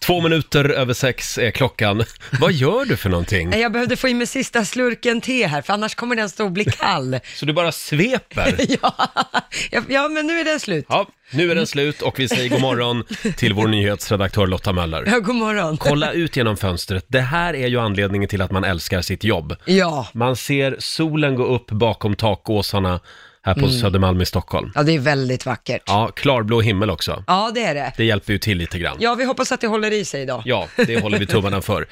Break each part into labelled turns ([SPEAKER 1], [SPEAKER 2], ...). [SPEAKER 1] Två minuter över sex är klockan. Vad gör du för någonting?
[SPEAKER 2] Nej, Jag behövde få i mig sista slurken te här, för annars kommer den stå och bli kall.
[SPEAKER 1] Så du bara sveper?
[SPEAKER 2] Ja, ja, men nu är den slut.
[SPEAKER 1] Ja, nu är den slut och vi säger god morgon till vår nyhetsredaktör Lotta Möller.
[SPEAKER 2] Ja, god morgon.
[SPEAKER 1] Kolla ut genom fönstret. Det här är ju anledningen till att man älskar sitt jobb.
[SPEAKER 2] Ja.
[SPEAKER 1] Man ser solen gå upp bakom takåsarna här på
[SPEAKER 2] Mm.
[SPEAKER 1] Södermalm i Stockholm.
[SPEAKER 2] ja, det är väldigt vackert. Ja,
[SPEAKER 1] Ja, klarblå himmel också.
[SPEAKER 2] det är det.
[SPEAKER 1] Det hjälper ju till lite grann.
[SPEAKER 2] Ja, vi hoppas att det håller i sig idag.
[SPEAKER 1] Ja, det håller vi tummarna för.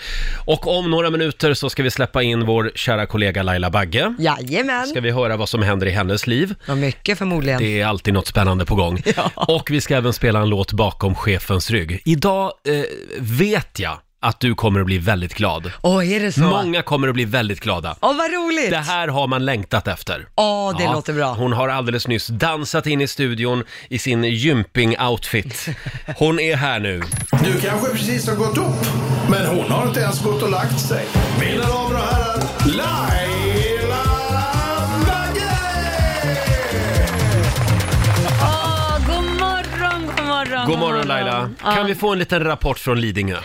[SPEAKER 1] Och om några minuter så ska vi släppa in vår kära kollega Laila Bagge.
[SPEAKER 2] Jajamän.
[SPEAKER 1] Ska vi höra vad som händer i hennes liv.
[SPEAKER 2] Ja, mycket förmodligen.
[SPEAKER 1] Det är alltid något spännande på gång. Och vi ska även spela en låt bakom chefens rygg. Idag eh, vet jag att du kommer att bli väldigt glad.
[SPEAKER 2] Åh, är det så?
[SPEAKER 1] Många kommer att bli väldigt glada.
[SPEAKER 2] Åh, vad roligt.
[SPEAKER 1] Det här har man längtat efter.
[SPEAKER 2] Åh, det
[SPEAKER 1] Ja,
[SPEAKER 2] låter bra.
[SPEAKER 1] Hon har alldeles nyss dansat in i studion i sin gymping-outfit. Hon är här nu.
[SPEAKER 3] Du kanske precis har gått upp, men hon har inte ens gått och lagt sig. Mina damer och herrar, Laila Bagge!
[SPEAKER 4] Åh, god morgon, god morgon.
[SPEAKER 1] God morgon Laila.
[SPEAKER 4] Ja.
[SPEAKER 1] Kan vi få en liten rapport från Lidingö?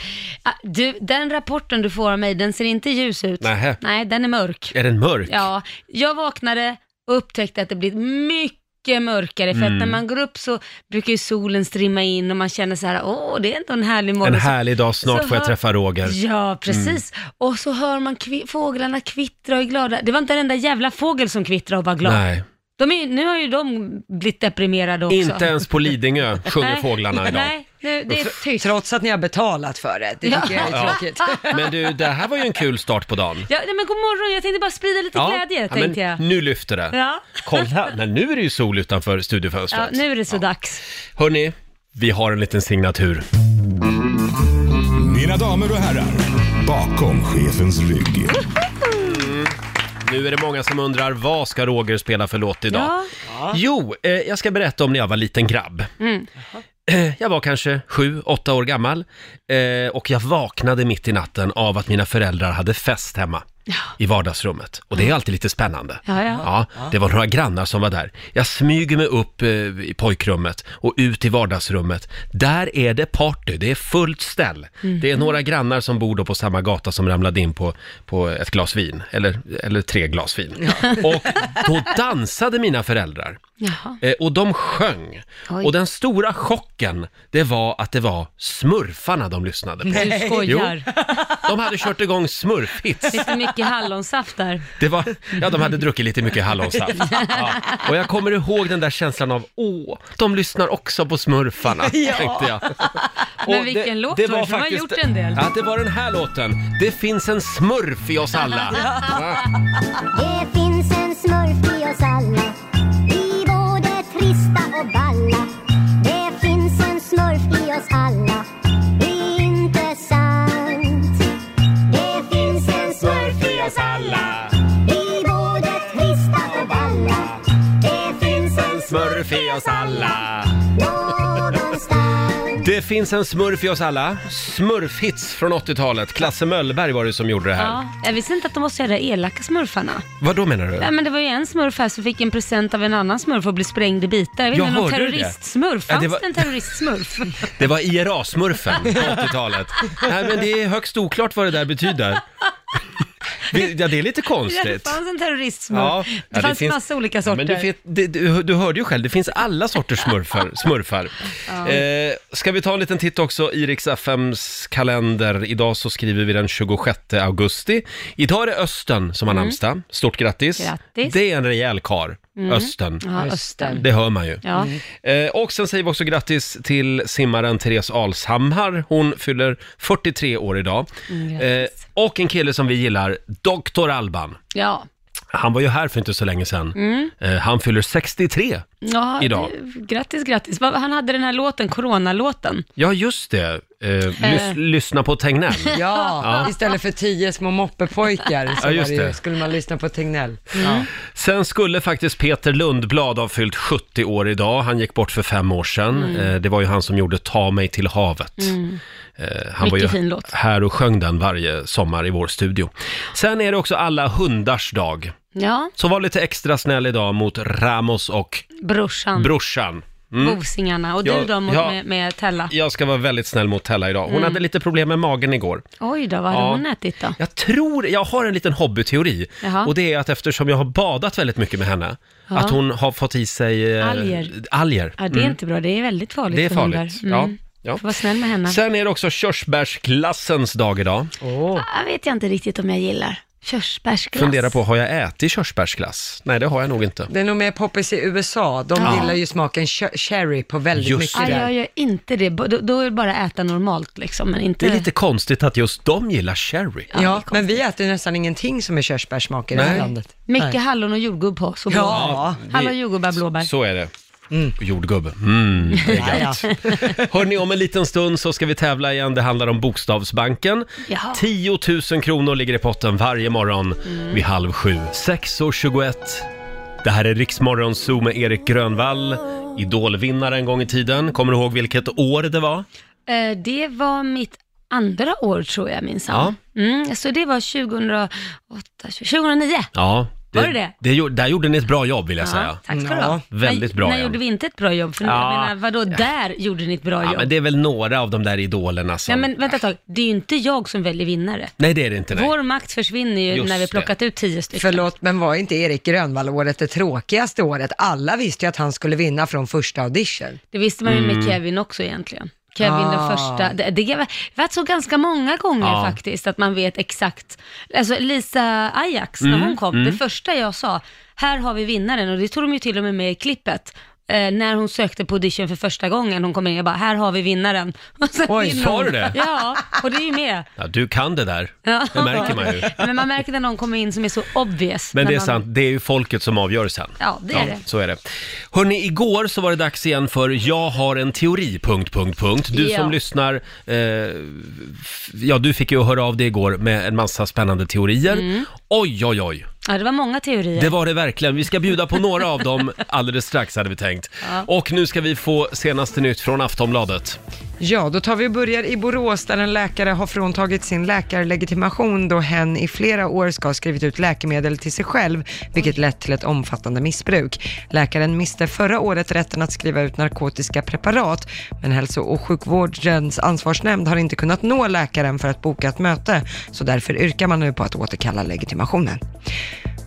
[SPEAKER 4] Ah, Du, den rapporten du får av mig, den ser inte ljus ut.
[SPEAKER 1] Nähä.
[SPEAKER 4] Nej, den är mörk.
[SPEAKER 1] Är den mörk?
[SPEAKER 4] Ja, jag vaknade och upptäckte att det blivit mycket mörkare, för
[SPEAKER 1] Mm.
[SPEAKER 4] att när man går upp så brukar ju solen strimma in och man känner så här, åh, det är ändå en härlig morgon.
[SPEAKER 1] En härlig dag, snart
[SPEAKER 4] så
[SPEAKER 1] får jag
[SPEAKER 4] hör-
[SPEAKER 1] träffa Roger. Mm.
[SPEAKER 4] Ja, precis. Och så hör man kvi- fåglarna kvittra och är glada. Det var inte en enda jävla fågel som kvittrade och var glad.
[SPEAKER 1] Nej,
[SPEAKER 4] De är, ju- nu har ju de blivit deprimerade också.
[SPEAKER 1] inte ens på Lidingö sjunger
[SPEAKER 4] Nej,
[SPEAKER 1] fåglarna idag.
[SPEAKER 4] Nej, nu, det är tyst.
[SPEAKER 2] Trots att ni har betalat för det. Det tycker jag är
[SPEAKER 1] Ja.
[SPEAKER 2] tråkigt.
[SPEAKER 1] Men du, det här var ju en kul start på dagen.
[SPEAKER 4] Ja, nej, men god morgon, jag tänkte bara sprida lite glädje,
[SPEAKER 1] men
[SPEAKER 4] tänkte jag.
[SPEAKER 1] Nu lyfter det.
[SPEAKER 4] Ja.
[SPEAKER 1] Kolla, men nu är det ju sol utanför
[SPEAKER 4] Ja,
[SPEAKER 1] studiofönstret.
[SPEAKER 4] nu är det så dags.
[SPEAKER 1] Hörni, vi har en liten signatur.
[SPEAKER 3] Mina damer och herrar, bakom chefens rygg.
[SPEAKER 1] Nu är det många som undrar, vad ska Roger spela för låt idag?
[SPEAKER 4] Ja. Mm.
[SPEAKER 1] Jo, eh, jag ska berätta om när jag var liten grabb. Eh, Jag var kanske sju, åtta år gammal eh, och jag vaknade mitt i natten av att mina föräldrar hade fest hemma i vardagsrummet. Och det är alltid lite spännande.
[SPEAKER 4] Ja, ja.
[SPEAKER 1] det var några grannar som var där. Jag smyger mig upp eh, i pojkrummet och ut i vardagsrummet. Där är det party, det är fullt ställ.
[SPEAKER 4] Mm.
[SPEAKER 1] Det är några grannar som bor då på samma gata som ramlade in på, på ett glas vin, eller, eller tre glas vin. Och då dansade mina föräldrar.
[SPEAKER 4] Jaha.
[SPEAKER 1] Eh, Och de sjöng.
[SPEAKER 4] Oj.
[SPEAKER 1] Och den stora chocken, det var att det var smurfarna de lyssnade på.
[SPEAKER 4] Du skojar.
[SPEAKER 1] De hade kört igång smurfhits.
[SPEAKER 4] Fick du mycket hallonsaft där?
[SPEAKER 1] Det var, ja, de hade druckit lite mycket hallonsaft. Ja. Och jag kommer ihåg den där känslan av, åh, de lyssnar också på smurfarna, tänkte jag.
[SPEAKER 4] Men
[SPEAKER 1] Och
[SPEAKER 4] vilken låt, Roger, de har gjort en del.
[SPEAKER 1] Ja, det var den här låten. Det finns en smurf i oss alla.
[SPEAKER 5] Det finns en smurf i oss alla I både trista och balla Det finns en smurf i oss alla Det är inte sant Det finns en smurf i oss alla I både trista och balla Det finns en
[SPEAKER 1] Smurf i oss alla.
[SPEAKER 5] någonstans
[SPEAKER 1] Det finns en smurf i oss alla. Smurfhits från 80-talet. Klasse Möllberg var det som gjorde det här.
[SPEAKER 4] Ja, jag visste inte att de var så jävla elaka smurfarna.
[SPEAKER 1] Vad då menar du?
[SPEAKER 4] Nej, men det var ju en smurf här som fick en present av en annan smurf och blev sprängd i bitar. Jag vet
[SPEAKER 1] Jag
[SPEAKER 4] inte, någon
[SPEAKER 1] hörde det.
[SPEAKER 4] terroristsmurf?
[SPEAKER 1] Ja,
[SPEAKER 4] Fanns
[SPEAKER 1] det
[SPEAKER 4] det,
[SPEAKER 1] var-
[SPEAKER 4] en terroristsmurf?
[SPEAKER 1] Det var IRA-smurfen på 80-talet. Nej, men det är högst oklart vad det där betyder. Vi- Ja, det är lite
[SPEAKER 4] Ja, det
[SPEAKER 1] konstigt.
[SPEAKER 4] fanns en terroristsmurf.
[SPEAKER 1] Ja,
[SPEAKER 4] det,
[SPEAKER 1] ja,
[SPEAKER 4] fanns massa olika
[SPEAKER 1] Ja,
[SPEAKER 4] sorter.
[SPEAKER 1] men det fin- det, du, du hörde ju själv, det finns alla sorters smurfar. smurfar. Eh, ska vi ta en liten titt också i Rix FMs kalender? Idag så skriver vi den 26 augusti. Idag är det Östen som har namnsdag. Stort grattis.
[SPEAKER 4] Mm. Grattis. Mm.
[SPEAKER 1] Det är en rejäl karl, Östen.
[SPEAKER 4] Ja, Östen.
[SPEAKER 1] Det hör man ju.
[SPEAKER 4] Ja. Mm.
[SPEAKER 1] Eh, och sen säger vi också grattis till simmaren Therese Alshammar. Hon fyller 43 år idag.
[SPEAKER 4] Mm,
[SPEAKER 1] Eh, och en kille som vi gillar, Dr. Alban.
[SPEAKER 4] ja. Mm.
[SPEAKER 1] Han var ju här för inte så länge sedan. Eh, han fyller 63.
[SPEAKER 4] ja
[SPEAKER 1] Idag.
[SPEAKER 4] det- Grattis, grattis. Vad- Han hade den här låten, coronalåten.
[SPEAKER 1] Ja, just det. Eh, lys- Lyssna på Tegnell.
[SPEAKER 2] Ja, istället för tio små moppepojkar så
[SPEAKER 1] Ja,
[SPEAKER 2] var
[SPEAKER 1] just
[SPEAKER 2] det ju,
[SPEAKER 1] det.
[SPEAKER 2] skulle man lyssna på Tegnell.
[SPEAKER 4] Mm.
[SPEAKER 1] Sen skulle faktiskt Peter Lundblad ha fyllt 70 år idag. Han gick bort för fem år sedan.
[SPEAKER 4] Mm.
[SPEAKER 1] Eh, det var ju han som gjorde Ta mig till havet. Eh, han var
[SPEAKER 4] Mycket fin
[SPEAKER 1] ju
[SPEAKER 4] låt.
[SPEAKER 1] här och sjöng den varje sommar i vår studio. Sen är det också alla hundars dag.
[SPEAKER 4] Ja,
[SPEAKER 1] Så var lite extra snäll idag mot Ramos och
[SPEAKER 4] brorsan.
[SPEAKER 1] brorsan. Mm.
[SPEAKER 4] Bosingarna. Och du
[SPEAKER 1] Ja,
[SPEAKER 4] då mot,
[SPEAKER 1] ja.
[SPEAKER 4] med, med Tella?
[SPEAKER 1] Jag ska vara väldigt snäll mot Tella idag. Hon
[SPEAKER 4] Mm.
[SPEAKER 1] hade lite problem med magen igår.
[SPEAKER 4] Oj då, vad hade
[SPEAKER 1] Ja.
[SPEAKER 4] hon ätit då?
[SPEAKER 1] Jag tror, jag har en liten hobbyteori.
[SPEAKER 4] Jaha.
[SPEAKER 1] Och det är att eftersom jag har badat väldigt mycket med henne,
[SPEAKER 4] Ja.
[SPEAKER 1] att hon har fått i sig eh,
[SPEAKER 4] Alger.
[SPEAKER 1] alger. Mm.
[SPEAKER 4] Ja, det är inte bra. Det är väldigt farligt
[SPEAKER 1] Det är
[SPEAKER 4] för hundar.
[SPEAKER 1] farligt.
[SPEAKER 4] Mm.
[SPEAKER 1] Ja. Ja.
[SPEAKER 4] Får Var snäll med henne.
[SPEAKER 1] Sen är det också körsbärsglassens dag idag.
[SPEAKER 4] Ah, vet jag inte riktigt om jag gillar. Körsbärsglass.
[SPEAKER 1] Fundera på, har jag ätit körsbärsglass? Nej, det har jag nog inte.
[SPEAKER 2] Det är nog mer poppis i USA. De gillar ju smaken che- cherry på väldigt
[SPEAKER 1] Just
[SPEAKER 4] Ah,
[SPEAKER 2] mycket där.
[SPEAKER 4] jag gör inte det. Då, då är det bara äta normalt liksom, men inte...
[SPEAKER 1] Det är lite konstigt att just de gillar sherry.
[SPEAKER 2] Ja,
[SPEAKER 4] det är konstigt.
[SPEAKER 2] men vi äter ju nästan ingenting som är körsbärssmak i det
[SPEAKER 1] Nej.
[SPEAKER 2] här landet.
[SPEAKER 4] Mycket
[SPEAKER 2] Nej.
[SPEAKER 4] hallon och jordgubb på, så bra.
[SPEAKER 2] Ja,
[SPEAKER 1] det-
[SPEAKER 4] Hallon, jordgubbar, blåbär.
[SPEAKER 1] Så är det. Jordgubbe. Mm, det är
[SPEAKER 2] Ja,
[SPEAKER 1] gött. Hörni, om en liten stund så ska vi tävla igen. Det handlar om Bokstavsbanken.
[SPEAKER 4] Jaha. Mm.
[SPEAKER 1] 10 000 kronor ligger i potten varje morgon vid halv sju. 6.21. Det här är Riksmorgon Zoo med Erik Grönvall. Idolvinnare en gång i tiden. Kommer du ihåg vilket år det var?
[SPEAKER 4] Eh, det var mitt andra år tror jag minsann. Mm, så det var 2008, 2009.
[SPEAKER 1] Ja.
[SPEAKER 4] Var det det?
[SPEAKER 1] gjorde- där gjorde ni ett bra jobb vill jag
[SPEAKER 4] Ja,
[SPEAKER 1] säga.
[SPEAKER 4] tack ska du
[SPEAKER 2] Ja.
[SPEAKER 4] ha.
[SPEAKER 1] Väldigt bra,
[SPEAKER 4] När, när
[SPEAKER 1] Jan.
[SPEAKER 4] gjorde vi inte ett bra jobb? För
[SPEAKER 1] Ja.
[SPEAKER 4] jag menar, vadå, där gjorde ni ett bra
[SPEAKER 1] Ja,
[SPEAKER 4] jobb?
[SPEAKER 1] men det är väl några av de där idolerna
[SPEAKER 4] Nej
[SPEAKER 1] som...
[SPEAKER 4] men vänta ett tag, det är ju inte jag som väljer vinnare.
[SPEAKER 1] Nej, det är det inte. Nej.
[SPEAKER 4] Vår makt försvinner ju
[SPEAKER 1] Just
[SPEAKER 4] när vi
[SPEAKER 1] det.
[SPEAKER 4] plockat ut tio stycken.
[SPEAKER 2] Förlåt, men var inte Erik Grönvall året det tråkigaste året? Alla visste ju att han skulle vinna från första audition.
[SPEAKER 4] Det visste man ju
[SPEAKER 1] Mm.
[SPEAKER 4] med Kevin också egentligen. Kevin
[SPEAKER 2] Ah.
[SPEAKER 4] den första. Det, det har varit så ganska många gånger
[SPEAKER 1] Ja.
[SPEAKER 4] faktiskt, att man vet exakt. Alltså Lisa Ajax,
[SPEAKER 1] Mm,
[SPEAKER 4] när hon kom, det första jag sa, här har vi vinnaren och det tog de ju till och med med i klippet. Eh, när hon sökte på audition för första gången, hon kom in, jag bara, här har vi vinnaren. Och sen
[SPEAKER 1] Oj,
[SPEAKER 4] vinner
[SPEAKER 1] sa
[SPEAKER 4] hon.
[SPEAKER 1] du det?
[SPEAKER 4] Ja, och det är ju med.
[SPEAKER 1] Ja, du kan det där.
[SPEAKER 4] Ja.
[SPEAKER 1] Det märker man ju.
[SPEAKER 4] Men man märker när någon kommer in som är så obvious.
[SPEAKER 1] Men
[SPEAKER 4] när
[SPEAKER 1] det är
[SPEAKER 4] man,
[SPEAKER 1] sant, det är ju folket som avgör sen.
[SPEAKER 4] Ja, det är det.
[SPEAKER 1] Så är det. Hörni, igår så var det dags igen för Jag har en teori... Punkt, punkt, punkt. Du
[SPEAKER 4] Ja.
[SPEAKER 1] som lyssnar, eh, f- ja du fick ju höra av dig igår med en massa spännande teorier.
[SPEAKER 4] Mm.
[SPEAKER 1] Oj, oj, oj.
[SPEAKER 4] Ja, det var många teorier.
[SPEAKER 1] Det var det verkligen. Vi ska bjuda på några av dem alldeles strax hade vi tänkt. Och nu ska vi få senaste nytt från Aftonbladet.
[SPEAKER 2] Ja, då tar vi och börjar i Borås där en läkare har fråntagit sin läkarlegitimation då hen i flera år ska ha skrivit ut läkemedel till sig själv, vilket lett till ett omfattande missbruk. Läkaren miste förra året rätten att skriva ut narkotiska preparat, men hälso och sjukvårdens ansvarsnämnd har inte kunnat nå läkaren för att boka ett möte, så därför yrkar man nu på att återkalla legitimationen.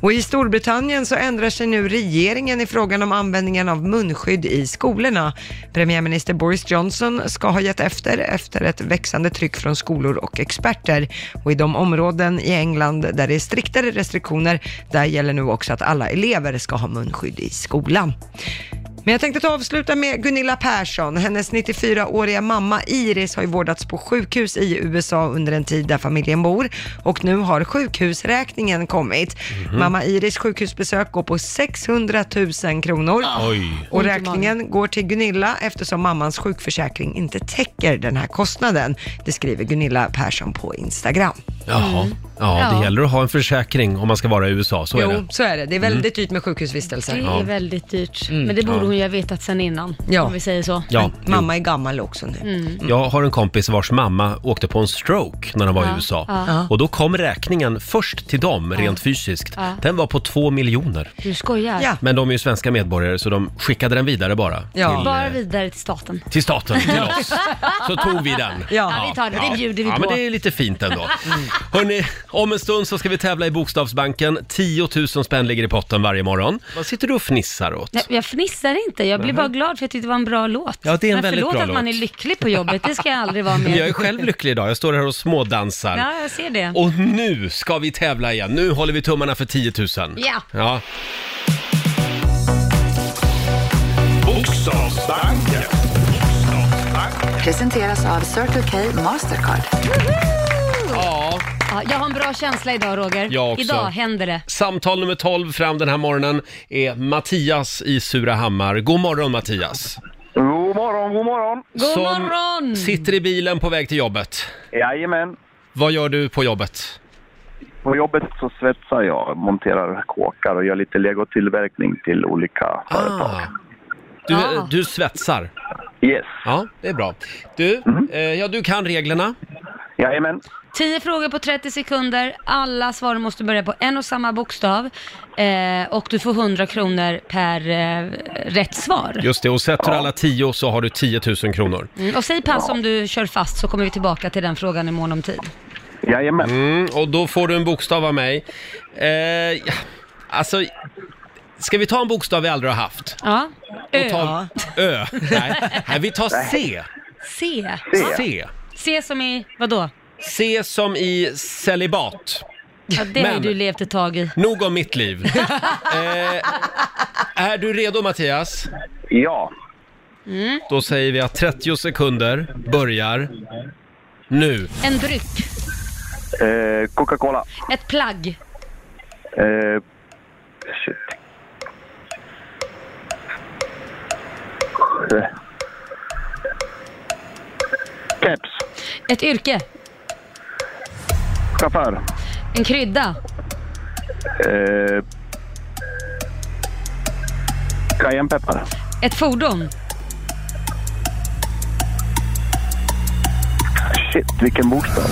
[SPEAKER 2] Och i Storbritannien så ändrar sig nu regeringen i frågan om användningen av munskydd i skolorna. Premiärminister Boris Johnson ska ha gett efter efter ett växande tryck från skolor och experter. Och i de områden i England där det är striktare restriktioner, där gäller nu också att alla elever ska ha munskydd i skolan. Men jag tänkte ta och avsluta med Gunilla Persson. Hennes 94-åriga mamma Iris har ju vårdats på sjukhus i USA under en tid där familjen bor och nu har sjukhusräkningen kommit.
[SPEAKER 1] Mhm.
[SPEAKER 2] Mamma Iris sjukhusbesök går på 600 000 kronor.
[SPEAKER 1] Ah. Oj.
[SPEAKER 2] Och
[SPEAKER 4] Ont i
[SPEAKER 2] räkningen går till Gunilla eftersom mammans sjukförsäkring inte täcker den här kostnaden. Det skriver Gunilla Persson på Instagram.
[SPEAKER 1] Jaha. Ja, det
[SPEAKER 4] Mm. Ja.
[SPEAKER 1] gäller att ha en försäkring om man ska vara i USA, så är det. Mm.
[SPEAKER 2] Jo, så är det. Det är väldigt dyrt med
[SPEAKER 4] Det
[SPEAKER 2] sjukhusvistelser. Mm.
[SPEAKER 4] är väldigt dyrt. Men det borde hon ju ha vetat sen innan,
[SPEAKER 2] Ja.
[SPEAKER 4] om vi säger så. Mm.
[SPEAKER 1] Ja, jo.
[SPEAKER 2] Mamma är gammal också nu.
[SPEAKER 1] Jag har en kompis vars mamma åkte på en stroke när han var i
[SPEAKER 4] Ja,
[SPEAKER 1] USA.
[SPEAKER 4] ja.
[SPEAKER 1] Och då kom räkningen först till dem rent fysiskt.
[SPEAKER 4] Ja.
[SPEAKER 1] Den var på två miljoner.
[SPEAKER 4] Du skojar?
[SPEAKER 2] Ja.
[SPEAKER 1] Men de är ju svenska medborgare så de skickade den vidare bara.
[SPEAKER 2] Ja.
[SPEAKER 1] Till,
[SPEAKER 4] Bara
[SPEAKER 1] eh,
[SPEAKER 4] vidare till staten.
[SPEAKER 1] till staten, till oss. Så tog vi den.
[SPEAKER 2] Ja. Mm.
[SPEAKER 4] Ja, vi tar det. Det bjuder vi
[SPEAKER 1] Ja,
[SPEAKER 4] på.
[SPEAKER 1] men det är lite fint ändå. Hörrni, om en stund så ska vi tävla i Bokstavsbanken. 10 000 spänn ligger i potten varje morgon. Vad sitter du och fnissar åt?
[SPEAKER 4] Nej, jag fnissar inte, jag blir bara glad för jag tyckte det var en bra låt.
[SPEAKER 1] Mm. Ja, det är en
[SPEAKER 4] men
[SPEAKER 1] väldigt
[SPEAKER 4] förlåt
[SPEAKER 1] bra
[SPEAKER 4] att man
[SPEAKER 1] låt.
[SPEAKER 4] är lycklig på jobbet, det ska jag aldrig vara
[SPEAKER 1] Men Jag är
[SPEAKER 4] mer.
[SPEAKER 1] själv lycklig idag. Jag står här och smådansar.
[SPEAKER 4] Ja, jag ser det.
[SPEAKER 1] Och nu ska vi tävla igen. Nu håller vi tummarna för 10 000.
[SPEAKER 4] Ja.
[SPEAKER 1] ja.
[SPEAKER 3] Bokstavsbanken.
[SPEAKER 6] Presenteras av Circle K Mastercard.
[SPEAKER 1] Ja.
[SPEAKER 4] Ja, jag har en bra känsla idag Roger.
[SPEAKER 1] Jag också.
[SPEAKER 4] Idag händer det.
[SPEAKER 1] Samtal nummer 12 fram den här morgonen är Mattias i Surahammar. God morgon Mattias!
[SPEAKER 7] God morgon, god morgon.
[SPEAKER 4] God
[SPEAKER 1] Som
[SPEAKER 4] morgon!
[SPEAKER 1] sitter i bilen på väg till jobbet.
[SPEAKER 7] Jajamän.
[SPEAKER 1] Vad gör du på jobbet?
[SPEAKER 7] På jobbet så svetsar jag, monterar kåkar och gör lite legotillverkning till olika företag.
[SPEAKER 1] Du, eh,
[SPEAKER 4] Ja.
[SPEAKER 1] du svetsar.
[SPEAKER 7] Yes. Mm.
[SPEAKER 1] Ja, det är bra. Du, eh, ja, du kan reglerna.
[SPEAKER 7] Jajamän.
[SPEAKER 4] 10 frågor på 30 sekunder. Alla svar måste börja på en och samma bokstav. Eh, och du får 100 kronor per eh, rätt svar.
[SPEAKER 1] Just det, och sätter alla tio så har du 10 000 kronor.
[SPEAKER 4] Mm, och säg pass om du kör fast så kommer vi tillbaka till den frågan imorgon om tid.
[SPEAKER 7] Jajamän.
[SPEAKER 1] Mm, och då får du en bokstav av mig. Eh, ja, alltså, ska vi ta en bokstav vi aldrig har haft?
[SPEAKER 4] Ja. Ö.
[SPEAKER 1] Ta Ö. Nej, nej, vi tar C.
[SPEAKER 4] C.
[SPEAKER 1] C.
[SPEAKER 4] C som i, vadå?
[SPEAKER 1] C som i celibat.
[SPEAKER 4] Ja, det har ju
[SPEAKER 1] Men-
[SPEAKER 4] du levt ett tag i.
[SPEAKER 1] Nog om mitt liv. eh, är du redo Mattias?
[SPEAKER 7] Ja.
[SPEAKER 4] Mm.
[SPEAKER 1] Då säger vi att 30 sekunder börjar nu.
[SPEAKER 4] En dryck.
[SPEAKER 7] Eh, Coca-Cola.
[SPEAKER 4] Ett plagg.
[SPEAKER 7] Eh, shit. Eh. Keps.
[SPEAKER 4] Ett yrke.
[SPEAKER 7] Chaufför.
[SPEAKER 4] En krydda.
[SPEAKER 7] Eh, cayennepeppar.
[SPEAKER 4] Ett fordon.
[SPEAKER 7] Shit, vilken bokstav.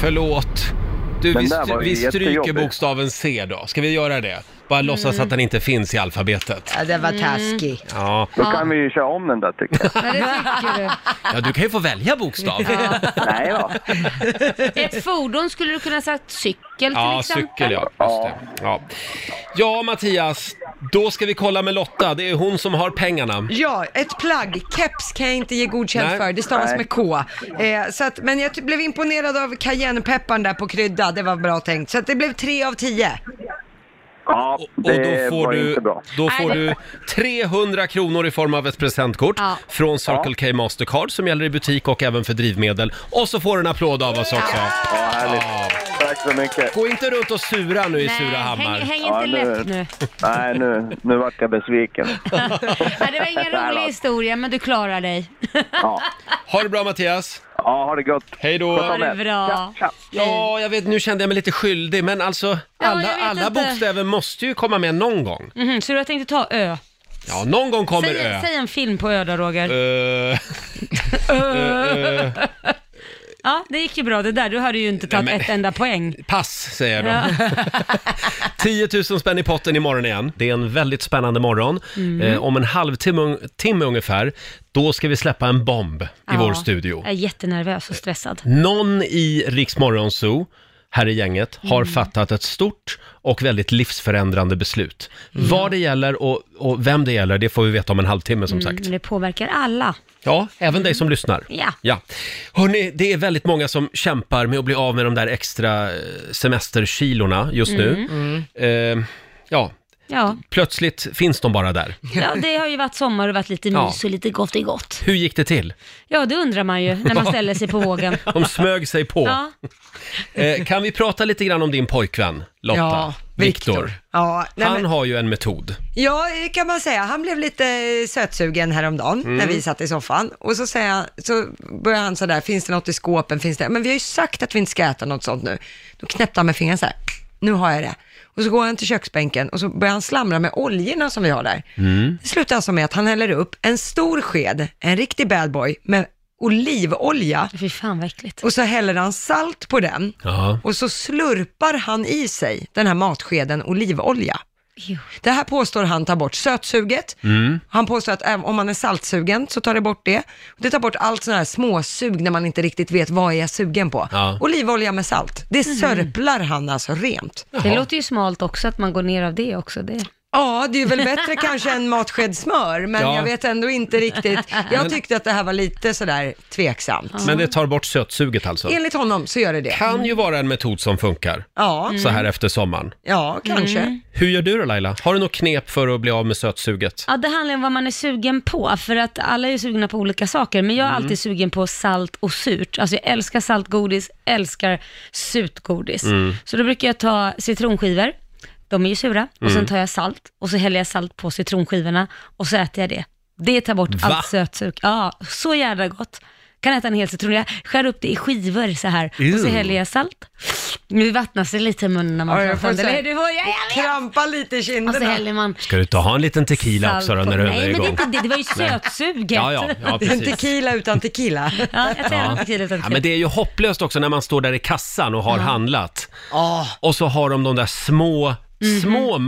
[SPEAKER 1] Förlåt. Du,
[SPEAKER 7] Den
[SPEAKER 1] vi,
[SPEAKER 7] där
[SPEAKER 1] stry-
[SPEAKER 7] var ju
[SPEAKER 1] vi stryker
[SPEAKER 7] jättejobbig.
[SPEAKER 1] bokstaven C då. Ska vi göra det? Bara låtsas att den inte finns i alfabetet. Mm.
[SPEAKER 2] Ja, det var taskig.
[SPEAKER 1] Ja.
[SPEAKER 7] Då kan vi ju köra om den där tycker jag.
[SPEAKER 4] Vad det tycker du?
[SPEAKER 1] ja, du kan ju få välja bokstav.
[SPEAKER 7] Nej då.
[SPEAKER 4] Ett fordon skulle du kunna sagt cykel till
[SPEAKER 1] Ja,
[SPEAKER 4] exempel.
[SPEAKER 1] cykel ja. Just det. Ja. ja, Mattias. Då ska vi kolla med Lotta. Det är hon som har pengarna.
[SPEAKER 2] Ja, ett plagg. Keps kan jag inte ge
[SPEAKER 1] Nej.
[SPEAKER 2] godkänt för. Det stavas
[SPEAKER 7] Nej.
[SPEAKER 2] med K. Eh, så att, men jag ty- blev imponerad av cayennepepparn där på krydda. Det var bra tänkt. Så att det blev tre av tio.
[SPEAKER 7] Ja,
[SPEAKER 1] Och då
[SPEAKER 7] det
[SPEAKER 1] får,
[SPEAKER 7] var
[SPEAKER 1] du,
[SPEAKER 7] inte bra.
[SPEAKER 1] då får
[SPEAKER 4] Nej.
[SPEAKER 1] du 300 kronor i form av ett presentkort
[SPEAKER 4] Ja.
[SPEAKER 1] från Circle K Mastercard som gäller i butik och även för drivmedel. Och så får du en applåd av oss också.
[SPEAKER 7] Ja, härligt. Tack så mycket.
[SPEAKER 1] Gå inte runt och sura nu i
[SPEAKER 4] Nej, häng,
[SPEAKER 1] Surahammar.
[SPEAKER 4] häng
[SPEAKER 7] Ja,
[SPEAKER 4] inte läpp nu.
[SPEAKER 7] Nej, nu, nu vart jag besviken.
[SPEAKER 4] Nej, det var ingen
[SPEAKER 7] Nej,
[SPEAKER 4] rolig
[SPEAKER 7] då.
[SPEAKER 4] historia, men du klarar dig.
[SPEAKER 7] Ja,
[SPEAKER 1] Ha det bra Mattias.
[SPEAKER 7] ja ha det gott.
[SPEAKER 1] Hej
[SPEAKER 4] Ha
[SPEAKER 1] då.
[SPEAKER 4] det bra.
[SPEAKER 7] Tja.
[SPEAKER 1] Ja, jag vet, nu kände jag mig lite skyldig, men alltså alla,
[SPEAKER 4] jag vet
[SPEAKER 1] alla
[SPEAKER 4] inte.
[SPEAKER 1] bokstäver måste ju komma med någon gång.
[SPEAKER 4] Mhm, så du har tänkt ta Ö?
[SPEAKER 1] Ja, någon gång kommer
[SPEAKER 4] Säg,
[SPEAKER 1] Ö.
[SPEAKER 4] säg en film på Ö då, Roger.
[SPEAKER 1] Eh,
[SPEAKER 4] Ja, det gick ju bra det där. Du hade ju inte tagit
[SPEAKER 1] men-
[SPEAKER 4] ett enda poäng.
[SPEAKER 1] pass, säger jag då.
[SPEAKER 4] Ja.
[SPEAKER 1] 10 000 spänn i potten imorgon igen. Det är en väldigt spännande morgon.
[SPEAKER 4] Mm.
[SPEAKER 1] Eh, om en halvtimme un- timme ungefär, då ska vi släppa en bomb i vår studio.
[SPEAKER 4] Jag är jättenervös och stressad.
[SPEAKER 1] Någon i Rix Morgon Zoo, här i gänget, har
[SPEAKER 4] Mm.
[SPEAKER 1] fattat ett stort och väldigt livsförändrande beslut.
[SPEAKER 4] Mm.
[SPEAKER 1] Vad det gäller och, och vem det gäller, det får vi veta om en halvtimme som sagt.
[SPEAKER 4] Men Mm, det påverkar alla.
[SPEAKER 1] Ja, även dig som lyssnar.
[SPEAKER 4] Ja.
[SPEAKER 1] ja. Hörrni, det är väldigt många som kämpar med att bli av med de där extra eh, semesterkilorna just
[SPEAKER 4] Mm.
[SPEAKER 1] nu. Eh, ja,
[SPEAKER 4] Ja,
[SPEAKER 1] plötsligt finns de bara där.
[SPEAKER 4] ja, det har ju varit sommar och varit lite
[SPEAKER 1] Ja.
[SPEAKER 4] mys och lite gott i gott.
[SPEAKER 1] Hur gick det till?
[SPEAKER 4] Ja, det undrar man ju när man ställer sig på vågen.
[SPEAKER 1] De smög sig på.
[SPEAKER 4] Ja,
[SPEAKER 1] Eh, kan vi prata lite grann om din pojkvän, Lotta? Viktor.
[SPEAKER 2] Ja, nej,
[SPEAKER 1] Han
[SPEAKER 2] men,
[SPEAKER 1] har ju en metod.
[SPEAKER 2] ja, det kan man säga. Han blev lite eh, sötsugen häromdagen
[SPEAKER 1] Mm.
[SPEAKER 2] när vi satt i soffan. Och så, säger han, så börjar han sådär, finns det något i skåpen? Finns det? Men vi har ju sagt att vi inte ska äta något sånt nu. Då knäppte han med fingrarna så här. Nu har jag det. Och så går han till köksbänken och så börjar han slamra med oljorna som vi har där.
[SPEAKER 1] Mm.
[SPEAKER 2] Det slutar alltså med att han häller upp en stor sked, en riktig bad boy, med olivolja
[SPEAKER 4] fy fan vad äckligt.
[SPEAKER 2] och så häller han salt på den
[SPEAKER 1] Ja.
[SPEAKER 2] och så slurpar han i sig den här matskeden olivolja.
[SPEAKER 4] Ew.
[SPEAKER 2] Det här påstår han tar bort sötsuget. Han påstår att även om man är saltsugen så tar det bort det. Det tar bort allt sådana här småsug när man inte riktigt vet vad är jag sugen på.
[SPEAKER 1] Ja.
[SPEAKER 2] Olivolja med salt, det sörplar han alltså rent.
[SPEAKER 4] Mhm. Det låter ju smalt också att man går ner av det också. Det.
[SPEAKER 2] Ja, det är väl bättre kanske än matsked smör, men
[SPEAKER 1] Ja.
[SPEAKER 2] jag vet ändå inte riktigt. Jag tyckte att det här var lite sådär tveksamt.
[SPEAKER 1] Men det tar bort sötsuget alltså.
[SPEAKER 2] Enligt honom så gör det det.
[SPEAKER 1] Kan ju vara en metod som funkar
[SPEAKER 2] Ja,
[SPEAKER 1] så här efter sommaren.
[SPEAKER 2] ja kanske.
[SPEAKER 4] Mm.
[SPEAKER 1] Hur gör du då Laila? Har du något knep för att bli av med sötsuget?
[SPEAKER 4] Ja, det handlar om vad man är sugen på, för att alla är ju sugna på olika saker, men jag
[SPEAKER 1] Mm.
[SPEAKER 4] är alltid sugen på salt och surt. Alltså jag älskar saltgodis, älskar surt godis.
[SPEAKER 1] Mm.
[SPEAKER 4] Så då brukar jag ta citronskivor, de är ju sura, och
[SPEAKER 1] Mm.
[SPEAKER 4] sen tar jag salt, och så häller jag salt på citronskivorna, och så äter jag det. Det tar bort
[SPEAKER 1] Va?
[SPEAKER 4] allt sötsug. Ja, så jävla gott. Kan äta en hel citron. Jag skär upp det i skivor så här, och så
[SPEAKER 1] Ew.
[SPEAKER 4] häller jag salt. Men Det vattnas lite i munnen när man
[SPEAKER 2] Ja, jag
[SPEAKER 4] pratar om
[SPEAKER 2] får
[SPEAKER 4] det.
[SPEAKER 2] så här-
[SPEAKER 4] Eller hur? Du får- Ja, jag vet!
[SPEAKER 2] Krampa lite i kinderna.
[SPEAKER 4] Och så häller man
[SPEAKER 1] Ska du inte ha en liten tequila
[SPEAKER 4] salt
[SPEAKER 1] också då
[SPEAKER 4] på-
[SPEAKER 1] när du är
[SPEAKER 4] Nej, men det, är
[SPEAKER 1] igång?
[SPEAKER 4] inte det, det var ju sötsuget.
[SPEAKER 1] Ja, ja, ja
[SPEAKER 2] Det är en
[SPEAKER 1] precis.
[SPEAKER 2] tequila utan tequila.
[SPEAKER 4] Ja, jag tränar
[SPEAKER 1] Ja.
[SPEAKER 4] på tequila utan
[SPEAKER 1] Ja,
[SPEAKER 4] tequila.
[SPEAKER 1] men det är ju hopplöst också när man står där i kassan och har handlat.
[SPEAKER 2] Ja,
[SPEAKER 1] Och så har de de där små,
[SPEAKER 4] Mhm.
[SPEAKER 1] små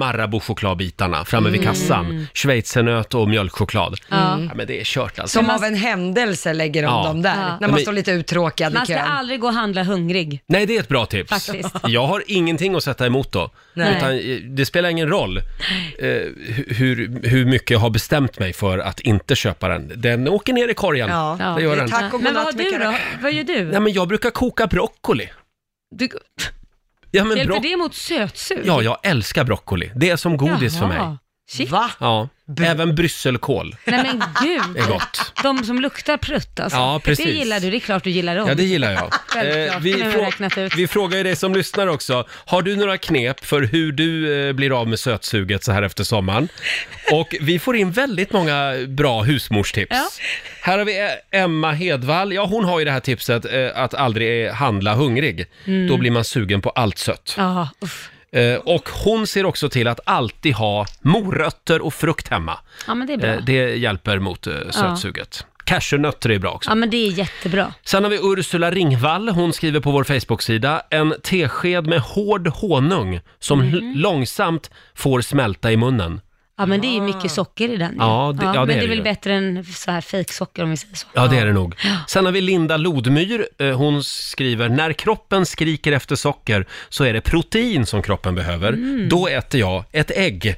[SPEAKER 1] Marabou-chokladbitarna framme vid
[SPEAKER 4] Mm.
[SPEAKER 1] kassan. Schweizernöt och mjölkchoklad. Ja, men det är kört alltså.
[SPEAKER 2] som av en händelse lägger de
[SPEAKER 1] Ja.
[SPEAKER 2] dem där.
[SPEAKER 4] Ja.
[SPEAKER 2] När man
[SPEAKER 1] Men-
[SPEAKER 2] står lite uttråkad i
[SPEAKER 4] Man ska
[SPEAKER 2] kön.
[SPEAKER 4] aldrig gå och handla hungrig.
[SPEAKER 1] Nej, det är ett bra tips.
[SPEAKER 4] Faktiskt.
[SPEAKER 1] Jag har ingenting att sätta emot då.
[SPEAKER 4] Nej.
[SPEAKER 1] Utan, eh, det spelar ingen roll eh, hu- hur, hur mycket jag har bestämt mig för att inte köpa den. Den åker ner i korgen.
[SPEAKER 2] Ja.
[SPEAKER 4] Ja.
[SPEAKER 1] Det gör den.
[SPEAKER 2] Tack och
[SPEAKER 4] Men vad har
[SPEAKER 2] godnatt
[SPEAKER 4] du
[SPEAKER 2] Mikaela.
[SPEAKER 4] då? Vad gör du?
[SPEAKER 1] Nej, men jag brukar koka broccoli.
[SPEAKER 4] du
[SPEAKER 1] Ja, men
[SPEAKER 4] hjälper
[SPEAKER 1] bro-
[SPEAKER 4] det mot sötsug?
[SPEAKER 1] ja, jag älskar broccoli. Det är som godis för mig.
[SPEAKER 4] Jaha. Shit.
[SPEAKER 2] Va?
[SPEAKER 1] Ja, även brysselkål
[SPEAKER 4] Nej men
[SPEAKER 1] är
[SPEAKER 4] gud.
[SPEAKER 1] gott.
[SPEAKER 4] De som luktar prutt alltså.
[SPEAKER 1] Ja, precis.
[SPEAKER 4] Det gillar du, det är klart du gillar dem.
[SPEAKER 1] Ja, det gillar jag. Eh,
[SPEAKER 4] Självklart,
[SPEAKER 1] vi,
[SPEAKER 4] det har jag
[SPEAKER 1] frå-
[SPEAKER 4] räknat ut.
[SPEAKER 1] vi frågar ju dig som lyssnar också. Har du några knep för hur du eh, blir av med sötsuget så här efter sommaren? Och vi får in väldigt många bra husmorstips.
[SPEAKER 4] Ja.
[SPEAKER 1] Här har vi eh, Emma Hedvall. Ja, hon har ju det här tipset eh, att aldrig eh, handla hungrig. Då blir man sugen på allt sött.
[SPEAKER 4] Mm. Ja, uff.
[SPEAKER 1] Eh, och hon ser också till att alltid ha morötter och frukt hemma.
[SPEAKER 4] ja men det är bra.
[SPEAKER 1] Eh, det hjälper mot eh, sötsuget. Cashewnötter är bra också.
[SPEAKER 4] Ja men det är jättebra.
[SPEAKER 1] Sen har vi Ursula Ringvall, hon skriver på vår Facebook-sida En tesked med hård honung som
[SPEAKER 4] Mhm.
[SPEAKER 1] l- långsamt får smälta i munnen.
[SPEAKER 4] Ja men det är ju mycket socker i den. ju.
[SPEAKER 1] Ah. Ja, det- ja, det
[SPEAKER 4] men det
[SPEAKER 1] är det
[SPEAKER 4] är väl
[SPEAKER 1] ju.
[SPEAKER 4] bättre än så här fejksocker om vi säger så.
[SPEAKER 1] Ja, det är det nog. Sen har vi Linda Lodmyr, Eh, hon skriver När kroppen skriker efter socker så är det protein som kroppen behöver.
[SPEAKER 4] Mm.
[SPEAKER 1] Då äter jag ett ägg.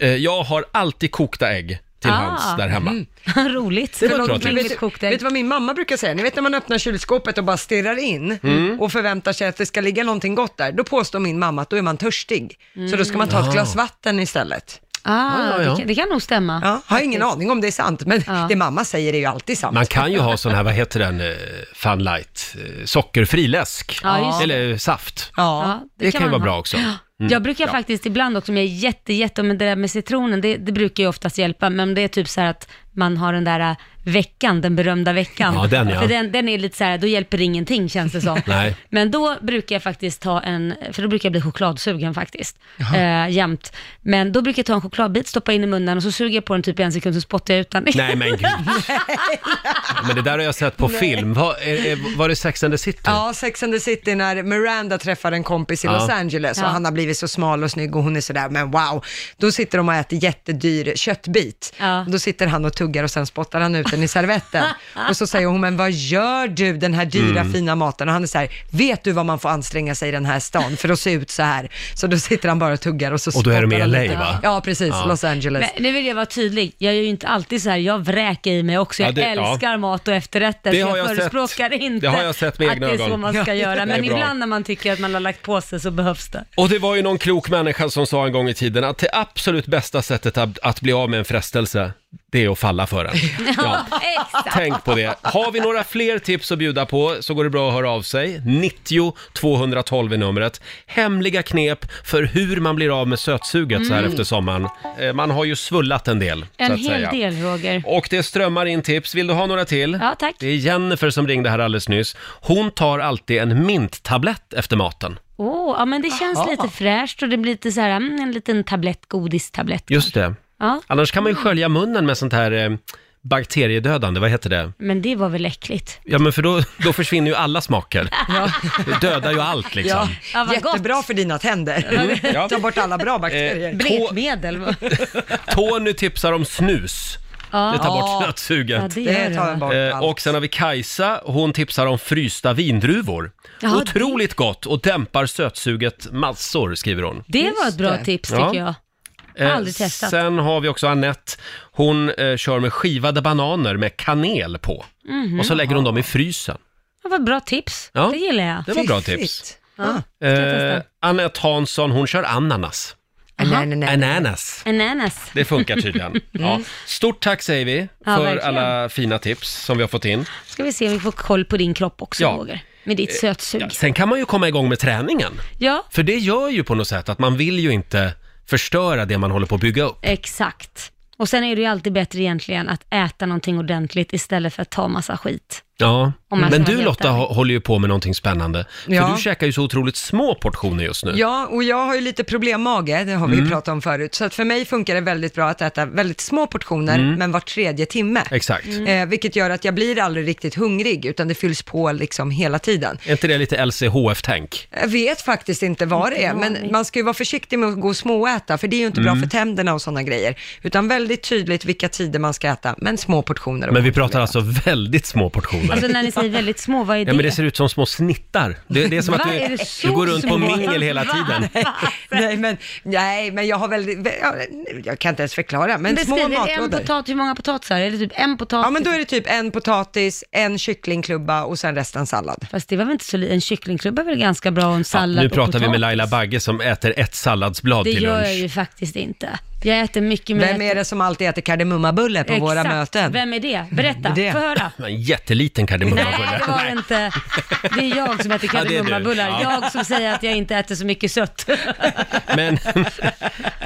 [SPEAKER 1] Eh, Jag har alltid kokta ägg till
[SPEAKER 4] Ah.
[SPEAKER 1] hands där hemma.
[SPEAKER 4] Roligt.
[SPEAKER 1] var ett bra
[SPEAKER 4] Omkring
[SPEAKER 1] tips.
[SPEAKER 4] mitt
[SPEAKER 2] Vet,
[SPEAKER 4] kokta ägg.
[SPEAKER 2] vet du vad min mamma brukar säga? Ni vet när man öppnar kylskåpet och bara stirrar in
[SPEAKER 1] Mm.
[SPEAKER 2] och förväntar sig att det ska ligga någonting gott där. Då påstår min mamma att då är man törstig. Så då ska man ta ett glas vatten istället.
[SPEAKER 4] Ah,
[SPEAKER 1] Mm. Ah. Ja, ja, ja.
[SPEAKER 4] Det, kan, det kan nog stämma.
[SPEAKER 2] Ja, har ingen aning om det är sant, men
[SPEAKER 4] Ja.
[SPEAKER 2] det mamma säger är ju alltid sant.
[SPEAKER 1] Man kan ju ha sån här, vad heter den, eh, Fun Light, eh, sockerfri läsk.
[SPEAKER 4] Ja, just det.
[SPEAKER 1] Eller saft.
[SPEAKER 2] Ja.
[SPEAKER 4] Ja,
[SPEAKER 1] Det kan ju
[SPEAKER 4] man
[SPEAKER 1] vara
[SPEAKER 4] ha.
[SPEAKER 1] bra också. Mm.
[SPEAKER 4] Jag brukar faktiskt ibland också, om jag är jätte, jätte, men det där med citronen, det, det brukar ju oftast hjälpa, men det är typ så här att man har den där äh, veckan, den berömda veckan.
[SPEAKER 1] Ja, den, ja.
[SPEAKER 4] För den, den är lite så här, då hjälper ingenting känns det som.
[SPEAKER 1] Nej.
[SPEAKER 4] Men då brukar jag faktiskt ta en, för då brukar jag bli chokladsugen faktiskt, eh, jämt. Men då brukar jag ta en chokladbit, stoppa in i munnen och så suger jag på den typ i en sekund, så spottar jag ut den.
[SPEAKER 1] Nej men gud. Men det där har jag sett på film. Var, är, är, var det Sex and the City?
[SPEAKER 2] Ja, Sex and the City när Miranda träffar en kompis i
[SPEAKER 1] Ja.
[SPEAKER 2] Los Angeles och
[SPEAKER 4] Ja.
[SPEAKER 2] han har blivit så smal och snygg och hon är sådär, men wow. Då sitter de och äter jättedyr köttbit.
[SPEAKER 4] Ja.
[SPEAKER 2] Då sitter han och tuggar och sen spottar han ut den i servetten. och så säger hon, men vad gör du den här dyra fina maten? Och han är så vet du vad man får anstränga sig i den här stan för att se ut så här? Så då sitter han bara och tuggar och så
[SPEAKER 1] Och då är de i
[SPEAKER 2] spottar han
[SPEAKER 1] LA,
[SPEAKER 2] lite.
[SPEAKER 1] va?
[SPEAKER 2] Ja, precis. Los Angeles.
[SPEAKER 4] Men nu vill jag vara tydlig, jag är ju inte alltid så här, jag vräker i mig också.
[SPEAKER 1] Ja,
[SPEAKER 4] Jag
[SPEAKER 1] det- ja.
[SPEAKER 4] älskar mat och efterrätter,
[SPEAKER 1] Det
[SPEAKER 4] så
[SPEAKER 1] har
[SPEAKER 4] jag,
[SPEAKER 1] jag sett.
[SPEAKER 4] förespråkar inte
[SPEAKER 1] Det har jag sett med
[SPEAKER 4] att det
[SPEAKER 1] egna
[SPEAKER 4] är så
[SPEAKER 1] ögon.
[SPEAKER 4] man ska göra.
[SPEAKER 1] det är
[SPEAKER 4] Men
[SPEAKER 1] bra.
[SPEAKER 4] ibland när man tycker att man har lagt på sig så behövs det.
[SPEAKER 1] Och det var ju någon klok människa som sa en gång i tiden att det absolut bästa sättet att, att bli av med en frestelse, det är att falla för den. Ja.
[SPEAKER 4] Exakt.
[SPEAKER 1] Tänk på det. Har vi några fler tips att bjuda på så går det bra att höra av sig. 90 212 är numret. Hemliga knep för hur man blir av med sötsuget så här efter sommaren. Eh, Man har ju svullat en del, så
[SPEAKER 4] Mm. En
[SPEAKER 1] att
[SPEAKER 4] hel
[SPEAKER 1] säga.
[SPEAKER 4] del Roger.
[SPEAKER 1] Och det strömmar in tips. Vill du ha några till?
[SPEAKER 4] Ja, tack.
[SPEAKER 1] Det är Jennifer som ringde här alldeles nyss. Hon tar alltid en minttablett efter maten.
[SPEAKER 4] Åh, ja men det känns
[SPEAKER 1] Ah.
[SPEAKER 4] lite fräscht och det blir lite så här, mm, en liten tablett, godistablett.
[SPEAKER 1] Just det.
[SPEAKER 4] Ja,
[SPEAKER 1] Annars kan man ju skölja munnen med sånt här eh, bakteriedödande, vad heter det?
[SPEAKER 4] men det var väl äckligt.
[SPEAKER 1] Ja, men för då, då försvinner ju alla smaker. Det dödar ju allt liksom.
[SPEAKER 4] Ja, vad
[SPEAKER 2] Jättebra
[SPEAKER 4] gott.
[SPEAKER 2] för dina tänder.
[SPEAKER 1] Ja.
[SPEAKER 2] Ta bort alla bra bakterier.
[SPEAKER 4] Blekmedel. va?
[SPEAKER 1] Eh, Tony tipsar om snus. Det tar bort
[SPEAKER 4] Ja,
[SPEAKER 1] sötsuget.
[SPEAKER 4] det gör
[SPEAKER 2] Det tar
[SPEAKER 4] det.
[SPEAKER 2] en
[SPEAKER 4] va?
[SPEAKER 2] bort
[SPEAKER 1] Eh,
[SPEAKER 2] allt.
[SPEAKER 1] och sen har vi Kajsa, hon tipsar om frysta vindruvor.
[SPEAKER 4] Ja, det-
[SPEAKER 1] Otroligt gott och dämpar sötsuget massor, skriver hon.
[SPEAKER 4] Det var ett bra
[SPEAKER 2] det.
[SPEAKER 4] tips
[SPEAKER 1] Ja.
[SPEAKER 4] tycker jag.
[SPEAKER 1] Eh,
[SPEAKER 4] Aldrig testat.
[SPEAKER 1] Sen har vi också Annette. Hon eh, kör med skivade bananer med kanel på.
[SPEAKER 4] Mhm.
[SPEAKER 1] Och så
[SPEAKER 4] Mm.
[SPEAKER 1] lägger hon dem i frysen.
[SPEAKER 4] Det var ett bra tips.
[SPEAKER 1] Ja.
[SPEAKER 4] Det gillar jag.
[SPEAKER 1] Det var bra
[SPEAKER 2] Fiffigt.
[SPEAKER 1] tips.
[SPEAKER 2] Ja.
[SPEAKER 1] Eh, Annette Hansson, hon kör ananas.
[SPEAKER 2] Nej, nej, nej.
[SPEAKER 1] Ananas.
[SPEAKER 4] Ananas.
[SPEAKER 1] Det funkar tydligen. Ja. Stort tack säger vi
[SPEAKER 4] Mm. Ja,
[SPEAKER 1] för
[SPEAKER 4] verkligen.
[SPEAKER 1] alla fina tips som vi har fått in.
[SPEAKER 4] Ska vi se om vi får koll på din kropp också
[SPEAKER 1] Ja. Eh,
[SPEAKER 4] Roger. Med ditt
[SPEAKER 1] Ja,
[SPEAKER 4] sötsug.
[SPEAKER 1] sen kan man ju komma igång med träningen.
[SPEAKER 4] Ja,
[SPEAKER 1] För det gör ju på något sätt att man vill ju inte förstöra det man håller på att bygga upp.
[SPEAKER 4] exakt. Och sen är det ju alltid bättre egentligen att äta någonting ordentligt istället för att ta massa skit.
[SPEAKER 1] Ja,
[SPEAKER 4] Om man
[SPEAKER 1] men
[SPEAKER 4] ska
[SPEAKER 1] du
[SPEAKER 4] vara helt
[SPEAKER 1] Lotta
[SPEAKER 4] ärlig.
[SPEAKER 1] hå- håller ju på med någonting spännande. För
[SPEAKER 2] Ja.
[SPEAKER 1] du käkar ju så otroligt små portioner just nu. Mm.
[SPEAKER 2] Ja, och jag har ju lite problemmage, det har vi ju pratat om förut. Så att för mig funkar det väldigt bra att äta väldigt små portioner, men var tredje timme.
[SPEAKER 1] Mm. Exakt.
[SPEAKER 2] Eh, vilket gör att jag blir aldrig riktigt hungrig, utan det fylls på liksom hela tiden.
[SPEAKER 1] Är inte det lite LCHF-tänk?
[SPEAKER 2] Jag vet faktiskt inte vad det är, men man ska ju vara försiktig med att gå och småäta, för det är ju inte
[SPEAKER 1] Mm.
[SPEAKER 2] bra för tänderna och sådana grejer. Utan väldigt tydligt vilka tider man ska äta, men små portioner. och
[SPEAKER 1] Men vi
[SPEAKER 2] kontrollera.
[SPEAKER 1] pratar alltså väldigt små portioner.
[SPEAKER 4] Alltså när ni säger väldigt små, vad är det?
[SPEAKER 1] Ja, men det ser ut som små snittar. Det, det är som att
[SPEAKER 4] Va?
[SPEAKER 1] du,
[SPEAKER 4] Är det så
[SPEAKER 1] du går runt på
[SPEAKER 4] små?
[SPEAKER 1] mingel hela
[SPEAKER 4] Va?
[SPEAKER 1] tiden.
[SPEAKER 2] Nej men, nej, men jag har väldigt, vä- ja, jag kan inte ens förklara, men små
[SPEAKER 4] Beskriv det, en
[SPEAKER 2] matlådor.
[SPEAKER 4] potatis, hur många potatisar? Är det typ en potatis?
[SPEAKER 2] Ja men då är det typ en potatis, en kycklingklubba och sen resten sallad.
[SPEAKER 4] Fast det var väl inte så li- En kycklingklubba är väl ganska bra och en
[SPEAKER 1] Ja,
[SPEAKER 4] sallad
[SPEAKER 1] nu
[SPEAKER 4] och
[SPEAKER 1] pratar vi
[SPEAKER 4] potatis.
[SPEAKER 1] med Laila Bagge som äter ett salladsblad
[SPEAKER 4] Det
[SPEAKER 1] till
[SPEAKER 4] gör
[SPEAKER 1] lunch.
[SPEAKER 4] jag ju faktiskt inte. Jag äter mycket men
[SPEAKER 2] Vem är det som alltid äter kardemummabulle på
[SPEAKER 4] Exakt.
[SPEAKER 2] våra möten?
[SPEAKER 4] Vem är det? Berätta,
[SPEAKER 2] Det.
[SPEAKER 4] få höra.
[SPEAKER 1] En jätteliten
[SPEAKER 4] Nej,
[SPEAKER 1] kardemummabulle.
[SPEAKER 4] det var det inte. Det är jag som äter
[SPEAKER 1] Ja, det är du.
[SPEAKER 4] kardemummabullar.
[SPEAKER 1] Ja.
[SPEAKER 4] Jag som säger att jag inte äter så mycket sött.
[SPEAKER 1] Men,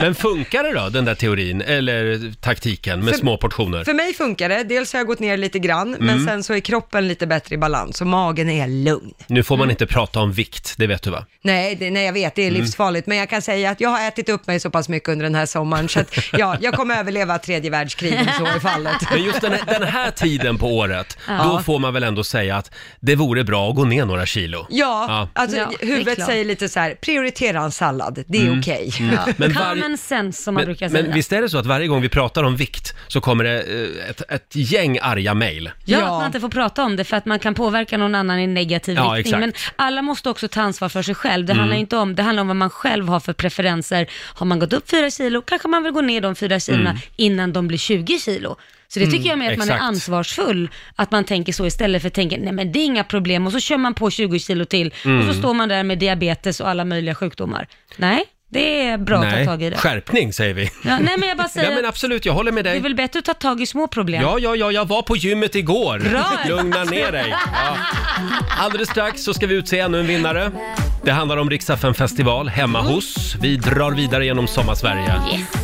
[SPEAKER 1] men funkar det då, den där teorin, eller taktiken med
[SPEAKER 2] För-
[SPEAKER 1] små portioner? Mm.
[SPEAKER 2] För mig funkar det, dels har jag gått ner lite grann, men sen så är kroppen lite bättre i balans och magen är lugn.
[SPEAKER 1] Nu får man inte prata om vikt, det vet du va?
[SPEAKER 2] Nej, det, nej jag vet, det är
[SPEAKER 1] Mm.
[SPEAKER 2] livsfarligt, men jag kan säga att jag har ätit upp mig så pass mycket under den här sommaren så att ja, jag kommer överleva tredje världskriget så är fallet.
[SPEAKER 1] Men just den här, den här tiden på året, då får man väl ändå säga att det vore bra att gå ner några kilo.
[SPEAKER 2] Ja, alltså
[SPEAKER 4] Ja, det är
[SPEAKER 2] huvudet
[SPEAKER 4] klart.
[SPEAKER 2] säger lite så här, prioritera en sallad, det är okej.
[SPEAKER 1] Mm. Men var-
[SPEAKER 4] Common sense som man
[SPEAKER 1] Men,
[SPEAKER 4] brukar säga.
[SPEAKER 1] men visst är det så att varje gång vi pratar om vikt så kommer det eh, ett, ett gäng arga mejl.
[SPEAKER 4] Ja,
[SPEAKER 2] Ja.
[SPEAKER 4] att man inte får prata om det för att man kan påverka någon annan i en negativ
[SPEAKER 1] Ja,
[SPEAKER 4] riktning. Men
[SPEAKER 1] exakt. Mm.
[SPEAKER 4] alla måste också ta ansvar för sig själv. Det handlar inte om, det handlar om vad man själv har för preferenser. Har man gått upp fyra kilo, kanske man vill gå ner de fyra kilona innan de blir 20 kilo. Så det tycker jag med att man
[SPEAKER 1] Mm. exakt.
[SPEAKER 4] är ansvarsfull, att man tänker så istället för att tänka, nej men det är inga problem och så kör man på 20 kilo till
[SPEAKER 1] Mm.
[SPEAKER 4] och så står man där med diabetes och alla möjliga sjukdomar. Nej, det är bra att ta tag i det.
[SPEAKER 1] skärpning säger vi.
[SPEAKER 4] Ja, nej men jag bara säger,
[SPEAKER 1] Nej men absolut, jag håller med
[SPEAKER 4] det är
[SPEAKER 1] dig.
[SPEAKER 4] väl bättre att ta tag i små problem.
[SPEAKER 1] Ja, ja, ja, jag var på gymmet igår.
[SPEAKER 4] Bra.
[SPEAKER 1] Lugna ner dig. Ja. Alldeles strax så ska vi utse ännu en vinnare. Det handlar om Riksaffen festival hemma
[SPEAKER 4] Mm.
[SPEAKER 1] hos. Vi drar vidare genom sommarsverige.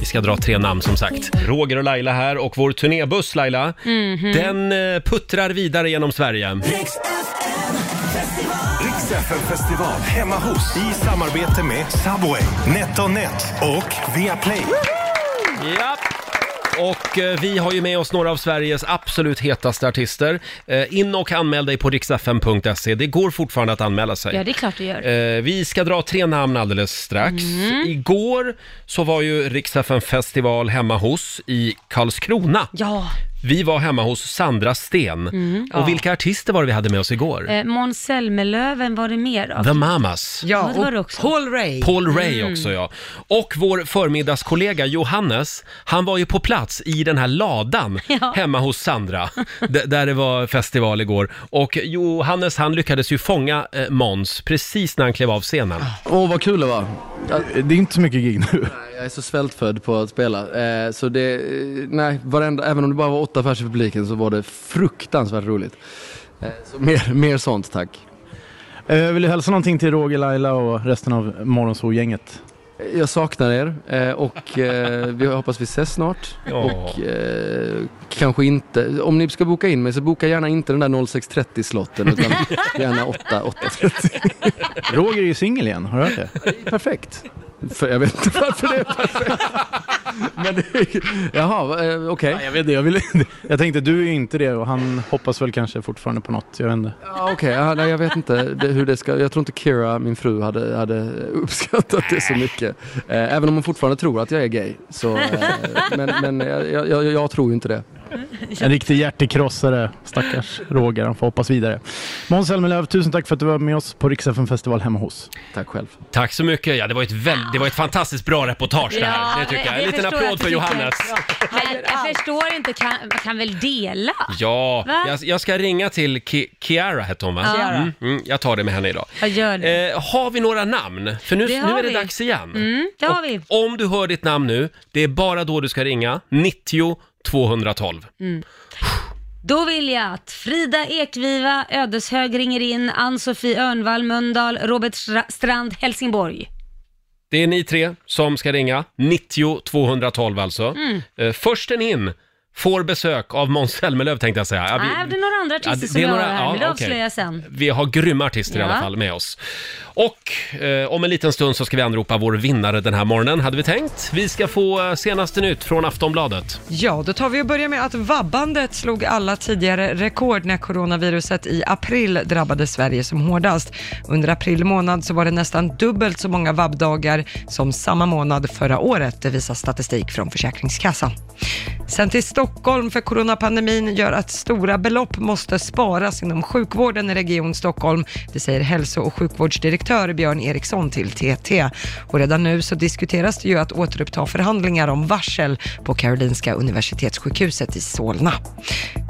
[SPEAKER 1] Vi ska dra tre namn som sagt. Roger och Laila här och vår turnébuss Laila,
[SPEAKER 4] Mhm.
[SPEAKER 1] den eh, puttrar vidare genom Sverige.
[SPEAKER 8] Riksfn festival hemma hos i samarbete med Subway, NetOnNet och Viaplay.
[SPEAKER 1] Ja. Och eh, vi har ju med oss några av Sveriges absolut hetaste artister. Eh, in och anmäl dig på riksfm.se. Det går fortfarande att anmäla sig.
[SPEAKER 4] Ja, det är klart det Mm. gör.
[SPEAKER 1] Eh, vi ska dra tre namn alldeles strax. Igår så var ju Riksdagen festival hemma hos i Karlskrona.
[SPEAKER 4] Ja. Mm.
[SPEAKER 1] Vi var hemma hos Sandra Sten. Och vilka artister var det vi hade med oss igår?
[SPEAKER 4] Eh, Måns Zelmerlöw, var det mer av?
[SPEAKER 1] The Mamas.
[SPEAKER 4] Ja,
[SPEAKER 2] Ja,
[SPEAKER 4] det var det
[SPEAKER 2] och
[SPEAKER 4] också. Mm.
[SPEAKER 2] Paul Ray.
[SPEAKER 1] Paul Ray också ja. Och vår förmiddagskollega Johannes, han var ju på plats i den här ladan
[SPEAKER 4] Ja.
[SPEAKER 1] hemma hos Sandra, d- där det var festival igår. Och Johannes han lyckades ju fånga eh, Måns precis när han klev av scenen.
[SPEAKER 4] Ah.
[SPEAKER 9] Åh vad kul det var. Det är inte så mycket gig nu. Jag är så svältfödd på att spela. Eh, så det, eh, nej, varenda, även om det bara var åtta pers i publiken så var det fruktansvärt roligt. Eh, så mer, mer sånt tack.
[SPEAKER 8] Jag Eh, vill hälsa någonting till Roger, Laila och resten av Morgonzoo-gänget.
[SPEAKER 9] Eh, Jag saknar er eh, och eh, vi hoppas vi ses snart.
[SPEAKER 1] Ja.
[SPEAKER 9] Och eh, kanske inte, om ni ska boka in mig så boka gärna inte den där 06.30 slotten utan gärna 8, 8.30.
[SPEAKER 8] Roger är ju singel igen, har du hört det?
[SPEAKER 9] Perfekt. För jag vet inte varför det är perfekt. Men det, jaha, eh, okej.
[SPEAKER 8] Ja, jag vet inte, jag, vill, jag tänkte du är ju inte det och han hoppas väl kanske fortfarande på något, jag vet inte.
[SPEAKER 9] Ja, Okej, ja, nej, jag vet inte det, hur det ska... Jag tror inte Kira, min fru, hade, hade uppskattat det så mycket. Eh, även om hon fortfarande tror att jag är gay. Så, eh, men men jag, jag, jag, jag tror ju inte det.
[SPEAKER 8] En riktig hjärtekrossare, stackars Roger, han får hoppas vidare. Måns Zelmerlöw, tusen tack för att du var med oss på Riksfn festival hemma hos.
[SPEAKER 9] Tack själv.
[SPEAKER 1] Tack så mycket. Ja, det var ett, väl, det var ett fantastiskt bra reportage det här. Det tycker jag. En liten
[SPEAKER 4] förstår jag
[SPEAKER 1] applåd
[SPEAKER 4] att du
[SPEAKER 1] för
[SPEAKER 4] tycker.
[SPEAKER 1] Johannes.
[SPEAKER 4] Ja. Men jag förstår inte, kan, man kan väl dela?
[SPEAKER 1] Ja,
[SPEAKER 4] Va?
[SPEAKER 1] jag, jag ska ringa till Ki- Kiara hette hon va?
[SPEAKER 4] Ja.
[SPEAKER 1] Mm, mm, jag tar det med henne idag.
[SPEAKER 4] Jag gör det.
[SPEAKER 1] Eh, har vi några namn? För nu,
[SPEAKER 4] Det
[SPEAKER 1] nu
[SPEAKER 4] har
[SPEAKER 1] är det
[SPEAKER 4] vi.
[SPEAKER 1] dags igen.
[SPEAKER 4] Mm, det har vi.
[SPEAKER 1] Om du hör ditt namn nu, det är bara då du ska ringa 90 212.
[SPEAKER 4] Då vill jag att Frida Ekviva, Ödeshög ringer in, Ann-Sofie Örnvall, Mölndal, Robert Stra- Strand, Helsingborg.
[SPEAKER 1] Det
[SPEAKER 4] Mm.
[SPEAKER 1] är ni tre som ska ringa. 90 212 alltså. Eh, först en in får besök av Måns Zelmerlöw tänkte jag säga. Ja, vi-
[SPEAKER 4] Nej, det Äh, är några andra
[SPEAKER 1] Ja,
[SPEAKER 4] artister
[SPEAKER 1] det-
[SPEAKER 4] som
[SPEAKER 1] det är
[SPEAKER 4] jag har
[SPEAKER 1] några-
[SPEAKER 4] här.
[SPEAKER 1] ja,
[SPEAKER 4] Vill du
[SPEAKER 1] okej.
[SPEAKER 4] avslöja sen?
[SPEAKER 1] Vi har grymma artister i
[SPEAKER 4] Ja.
[SPEAKER 1] alla fall med oss. Och eh, om en liten stund så ska vi anropa vår vinnare den här morgonen, hade vi tänkt. Vi ska få eh, senaste nytt från Aftonbladet.
[SPEAKER 2] Ja, då tar vi och börjar med att vabbandet slog alla tidigare rekord när coronaviruset i april drabbade Sverige som hårdast. Under april månad så var det nästan dubbelt så många vabbdagar som samma månad förra året. Det visar statistik från Försäkringskassan. Sen till Stockholm, för coronapandemin gör att stora belopp måste sparas inom sjukvården i Region Stockholm. Det säger hälso och sjukvårdsdirektör Björn Eriksson till TT. Och redan nu så diskuteras det ju att återuppta förhandlingar om varsel på Karolinska Universitetssjukhuset i Solna.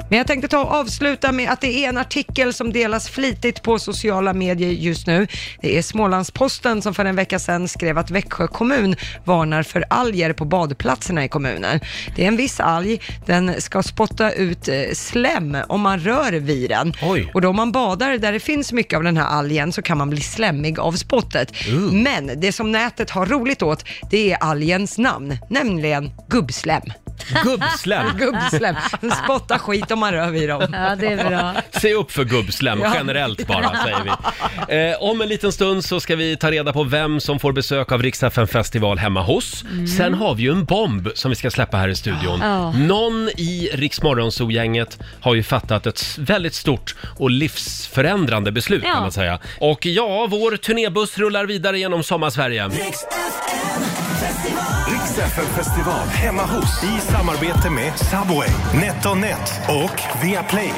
[SPEAKER 2] Men jag tänkte ta och avsluta med att det är en artikel som delas flitigt på sociala medier just nu. Det är Smålandsposten som för en vecka sedan skrev att Växjö kommun varnar för alger på badplatserna i kommunen. Det är en viss alg, den ska spotta ut eh, slem om man rör vid den.
[SPEAKER 1] Oj.
[SPEAKER 2] Och då om man badar där det finns mycket av den här algen så kan man bli slemmig av spottet. Men det som nätet har roligt åt, det är algens namn, nämligen gubbslem.
[SPEAKER 1] Gubbslem!
[SPEAKER 2] Gubbslem. Den spottar skit om man rör vid dem.
[SPEAKER 4] Ja, det är bra.
[SPEAKER 1] Se upp för gubbslem
[SPEAKER 2] Ja.
[SPEAKER 1] generellt bara, säger vi. Eh, om en liten stund så ska vi ta reda på vem som får besök av Riksdagen festival hemma hos. Sen har vi ju en bomb som vi ska släppa här i studion.
[SPEAKER 4] Mm. Ja.
[SPEAKER 1] Någon i Riksmorgonzoo-gänget har ju fattat ett s- väldigt stort och livsförändrande beslut
[SPEAKER 4] Ja.
[SPEAKER 1] kan man säga. Och ja, vår turnébuss rullar vidare genom sommarsverige. Mm.
[SPEAKER 3] Riks-FM festival hemma hos i samarbete med Subway, NetOnNet och Viaplay.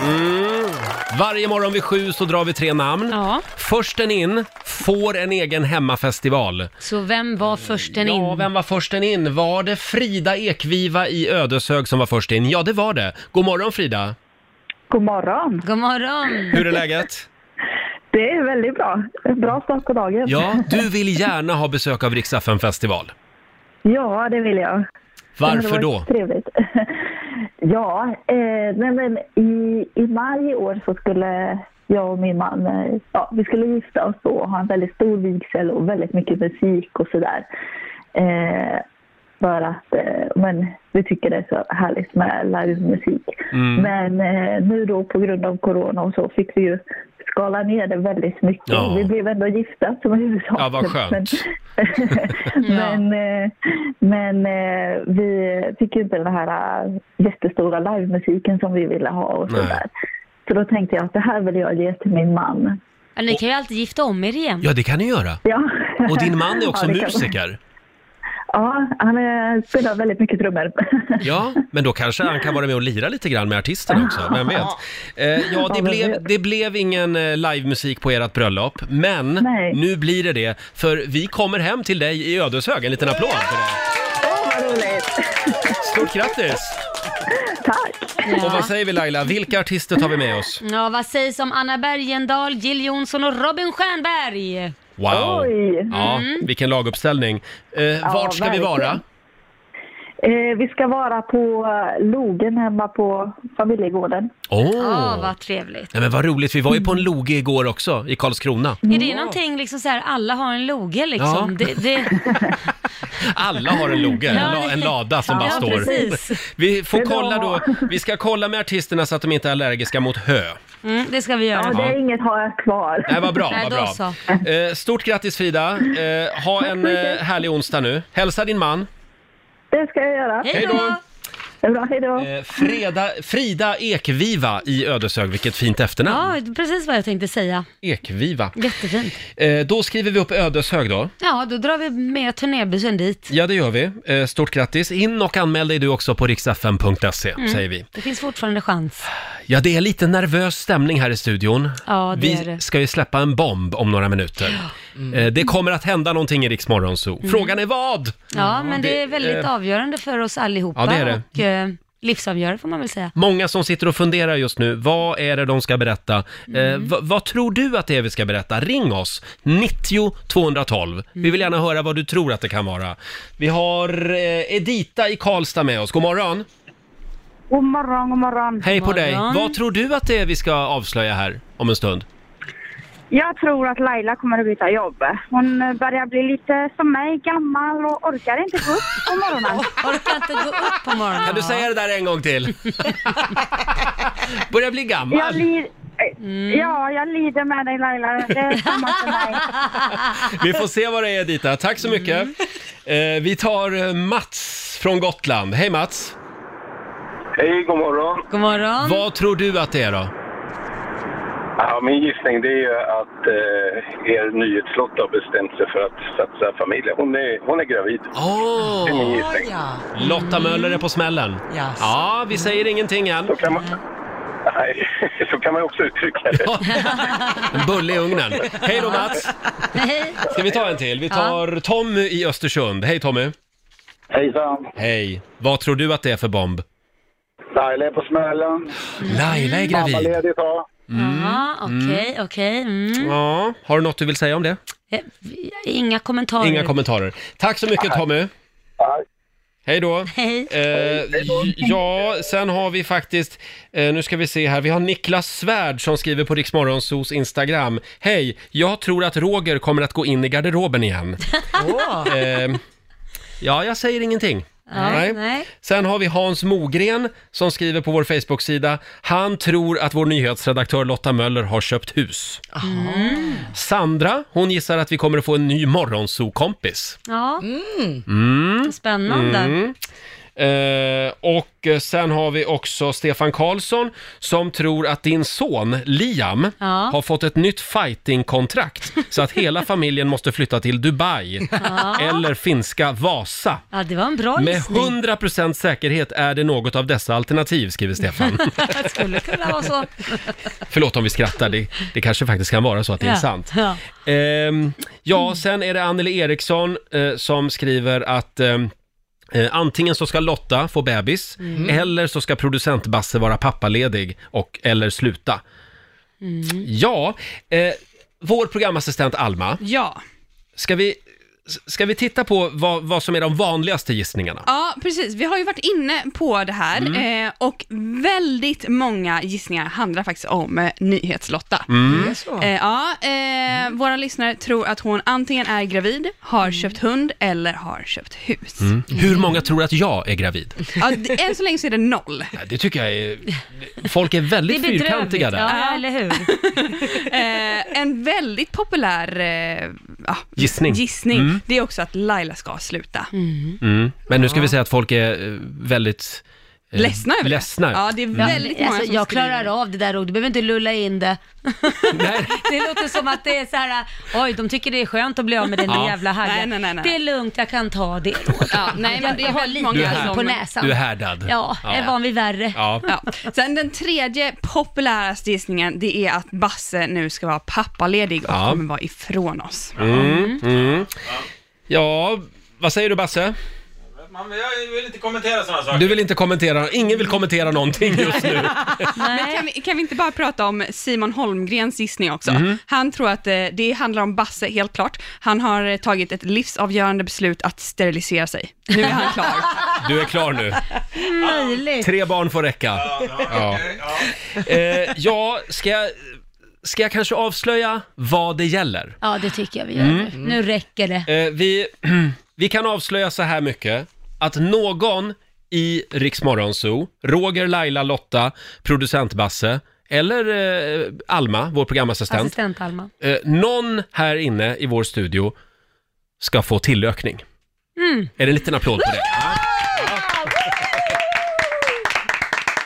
[SPEAKER 1] Varje morgon vid sju så drar vi tre namn.
[SPEAKER 4] Ja.
[SPEAKER 1] Försten in får en egen hemmafestival.
[SPEAKER 4] Så vem var försten in?
[SPEAKER 1] Ja, vem var först in? Var det Frida Ekviva i Ödeshög som var först in? Ja, det var det. God morgon Frida!
[SPEAKER 10] God morgon.
[SPEAKER 4] God morgon!
[SPEAKER 1] Hur är läget?
[SPEAKER 10] Det är väldigt bra. Bra start på dagen.
[SPEAKER 1] Ja, du vill gärna ha besök av Rix FM festival.
[SPEAKER 10] Ja, det vill jag.
[SPEAKER 1] Varför
[SPEAKER 10] Det
[SPEAKER 1] då?
[SPEAKER 10] var Trevligt. Ja, eh, nej men i, i maj i år så skulle jag och min man, eh, ja, vi skulle gifta oss och ha en väldigt stor vigsel och väldigt mycket musik och sådär. Eh, för att, eh, men vi tycker det är så härligt med livemusik. Men eh, nu då på grund av corona och så fick vi ju skala ner det väldigt mycket.
[SPEAKER 1] Ja.
[SPEAKER 10] Vi blev ändå gifta som huvudsaken.
[SPEAKER 1] Ja, vad skönt.
[SPEAKER 10] Men-
[SPEAKER 4] Ja.
[SPEAKER 10] men eh, men eh, vi fick ju inte den här eh, jättestora livemusiken som vi ville ha och
[SPEAKER 1] Nej.
[SPEAKER 10] sådär. Så då tänkte jag att det här vill jag ge till min man.
[SPEAKER 4] Ja, ni kan ju alltid gifta om er igen.
[SPEAKER 1] Ja, det kan ni göra.
[SPEAKER 10] Ja.
[SPEAKER 1] Och din man är också
[SPEAKER 10] Ja, det kan-
[SPEAKER 1] musiker.
[SPEAKER 10] Ja, han eh, spelar väldigt mycket trummor.
[SPEAKER 1] Ja, men då kanske han kan vara med och lira lite grann med artisterna också, vem vet? Eh, ja, det
[SPEAKER 10] vem
[SPEAKER 1] blev,
[SPEAKER 10] vet?
[SPEAKER 1] det blev ingen eh, livemusik på ert bröllop, men
[SPEAKER 10] Nej.
[SPEAKER 1] nu blir det det, för vi kommer hem till dig i Ödeshög. En liten applåd för det.
[SPEAKER 10] Åh, vad roligt!
[SPEAKER 1] Stort grattis!
[SPEAKER 10] Tack!
[SPEAKER 1] Och
[SPEAKER 4] Ja.
[SPEAKER 1] vad säger vi Laila, vilka artister tar vi med oss?
[SPEAKER 4] Ja, vad sägs om Anna Bergendahl, Jill Johnson och Robin Stjernberg?
[SPEAKER 1] Wow!
[SPEAKER 10] Oj.
[SPEAKER 1] Ja,
[SPEAKER 4] Mm.
[SPEAKER 1] vilken laguppställning. Eh, vart ska vi
[SPEAKER 10] verkligen.
[SPEAKER 1] vara?
[SPEAKER 10] Eh, vi ska vara på eh, logen hemma på familjegården.
[SPEAKER 1] Åh!
[SPEAKER 4] Ja, vad trevligt.
[SPEAKER 1] Nej men vad roligt, vi var ju på
[SPEAKER 10] Mm.
[SPEAKER 1] en loge igår också, i Karlskrona.
[SPEAKER 4] Är det någonting liksom så här, alla har en loge liksom?
[SPEAKER 1] Ja.
[SPEAKER 4] Det, det,
[SPEAKER 1] Alla har en loge, en,
[SPEAKER 4] Ja,
[SPEAKER 1] la,
[SPEAKER 4] det-
[SPEAKER 1] en lada som
[SPEAKER 4] ja,
[SPEAKER 1] bara står.
[SPEAKER 4] precis.
[SPEAKER 1] Vi
[SPEAKER 10] Det
[SPEAKER 1] får
[SPEAKER 10] är bra.
[SPEAKER 1] kolla då, vi ska kolla med artisterna så att de inte är allergiska mot hö.
[SPEAKER 4] mm, det ska vi göra.
[SPEAKER 10] Ja, det är inget har jag kvar.
[SPEAKER 1] Nej vad bra,
[SPEAKER 4] Nej,
[SPEAKER 1] vad
[SPEAKER 4] då
[SPEAKER 1] bra. Eh, stort grattis Frida, eh, ha en eh, härlig onsdag nu. Hälsa din man.
[SPEAKER 10] Det ska jag göra.
[SPEAKER 4] Hej
[SPEAKER 1] Hej
[SPEAKER 4] då!
[SPEAKER 1] då.
[SPEAKER 10] Det är bra, hej då!
[SPEAKER 1] Eh, Freda, Frida Ekviva i Ödeshög, vilket fint efternamn.
[SPEAKER 4] Ja, det är precis vad jag tänkte säga.
[SPEAKER 1] Ekviva.
[SPEAKER 4] Jättefint.
[SPEAKER 1] Eh, då skriver vi upp Ödeshög då.
[SPEAKER 4] Ja, då drar vi med turnébussen dit.
[SPEAKER 1] Ja, det gör vi. Eh, Stort grattis. In och anmäl dig du också på riksfm.se,
[SPEAKER 4] Mm.
[SPEAKER 1] säger vi.
[SPEAKER 4] Det finns fortfarande chans.
[SPEAKER 1] Ja, det är lite nervös stämning här i studion.
[SPEAKER 4] Ja, det
[SPEAKER 1] vi
[SPEAKER 4] är det.
[SPEAKER 1] ska ju släppa en bomb om några minuter. Eh, Det kommer att hända någonting i Rix Morgon Zoo.
[SPEAKER 4] Mm.
[SPEAKER 1] Frågan är vad?
[SPEAKER 4] Ja, men det är
[SPEAKER 1] det,
[SPEAKER 4] väldigt
[SPEAKER 1] eh,
[SPEAKER 4] avgörande för oss allihopa
[SPEAKER 1] ja, det är det.
[SPEAKER 4] och eh, livsavgörande får man väl säga.
[SPEAKER 1] Många som sitter och funderar just nu, vad är det de ska berätta?
[SPEAKER 4] Mm.
[SPEAKER 1] Eh, vad, vad tror du att det är vi ska berätta? Ring oss, 90 212. Vi vill gärna höra vad du tror att det kan vara. Vi har eh, Edita i Karlstad med oss, god morgon.
[SPEAKER 10] God morgon, god morgon.
[SPEAKER 1] Hej på dig!
[SPEAKER 4] morgon.
[SPEAKER 1] Vad tror du att det är vi ska avslöja här om en stund?
[SPEAKER 11] Jag tror att Laila kommer att byta jobb. Hon eh, börjar bli lite som mig, gammal och orkar inte gå upp på morgonen.
[SPEAKER 4] orkar inte gå upp på morgonen?
[SPEAKER 1] Kan du säga det där en gång till? Börjar bli
[SPEAKER 11] Jag
[SPEAKER 1] gammal.
[SPEAKER 11] lir... Ja, jag lider med dig Laila. Det är samma för mig.
[SPEAKER 1] Vi får se vad det är Dita. Tack så mycket. Eh, vi tar eh, Mats från Gotland. Hej Mats!
[SPEAKER 12] Hej, god morgon.
[SPEAKER 4] God morgon.
[SPEAKER 1] Vad tror du att det är då?
[SPEAKER 12] Ja, min gissning det är ju att eh, er nyhetslott har bestämt sig för att satsa familjen. Hon är, hon är gravid.
[SPEAKER 1] Oh.
[SPEAKER 12] Det är min gissning.
[SPEAKER 1] Lotta Möller är på smällen.
[SPEAKER 12] Jaså.
[SPEAKER 1] Ja, vi säger ingenting än.
[SPEAKER 12] Nej, så kan man ju också uttrycka det.
[SPEAKER 1] En bulle i ugnen. Hej då Mats!
[SPEAKER 4] Hej.
[SPEAKER 1] Ska vi ta en till? Vi tar Tommy i Östersund. Hej Tommy!
[SPEAKER 13] Hejsan!
[SPEAKER 1] Hej! Vad tror du att det är för bomb?
[SPEAKER 13] Laila är på smällen.
[SPEAKER 1] Laila är gravid.
[SPEAKER 13] Mammaledigt ja.
[SPEAKER 4] Ja, okej, okej. Mm.
[SPEAKER 1] Ja, Mm. har du något du vill säga om det?
[SPEAKER 4] Eh, Inga kommentarer.
[SPEAKER 1] Inga kommentarer. Tack så mycket Tommy. Hej då.
[SPEAKER 4] Hej.
[SPEAKER 1] Eh, j- ja, sen har vi faktiskt, eh, nu ska vi se här, vi har Niklas Svärd som skriver på Riksmorgonsos Instagram. Hej, jag tror att Roger kommer att gå in i garderoben igen. Eh, ja, jag säger ingenting.
[SPEAKER 4] Ja, nej.
[SPEAKER 1] Sen har vi Hans Mogren som skriver på vår Facebook-sida. Han tror att vår nyhetsredaktör Lotta Möller har köpt hus.
[SPEAKER 4] Ah. Mm.
[SPEAKER 1] Sandra, hon gissar att vi kommer att få en ny morgonsokompis.
[SPEAKER 4] Ja,
[SPEAKER 1] Mm.
[SPEAKER 4] spännande.
[SPEAKER 1] Mm. Eh, och eh, sen har vi också Stefan Karlsson som tror att din son Liam
[SPEAKER 4] Ja.
[SPEAKER 1] har fått ett nytt fighting-kontrakt så att hela familjen måste flytta till Dubai
[SPEAKER 4] Ja.
[SPEAKER 1] eller finska Vasa.
[SPEAKER 4] Ja, det var en bra
[SPEAKER 1] Med
[SPEAKER 4] gissning.
[SPEAKER 1] 100% säkerhet är det något av dessa alternativ, skriver Stefan.
[SPEAKER 4] det skulle kunna vara så.
[SPEAKER 1] Förlåt om vi skrattar, det, det kanske faktiskt kan vara så att det är
[SPEAKER 4] Ja.
[SPEAKER 1] sant.
[SPEAKER 4] Ja.
[SPEAKER 1] Ehm, ja, sen är det Anneli Eriksson eh, som skriver att ehm, eh, antingen så ska Lotta få bebis
[SPEAKER 4] Mm.
[SPEAKER 1] eller så ska producent Basse vara pappaledig och eller sluta.
[SPEAKER 14] Mm.
[SPEAKER 1] Ja, eh, vår programassistent Alma.
[SPEAKER 14] Ja.
[SPEAKER 1] Ska vi, s- ska vi titta på vad, vad som är de vanligaste gissningarna?
[SPEAKER 14] Ja, precis. Vi har ju varit inne på det här
[SPEAKER 1] Mm.
[SPEAKER 14] eh, och väldigt många gissningar handlar faktiskt om eh, nyhetslotta.
[SPEAKER 1] Mm. Det är
[SPEAKER 2] så.
[SPEAKER 14] Eh, ja, eh, Våra lyssnare tror att hon antingen är gravid, har köpt hund eller har köpt hus.
[SPEAKER 1] Mm. Hur många tror att jag är gravid?
[SPEAKER 14] Ja, d- än så länge så är det noll.
[SPEAKER 1] Ja, Det tycker jag är... Folk är väldigt fyrkantiga där.
[SPEAKER 14] Ja,
[SPEAKER 4] eller hur?
[SPEAKER 14] eh, en väldigt populär eh, ja,
[SPEAKER 1] Gissning. Mm.
[SPEAKER 14] det är också att Laila ska sluta.
[SPEAKER 1] Mm. Men nu ska
[SPEAKER 14] Ja.
[SPEAKER 1] vi säga att folk är eh, väldigt... eh,
[SPEAKER 14] Ledsna över det.
[SPEAKER 1] ledsna. Mm.
[SPEAKER 14] Ja, det är väldigt många som
[SPEAKER 4] Alltså, Jag
[SPEAKER 14] skriver.
[SPEAKER 4] klarar av det där och du behöver inte lulla in det. det låter som att det är så här, oj, de tycker det är skönt att bli av med den där
[SPEAKER 1] Ja.
[SPEAKER 4] jävla haggen.
[SPEAKER 14] Nej, nej, nej, nej.
[SPEAKER 4] Det är lugnt, jag kan ta det.
[SPEAKER 14] Ja, nej, men det är
[SPEAKER 4] jag har
[SPEAKER 14] väldigt
[SPEAKER 4] lite
[SPEAKER 14] många
[SPEAKER 4] is
[SPEAKER 14] som-
[SPEAKER 4] på näsan.
[SPEAKER 1] Du är härdad.
[SPEAKER 4] Ja, jag är van vid värre.
[SPEAKER 1] Ja.
[SPEAKER 14] Ja. Sen den tredje populäraste gissningen, det är att Basse nu ska vara pappaledig och
[SPEAKER 1] Ja.
[SPEAKER 14] kommer vara ifrån oss.
[SPEAKER 1] Mm. Mm. Ja, vad säger du Basse?
[SPEAKER 15] Man, jag vill inte kommentera sådana saker.
[SPEAKER 1] Du vill inte kommentera, ingen vill kommentera någonting just nu.
[SPEAKER 14] Men kan, vi, kan vi inte bara prata om Simon Holmgrens gissning också?
[SPEAKER 1] Mhm.
[SPEAKER 14] Han tror att eh, det handlar om Basse, helt klart. Han har eh, tagit ett livsavgörande beslut att sterilisera sig. Nu är han klar.
[SPEAKER 1] Du är klar nu.
[SPEAKER 4] Möjligt.
[SPEAKER 1] Tre barn får räcka. Ja, eh, ja ska, jag, ska jag kanske avslöja vad det gäller?
[SPEAKER 4] Ja, det tycker jag vi gör
[SPEAKER 1] Mm.
[SPEAKER 4] nu. Nu räcker det.
[SPEAKER 1] Eh, vi, vi kan avslöja så här mycket, att någon i Rix Morgon Zoo, Roger, Laila, Lotta, producent Basse, eller eh, Alma, vår programassistent,
[SPEAKER 4] Assistent Alma.
[SPEAKER 1] eh, någon här inne i vår studio ska få tillökning.
[SPEAKER 4] Mm.
[SPEAKER 1] Är det en liten applåd på det? Ja.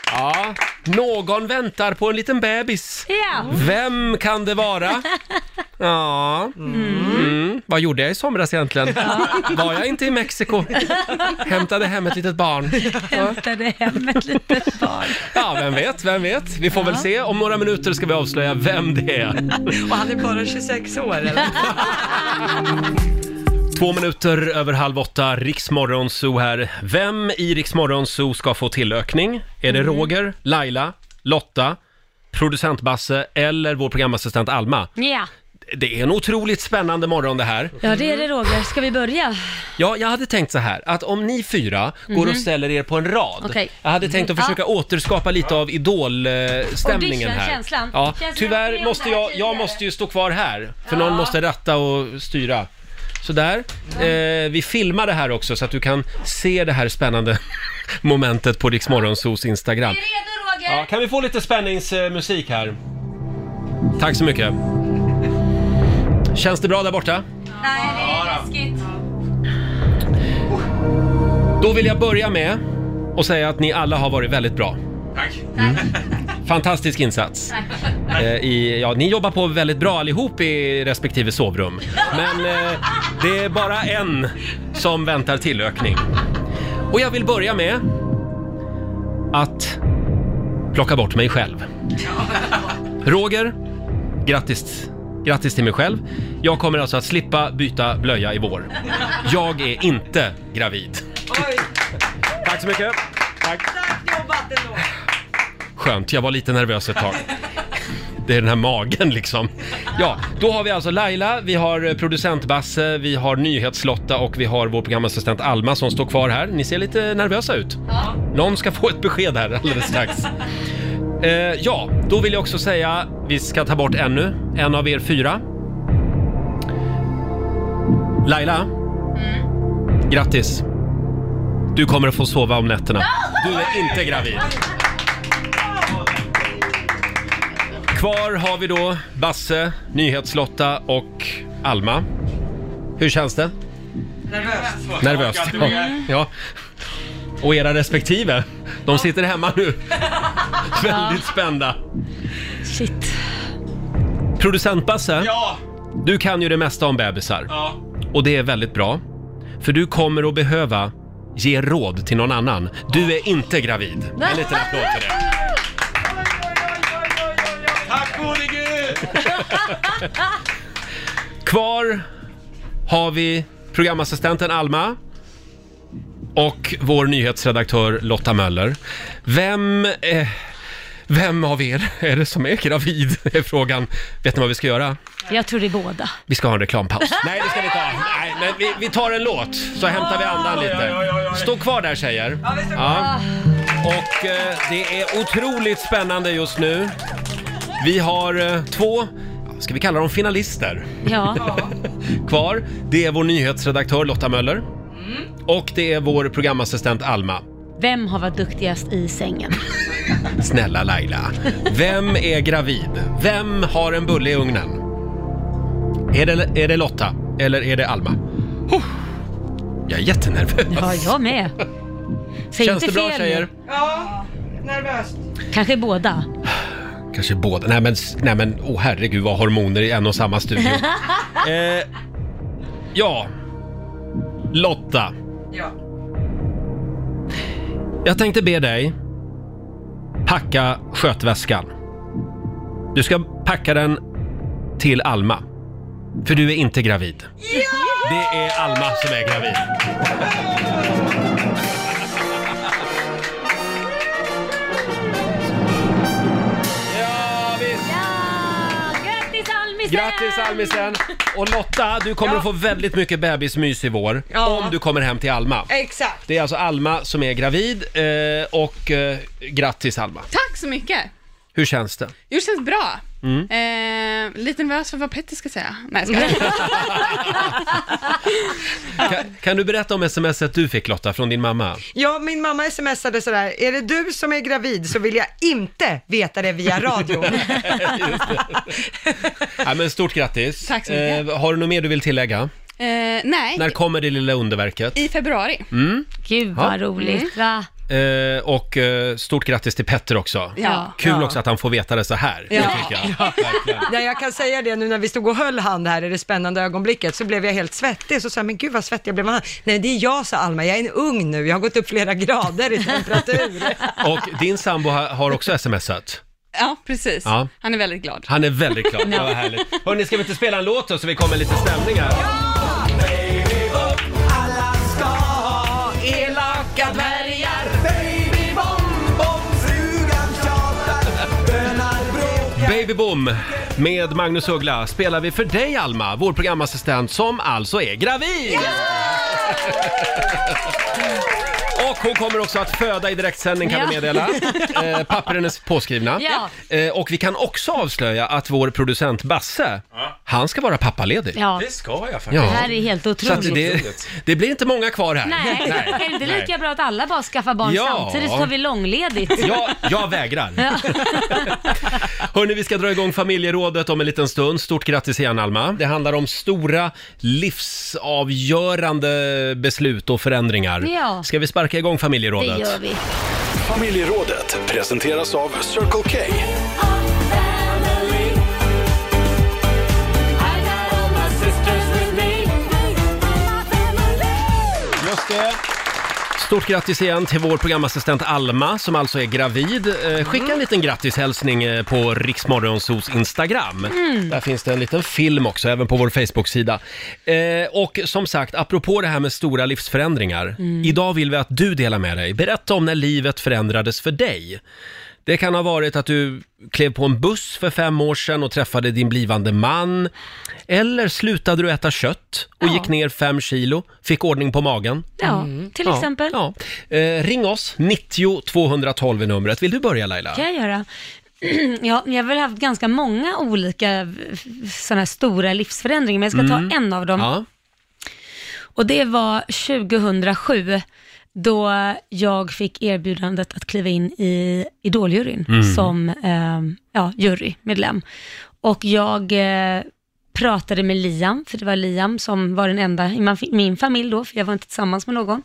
[SPEAKER 1] Ja, någon väntar på en liten bebis.
[SPEAKER 4] Ja.
[SPEAKER 1] Vem kan det vara? Ja, mm. vad gjorde jag i somras egentligen? Var jag inte i Mexiko? Hämtade hem ett litet barn.
[SPEAKER 4] Hämtade hem ett litet barn.
[SPEAKER 1] Ja, vem vet, vem vet. Vi får väl se. Om några minuter ska vi avslöja vem det är.
[SPEAKER 2] Och han är bara 26 år eller?
[SPEAKER 1] Två minuter över halv åtta, Riksmorgon Zoo här. Vem i Riksmorgon Zoo ska få tillökning? Är det
[SPEAKER 4] Mm.
[SPEAKER 1] Roger, Laila, Lotta, producent Basse eller vår programassistent Alma?
[SPEAKER 4] Ja.
[SPEAKER 1] Det är en otroligt spännande morgon det här.
[SPEAKER 4] Mm. Ja, det är det Roger. Ska vi börja?
[SPEAKER 1] Ja, jag hade tänkt så här, att om ni fyra går och
[SPEAKER 4] Mhm.
[SPEAKER 1] ställer er på en rad.
[SPEAKER 4] Okej. Mm,
[SPEAKER 1] Jag hade tänkt att
[SPEAKER 4] Ja.
[SPEAKER 1] försöka återskapa lite av idolstämningen här.
[SPEAKER 4] känslan.
[SPEAKER 1] Ja,
[SPEAKER 4] Känslan från
[SPEAKER 1] tyvärr
[SPEAKER 4] det
[SPEAKER 1] måste
[SPEAKER 4] här
[SPEAKER 1] jag, jag måste ju stå kvar här, för någon måste ratta och styra. Sådär. Eh, vi filmar det här också så att du kan se det här spännande momentet på Rix Morgonzos Instagram. Ja, kan vi få lite spänningsmusik här? Tack så mycket. Känns det bra där borta?
[SPEAKER 4] Nej, det är läskigt.
[SPEAKER 1] Då vill jag börja med att säga att ni alla har varit väldigt bra.
[SPEAKER 15] Tack.
[SPEAKER 1] Mm.
[SPEAKER 3] Mm.
[SPEAKER 1] Fantastisk insats. Eh, I, ja, ni jobbar på väldigt bra allihop i respektive sovrum. Men eh, det är bara en som väntar tillökning. Och jag vill börja med att plocka bort mig själv. Roger, grattis, grattis till mig själv. Jag kommer alltså att slippa byta blöja i vår. Jag är inte gravid. Tack så mycket. Tack.
[SPEAKER 2] Starkt jobbat ändå.
[SPEAKER 1] Skönt, jag var lite nervös ett tag. Det är den här magen liksom. Ja, då har vi alltså Laila, vi har producent Basse, vi har nyhetslotta och vi har vår programassistent Alma som står kvar här. Ni ser lite nervösa ut.
[SPEAKER 4] Ja.
[SPEAKER 1] Någon ska få ett besked här alldeles strax. Eh, ja, då vill jag också säga, vi ska ta bort ännu en av er fyra. Laila, grattis. Du kommer att få sova om nätterna. Du är inte gravid. Kvar har vi då Basse, Nyhetslotta och Alma. Hur känns det?
[SPEAKER 2] Nervöst.
[SPEAKER 1] Nervöst. Ja. ja. Och era respektive, de sitter hemma nu. Väldigt spända.
[SPEAKER 4] Shit.
[SPEAKER 1] Producent Basse, du kan ju det mesta om bebisar.
[SPEAKER 15] Ja.
[SPEAKER 1] Och det är väldigt bra. För du kommer att behöva ge råd till någon annan. Du är inte gravid. En liten applåd till det.
[SPEAKER 15] Tack gode gud!
[SPEAKER 1] Kvar har vi programassistenten Alma och vår nyhetsredaktör Lotta Möller. Vem, eh, vem av er är det som är gravid? är frågan. Vet ni vad vi ska göra?
[SPEAKER 4] Jag tror det är båda.
[SPEAKER 1] Vi ska ha en reklampaus. Nej, det ska vi inte ha. Nej, men vi, vi tar en låt så hämtar vi andan lite. Stå kvar där tjejer. Ja. Och eh, det är otroligt spännande just nu. Vi har eh, två, ska vi kalla dem finalister?
[SPEAKER 4] Ja.
[SPEAKER 1] Kvar, det är vår nyhetsredaktör Lotta Möller.
[SPEAKER 4] Mm.
[SPEAKER 1] Och det är vår programassistent Alma.
[SPEAKER 4] Vem har varit duktigast i sängen?
[SPEAKER 1] Snälla Laila, vem är gravid? Vem har en bulle i ugnen? Är det, är det Lotta eller är det Alma? Oh, jag är jättenervös.
[SPEAKER 4] Ja, jag med. Säg
[SPEAKER 1] Känns
[SPEAKER 4] inte
[SPEAKER 1] det bra
[SPEAKER 4] fel
[SPEAKER 1] tjejer?
[SPEAKER 2] Ja, nervöst.
[SPEAKER 4] Kanske båda.
[SPEAKER 1] Kanske båda. Nej men, s- nej men, åh oh, herregud vad hormoner i en och samma studio. eh, ja, Lotta.
[SPEAKER 2] Ja.
[SPEAKER 1] Jag tänkte be dig packa skötväskan. Du ska packa den till Alma. För du är inte gravid. Det är Alma som är gravid. Ja, visst.
[SPEAKER 4] Grattis Almisen!
[SPEAKER 1] Grattis Almisen! Och Lotta, du kommer att få väldigt mycket bebismys i vår.
[SPEAKER 2] Ja. Eh.
[SPEAKER 1] Om du kommer hem till Alma.
[SPEAKER 14] Exakt.
[SPEAKER 1] Det är alltså Alma som är gravid eh, och eh, grattis Alma.
[SPEAKER 14] Tack så mycket.
[SPEAKER 1] Hur känns det?
[SPEAKER 14] Jo, det känns bra.
[SPEAKER 1] Mm.
[SPEAKER 14] Eh, lite nervös för vad Petter ska säga. Nej, jag skojar.
[SPEAKER 1] Kan, kan du berätta om smset du fick Lotta från din mamma?
[SPEAKER 2] Ja, min mamma smsade sådär, är det du som är gravid så vill jag inte veta det via radio.
[SPEAKER 1] Ja, men stort grattis.
[SPEAKER 14] Tack så mycket.
[SPEAKER 1] Eh, har du något mer du vill tillägga?
[SPEAKER 14] eh, nej,
[SPEAKER 1] När kommer det lilla underverket?
[SPEAKER 14] i februari. Mm.
[SPEAKER 1] Mm.
[SPEAKER 4] Gud
[SPEAKER 1] vad
[SPEAKER 4] roligt. Va?
[SPEAKER 1] Eh, och eh, stort grattis till Petter också.
[SPEAKER 2] Ja.
[SPEAKER 1] Kul
[SPEAKER 2] Ja.
[SPEAKER 1] också att han får veta det så här.
[SPEAKER 2] Ja.
[SPEAKER 1] det tycker jag. Verkligen.
[SPEAKER 2] När jag kan säga det nu när vi stod och höll hand här i det spännande ögonblicket så blev jag helt svettig. Så sa jag, men gud vad svettig jag blev. Nej, det är jag, sa Alma. Jag är en ung nu. Jag har gått upp flera grader i temperatur.
[SPEAKER 1] Och din sambo ha- har också smsat.
[SPEAKER 14] Ja, precis.
[SPEAKER 1] Ja.
[SPEAKER 14] Han är väldigt glad.
[SPEAKER 1] Han är väldigt glad, det var härligt. Hörni, ska vi inte spela en låt då så vi kommer lite stämning här?
[SPEAKER 3] Alla ska ha elaka dvärgar. Baby bomb, bomb, frugan tjatar. Bönar bråkar.
[SPEAKER 1] Baby Boom Med Magnus Uggla spelar vi för dig Alma, vår programassistent som alltså är gravid! Och hon kommer också att föda i direktsändning kan vi
[SPEAKER 4] Ja.
[SPEAKER 1] meddela. Eh, pappren är påskrivna.
[SPEAKER 4] Ja.
[SPEAKER 1] Eh, och vi kan också avslöja att vår producent Basse, han ska vara pappaledig.
[SPEAKER 4] Ja.
[SPEAKER 1] Det ska jag
[SPEAKER 4] Det här är helt
[SPEAKER 1] Så att
[SPEAKER 4] otroligt.
[SPEAKER 1] det, det blir inte många kvar här.
[SPEAKER 4] Nej, är det inte
[SPEAKER 1] Nej.
[SPEAKER 4] lika bra att alla bara skaffar barn
[SPEAKER 1] Ja.
[SPEAKER 4] samtidigt så tar vi långledigt?
[SPEAKER 1] Ja, jag vägrar. Hörni, vi ska dra igång familjerådet om en liten stund. Stort grattis igen Alma. Det handlar om stora livsavgörande beslut och förändringar.
[SPEAKER 3] Ja.
[SPEAKER 1] Ska vi sparka igång
[SPEAKER 3] Det
[SPEAKER 1] familjerådet?
[SPEAKER 3] gör vi. Familjerådet presenteras av Circle K.
[SPEAKER 1] Just det. Stort grattis igen till vår programassistent Alma som alltså är gravid. Eh, Skicka
[SPEAKER 4] Mm.
[SPEAKER 1] en liten grattishälsning eh, på Riksmorgonsos Instagram.
[SPEAKER 3] Mm.
[SPEAKER 1] Där finns det en liten film också, även på vår Facebook-sida. Eh, och som sagt, apropå det här med stora livsförändringar.
[SPEAKER 3] Mm.
[SPEAKER 1] Idag vill vi att du delar med dig. Berätta om när livet förändrades för dig. Det kan ha varit att du klev på en buss för fem år sedan och träffade din blivande man. Eller slutade du äta kött och
[SPEAKER 4] Ja.
[SPEAKER 1] gick ner fem kilo, fick ordning på magen.
[SPEAKER 4] Ja,
[SPEAKER 1] Mm.
[SPEAKER 4] till
[SPEAKER 1] Ja,
[SPEAKER 4] exempel.
[SPEAKER 1] Ja. Eh, ring oss, 90 212 är numret. Vill du börja Laila?
[SPEAKER 4] kan jag göra. Ja, jag har väl haft ganska många olika sådana här stora livsförändringar, men jag ska
[SPEAKER 1] Mm.
[SPEAKER 4] ta en av dem.
[SPEAKER 1] Ja.
[SPEAKER 4] Och det var 2007, då jag fick erbjudandet att kliva in i Idoljuryn
[SPEAKER 16] Mm.
[SPEAKER 4] som eh, ja, jurymedlem. Och jag eh, pratade med Liam, för det var Liam som var den enda i man- min familj då, för jag var inte tillsammans med någon.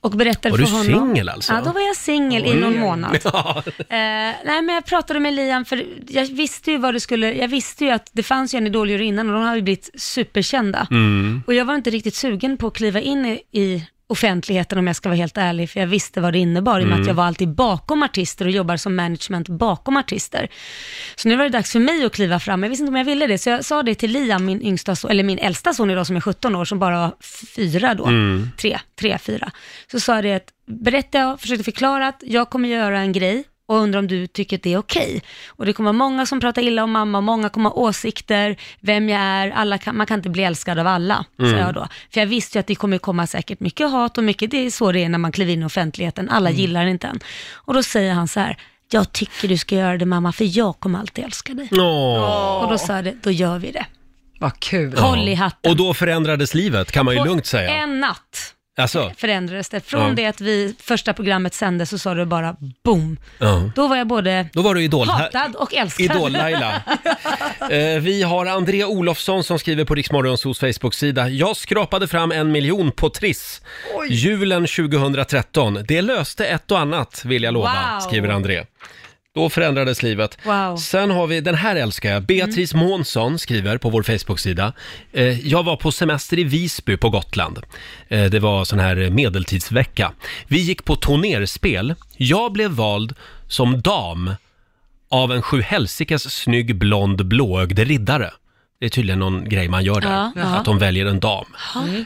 [SPEAKER 4] Och berättade
[SPEAKER 1] Var
[SPEAKER 4] för
[SPEAKER 1] du
[SPEAKER 4] honom...
[SPEAKER 1] singel alltså?
[SPEAKER 4] Ja, då var jag singel i någon månad.
[SPEAKER 1] Mm. Ja.
[SPEAKER 4] Eh, nej, men jag pratade med Liam, för jag visste ju vad det skulle, jag visste ju att det fanns ju en idoljury innan och de hade ju blivit superkända.
[SPEAKER 16] Mm.
[SPEAKER 4] Och jag var inte riktigt sugen på att kliva in i, i offentligheten om jag ska vara helt ärlig, för jag visste vad det innebar i och med
[SPEAKER 16] Mm.
[SPEAKER 4] att jag var alltid bakom artister och jobbar som management bakom artister. Så nu var det dags för mig att kliva fram, jag visste inte om jag ville det, så jag sa det till Liam, min yngsta son, eller min äldsta son idag som är 17 år, som bara var fyra då,
[SPEAKER 16] Mm.
[SPEAKER 4] tre, tre, fyra. Så sa jag det att, berättade jag, försökte förklara att jag kommer göra en grej och undrar om du tycker att det är okej. Och det kommer vara många som pratar illa om mamma, många kommer ha åsikter, vem jag är, alla kan, man kan inte bli älskad av alla,
[SPEAKER 16] Mm.
[SPEAKER 4] sa jag då. För jag visste ju att det kommer komma säkert mycket hat och mycket, det är så det är när man kliver in i offentligheten, alla gillar inte en. Och då säger han så här, jag tycker du ska göra det mamma, för jag kommer alltid älska dig.
[SPEAKER 1] Åh.
[SPEAKER 4] Och då sa jag det, då gör vi det.
[SPEAKER 2] Vad kul.
[SPEAKER 4] Håll i hatten. Eh.
[SPEAKER 1] Och då förändrades livet, kan man ju
[SPEAKER 4] På
[SPEAKER 1] lugnt säga.
[SPEAKER 4] En natt
[SPEAKER 1] Alltså,
[SPEAKER 4] förändrades det. Från
[SPEAKER 1] Ja.
[SPEAKER 4] det att vi, första programmet sändes så sa du bara boom.
[SPEAKER 1] ja.
[SPEAKER 4] Då var jag både
[SPEAKER 1] Då var du idol.
[SPEAKER 4] hatad och älskad.
[SPEAKER 1] Idol-Laila. Eh, vi har Andrea Olofsson som skriver på Riksmorgonsos Facebook-sida. Jag skrapade fram en miljon på Triss julen 2013. Det löste ett och annat vill jag lova,
[SPEAKER 4] Wow.
[SPEAKER 1] skriver André. Då förändrades livet.
[SPEAKER 4] Wow. Mm.
[SPEAKER 1] Sen har vi, den här älskar jag, Beatrice Månsson skriver på vår Facebook-sida. Eh, jag var på semester i Visby på Gotland. Eh, det var sån här medeltidsvecka. Vi gick på turnerspel. Jag blev vald som dam av en sjuhelsikes snygg blond blåögd riddare. Det är tydligen någon grej man gör där,
[SPEAKER 3] Ja, ja.
[SPEAKER 1] att de väljer en dam.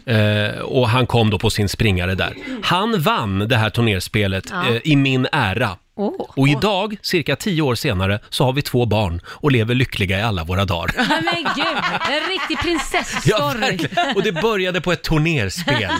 [SPEAKER 1] Eh, och han kom då på sin springare där. Han vann det här turnerspelet
[SPEAKER 3] Ja.
[SPEAKER 1] eh, i min ära.
[SPEAKER 4] Åh.
[SPEAKER 1] Och idag, cirka tio år senare, så har vi två barn och lever lyckliga i alla våra dagar.
[SPEAKER 4] Nej, Men gud, en riktig
[SPEAKER 1] Ja,
[SPEAKER 4] prinsessstory.
[SPEAKER 1] verkligen. och det började på ett turnerspel.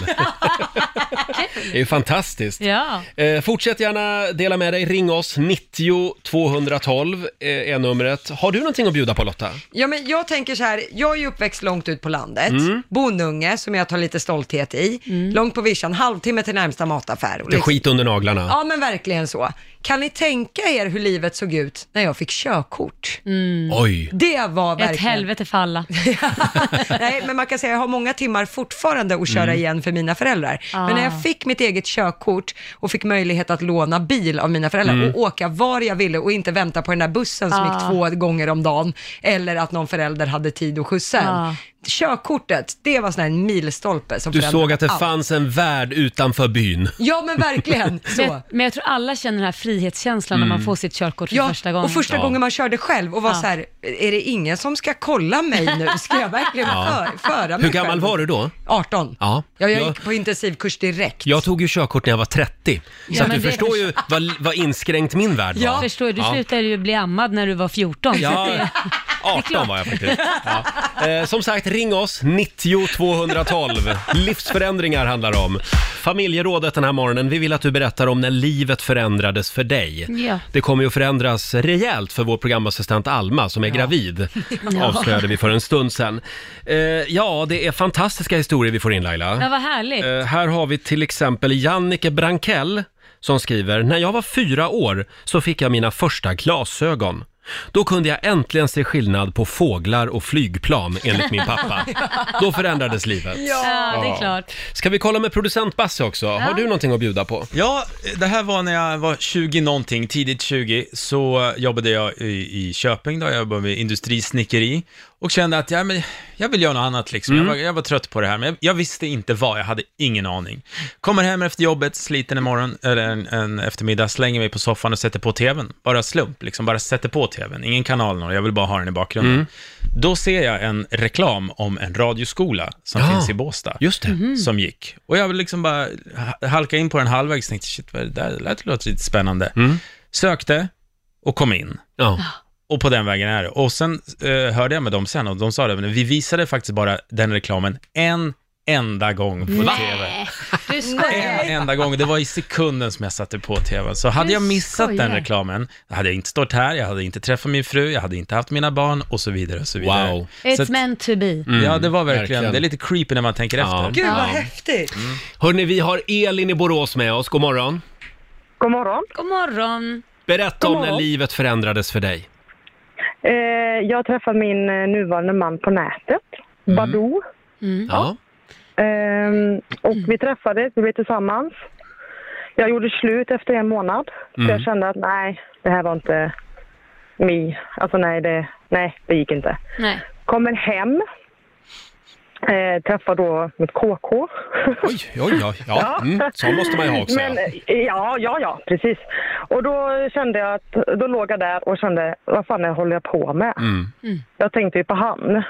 [SPEAKER 1] det är ju fantastiskt.
[SPEAKER 4] Ja.
[SPEAKER 1] Eh, fortsätt gärna dela med dig. Ring oss, 90 212 eh, är numret. Har du någonting att bjuda på Lotta?
[SPEAKER 2] Ja, men jag tänker så här, jag är ju uppväxt långt ut på landet,
[SPEAKER 1] Mm.
[SPEAKER 2] bonunge som jag tar lite stolthet i, långt på vischan, halvtimme till närmsta mataffär. Och
[SPEAKER 1] Det är
[SPEAKER 2] liksom-
[SPEAKER 1] skit under naglarna.
[SPEAKER 2] Ja men verkligen så. Kan ni tänka er hur livet såg ut när jag fick körkort?
[SPEAKER 4] Mm.
[SPEAKER 1] Oj.
[SPEAKER 2] Det var verkligen...
[SPEAKER 4] Ett helvete för alla.
[SPEAKER 2] Nej, men man kan säga jag har många timmar fortfarande att köra
[SPEAKER 4] Mm.
[SPEAKER 2] igen för mina föräldrar.
[SPEAKER 4] Ah.
[SPEAKER 2] Men när jag fick mitt eget körkort och fick möjlighet att låna bil av mina föräldrar
[SPEAKER 16] Mm.
[SPEAKER 2] och åka var jag ville och inte vänta på den där bussen som
[SPEAKER 16] Ah.
[SPEAKER 2] gick två gånger om dagen eller att någon förälder hade tid att skjutsa en.
[SPEAKER 16] Ah.
[SPEAKER 2] Körkortet, det var sån här en milstolpe som
[SPEAKER 1] Du
[SPEAKER 2] förändrade
[SPEAKER 1] såg att det
[SPEAKER 2] allt.
[SPEAKER 1] fanns en värld utanför byn.
[SPEAKER 2] Ja men verkligen,
[SPEAKER 4] Men
[SPEAKER 2] så.
[SPEAKER 4] jag, men jag tror alla känner den här frihetskänslan när man
[SPEAKER 1] Mm.
[SPEAKER 4] får sitt körkort för
[SPEAKER 2] Ja,
[SPEAKER 4] första gången.
[SPEAKER 2] och första gången man körde själv och var
[SPEAKER 4] Ja.
[SPEAKER 2] så här, är det ingen som ska kolla mig nu? Ska jag verkligen
[SPEAKER 1] Ja.
[SPEAKER 2] för, föra mig
[SPEAKER 1] Hur gammal
[SPEAKER 2] själv?
[SPEAKER 1] var du då?
[SPEAKER 2] 18.
[SPEAKER 1] Ja.
[SPEAKER 2] Ja, jag
[SPEAKER 1] Jag,
[SPEAKER 2] gick på intensivkurs direkt.
[SPEAKER 1] jag tog ju körkort när jag var 30.
[SPEAKER 4] Ja,
[SPEAKER 1] så att
[SPEAKER 4] men
[SPEAKER 1] du
[SPEAKER 4] det-
[SPEAKER 1] förstår ju vad, vad inskränkt min värld var.
[SPEAKER 4] Ja, förstår du. Du slutade ju bli ammad när du var 14. så
[SPEAKER 1] Ja,
[SPEAKER 4] att det-
[SPEAKER 1] 18 var jag faktiskt. Ja. Eh, som sagt, ring oss, 90 212. Livsförändringar handlar det om. Familjerådet den här morgonen, vi vill att du berättar om när livet förändrades för dig.
[SPEAKER 4] Ja.
[SPEAKER 1] Det kommer ju att förändras rejält för vår programassistent Alma som är gravid,
[SPEAKER 4] Ja.
[SPEAKER 1] avslöjade vi för en stund sedan. Eh, ja, det är fantastiska historier vi får in Laila.
[SPEAKER 4] Ja, vad härligt.
[SPEAKER 1] Eh, här har vi till exempel Jannike Brankell som skriver, när jag var fyra år så fick jag mina första glasögon. Då kunde jag äntligen se skillnad på fåglar och flygplan enligt min pappa. Då förändrades livet.
[SPEAKER 4] Ja, det är klart.
[SPEAKER 1] Ska vi kolla med producent Basse också? Har du någonting att bjuda på?
[SPEAKER 16] Ja, det här var när jag var 20 någonting, tidigt 20, så jobbade jag i, i Köping då, jag jobbade med industrisnickeri och kände att ja, men jag vill göra något annat liksom.
[SPEAKER 1] Mm.
[SPEAKER 16] Jag, var, jag var trött på det här, men jag, jag visste inte vad, jag hade ingen aning. Kommer hem efter jobbet, sliten en morgon, eller en, en eftermiddag, slänger mig på soffan och sätter på tvn. Bara slump, liksom bara sätter på tvn, ingen kanal, någon, jag vill bara ha den i bakgrunden.
[SPEAKER 1] Mm.
[SPEAKER 16] Då ser jag en reklam om en radioskola som
[SPEAKER 1] Ja,
[SPEAKER 16] finns i Båstad.
[SPEAKER 1] just det. Mhm.
[SPEAKER 16] Som gick. Och jag vill liksom bara ha- halka in på den halvvägs, tänkte shit, vad är det där? Det lät låter lite spännande.
[SPEAKER 1] Mm.
[SPEAKER 16] Sökte och kom in.
[SPEAKER 4] Ah.
[SPEAKER 16] Och på den vägen är det. Och sen eh, hörde jag med dem sen och de sa det, men vi visade faktiskt bara den reklamen en enda gång på TV.
[SPEAKER 4] Du skojar.
[SPEAKER 16] En enda gång, det var i sekunden som jag satte på TVn. Så hade
[SPEAKER 4] Du
[SPEAKER 16] jag missat
[SPEAKER 4] skojar.
[SPEAKER 16] den reklamen, hade jag inte stått här, jag hade inte träffat min fru, jag hade inte haft mina barn och så vidare och så vidare.
[SPEAKER 1] Wow.
[SPEAKER 4] It's
[SPEAKER 16] Så att-
[SPEAKER 4] meant to be.
[SPEAKER 1] Mm.
[SPEAKER 16] ja, det var verkligen,
[SPEAKER 1] verkligen.
[SPEAKER 16] det är lite creepy när man tänker efter.
[SPEAKER 2] Gud vad
[SPEAKER 16] Ja.
[SPEAKER 2] häftigt.
[SPEAKER 1] Hörni, vi har Elin i Borås med oss. God morgon.
[SPEAKER 17] God morgon.
[SPEAKER 4] God morgon.
[SPEAKER 1] Berätta
[SPEAKER 17] God
[SPEAKER 1] om när
[SPEAKER 17] morgon.
[SPEAKER 1] livet förändrades för dig.
[SPEAKER 17] Eh, jag träffade min eh, nuvarande man på nätet, Badoo.
[SPEAKER 1] Mm.
[SPEAKER 4] Mm.
[SPEAKER 1] Ja.
[SPEAKER 17] Ehm, och vi träffades, vi blev tillsammans. Jag gjorde slut efter en månad.
[SPEAKER 18] Mm.
[SPEAKER 17] För jag kände att nej, det här var inte me. Alltså nej, det, nej, det gick inte.
[SPEAKER 4] Nej.
[SPEAKER 17] Kommer hem. Eh, träffar då mitt KK.
[SPEAKER 1] Oj, oj, oj. Ja, mm, så måste man ju ha också.
[SPEAKER 17] Men,
[SPEAKER 1] ja.
[SPEAKER 17] eh, ja, ja, ja, precis. Och då kände jag att, då låg jag där och kände, vad fan är- håller jag på med?
[SPEAKER 1] Mm.
[SPEAKER 17] Jag tänkte ju på han.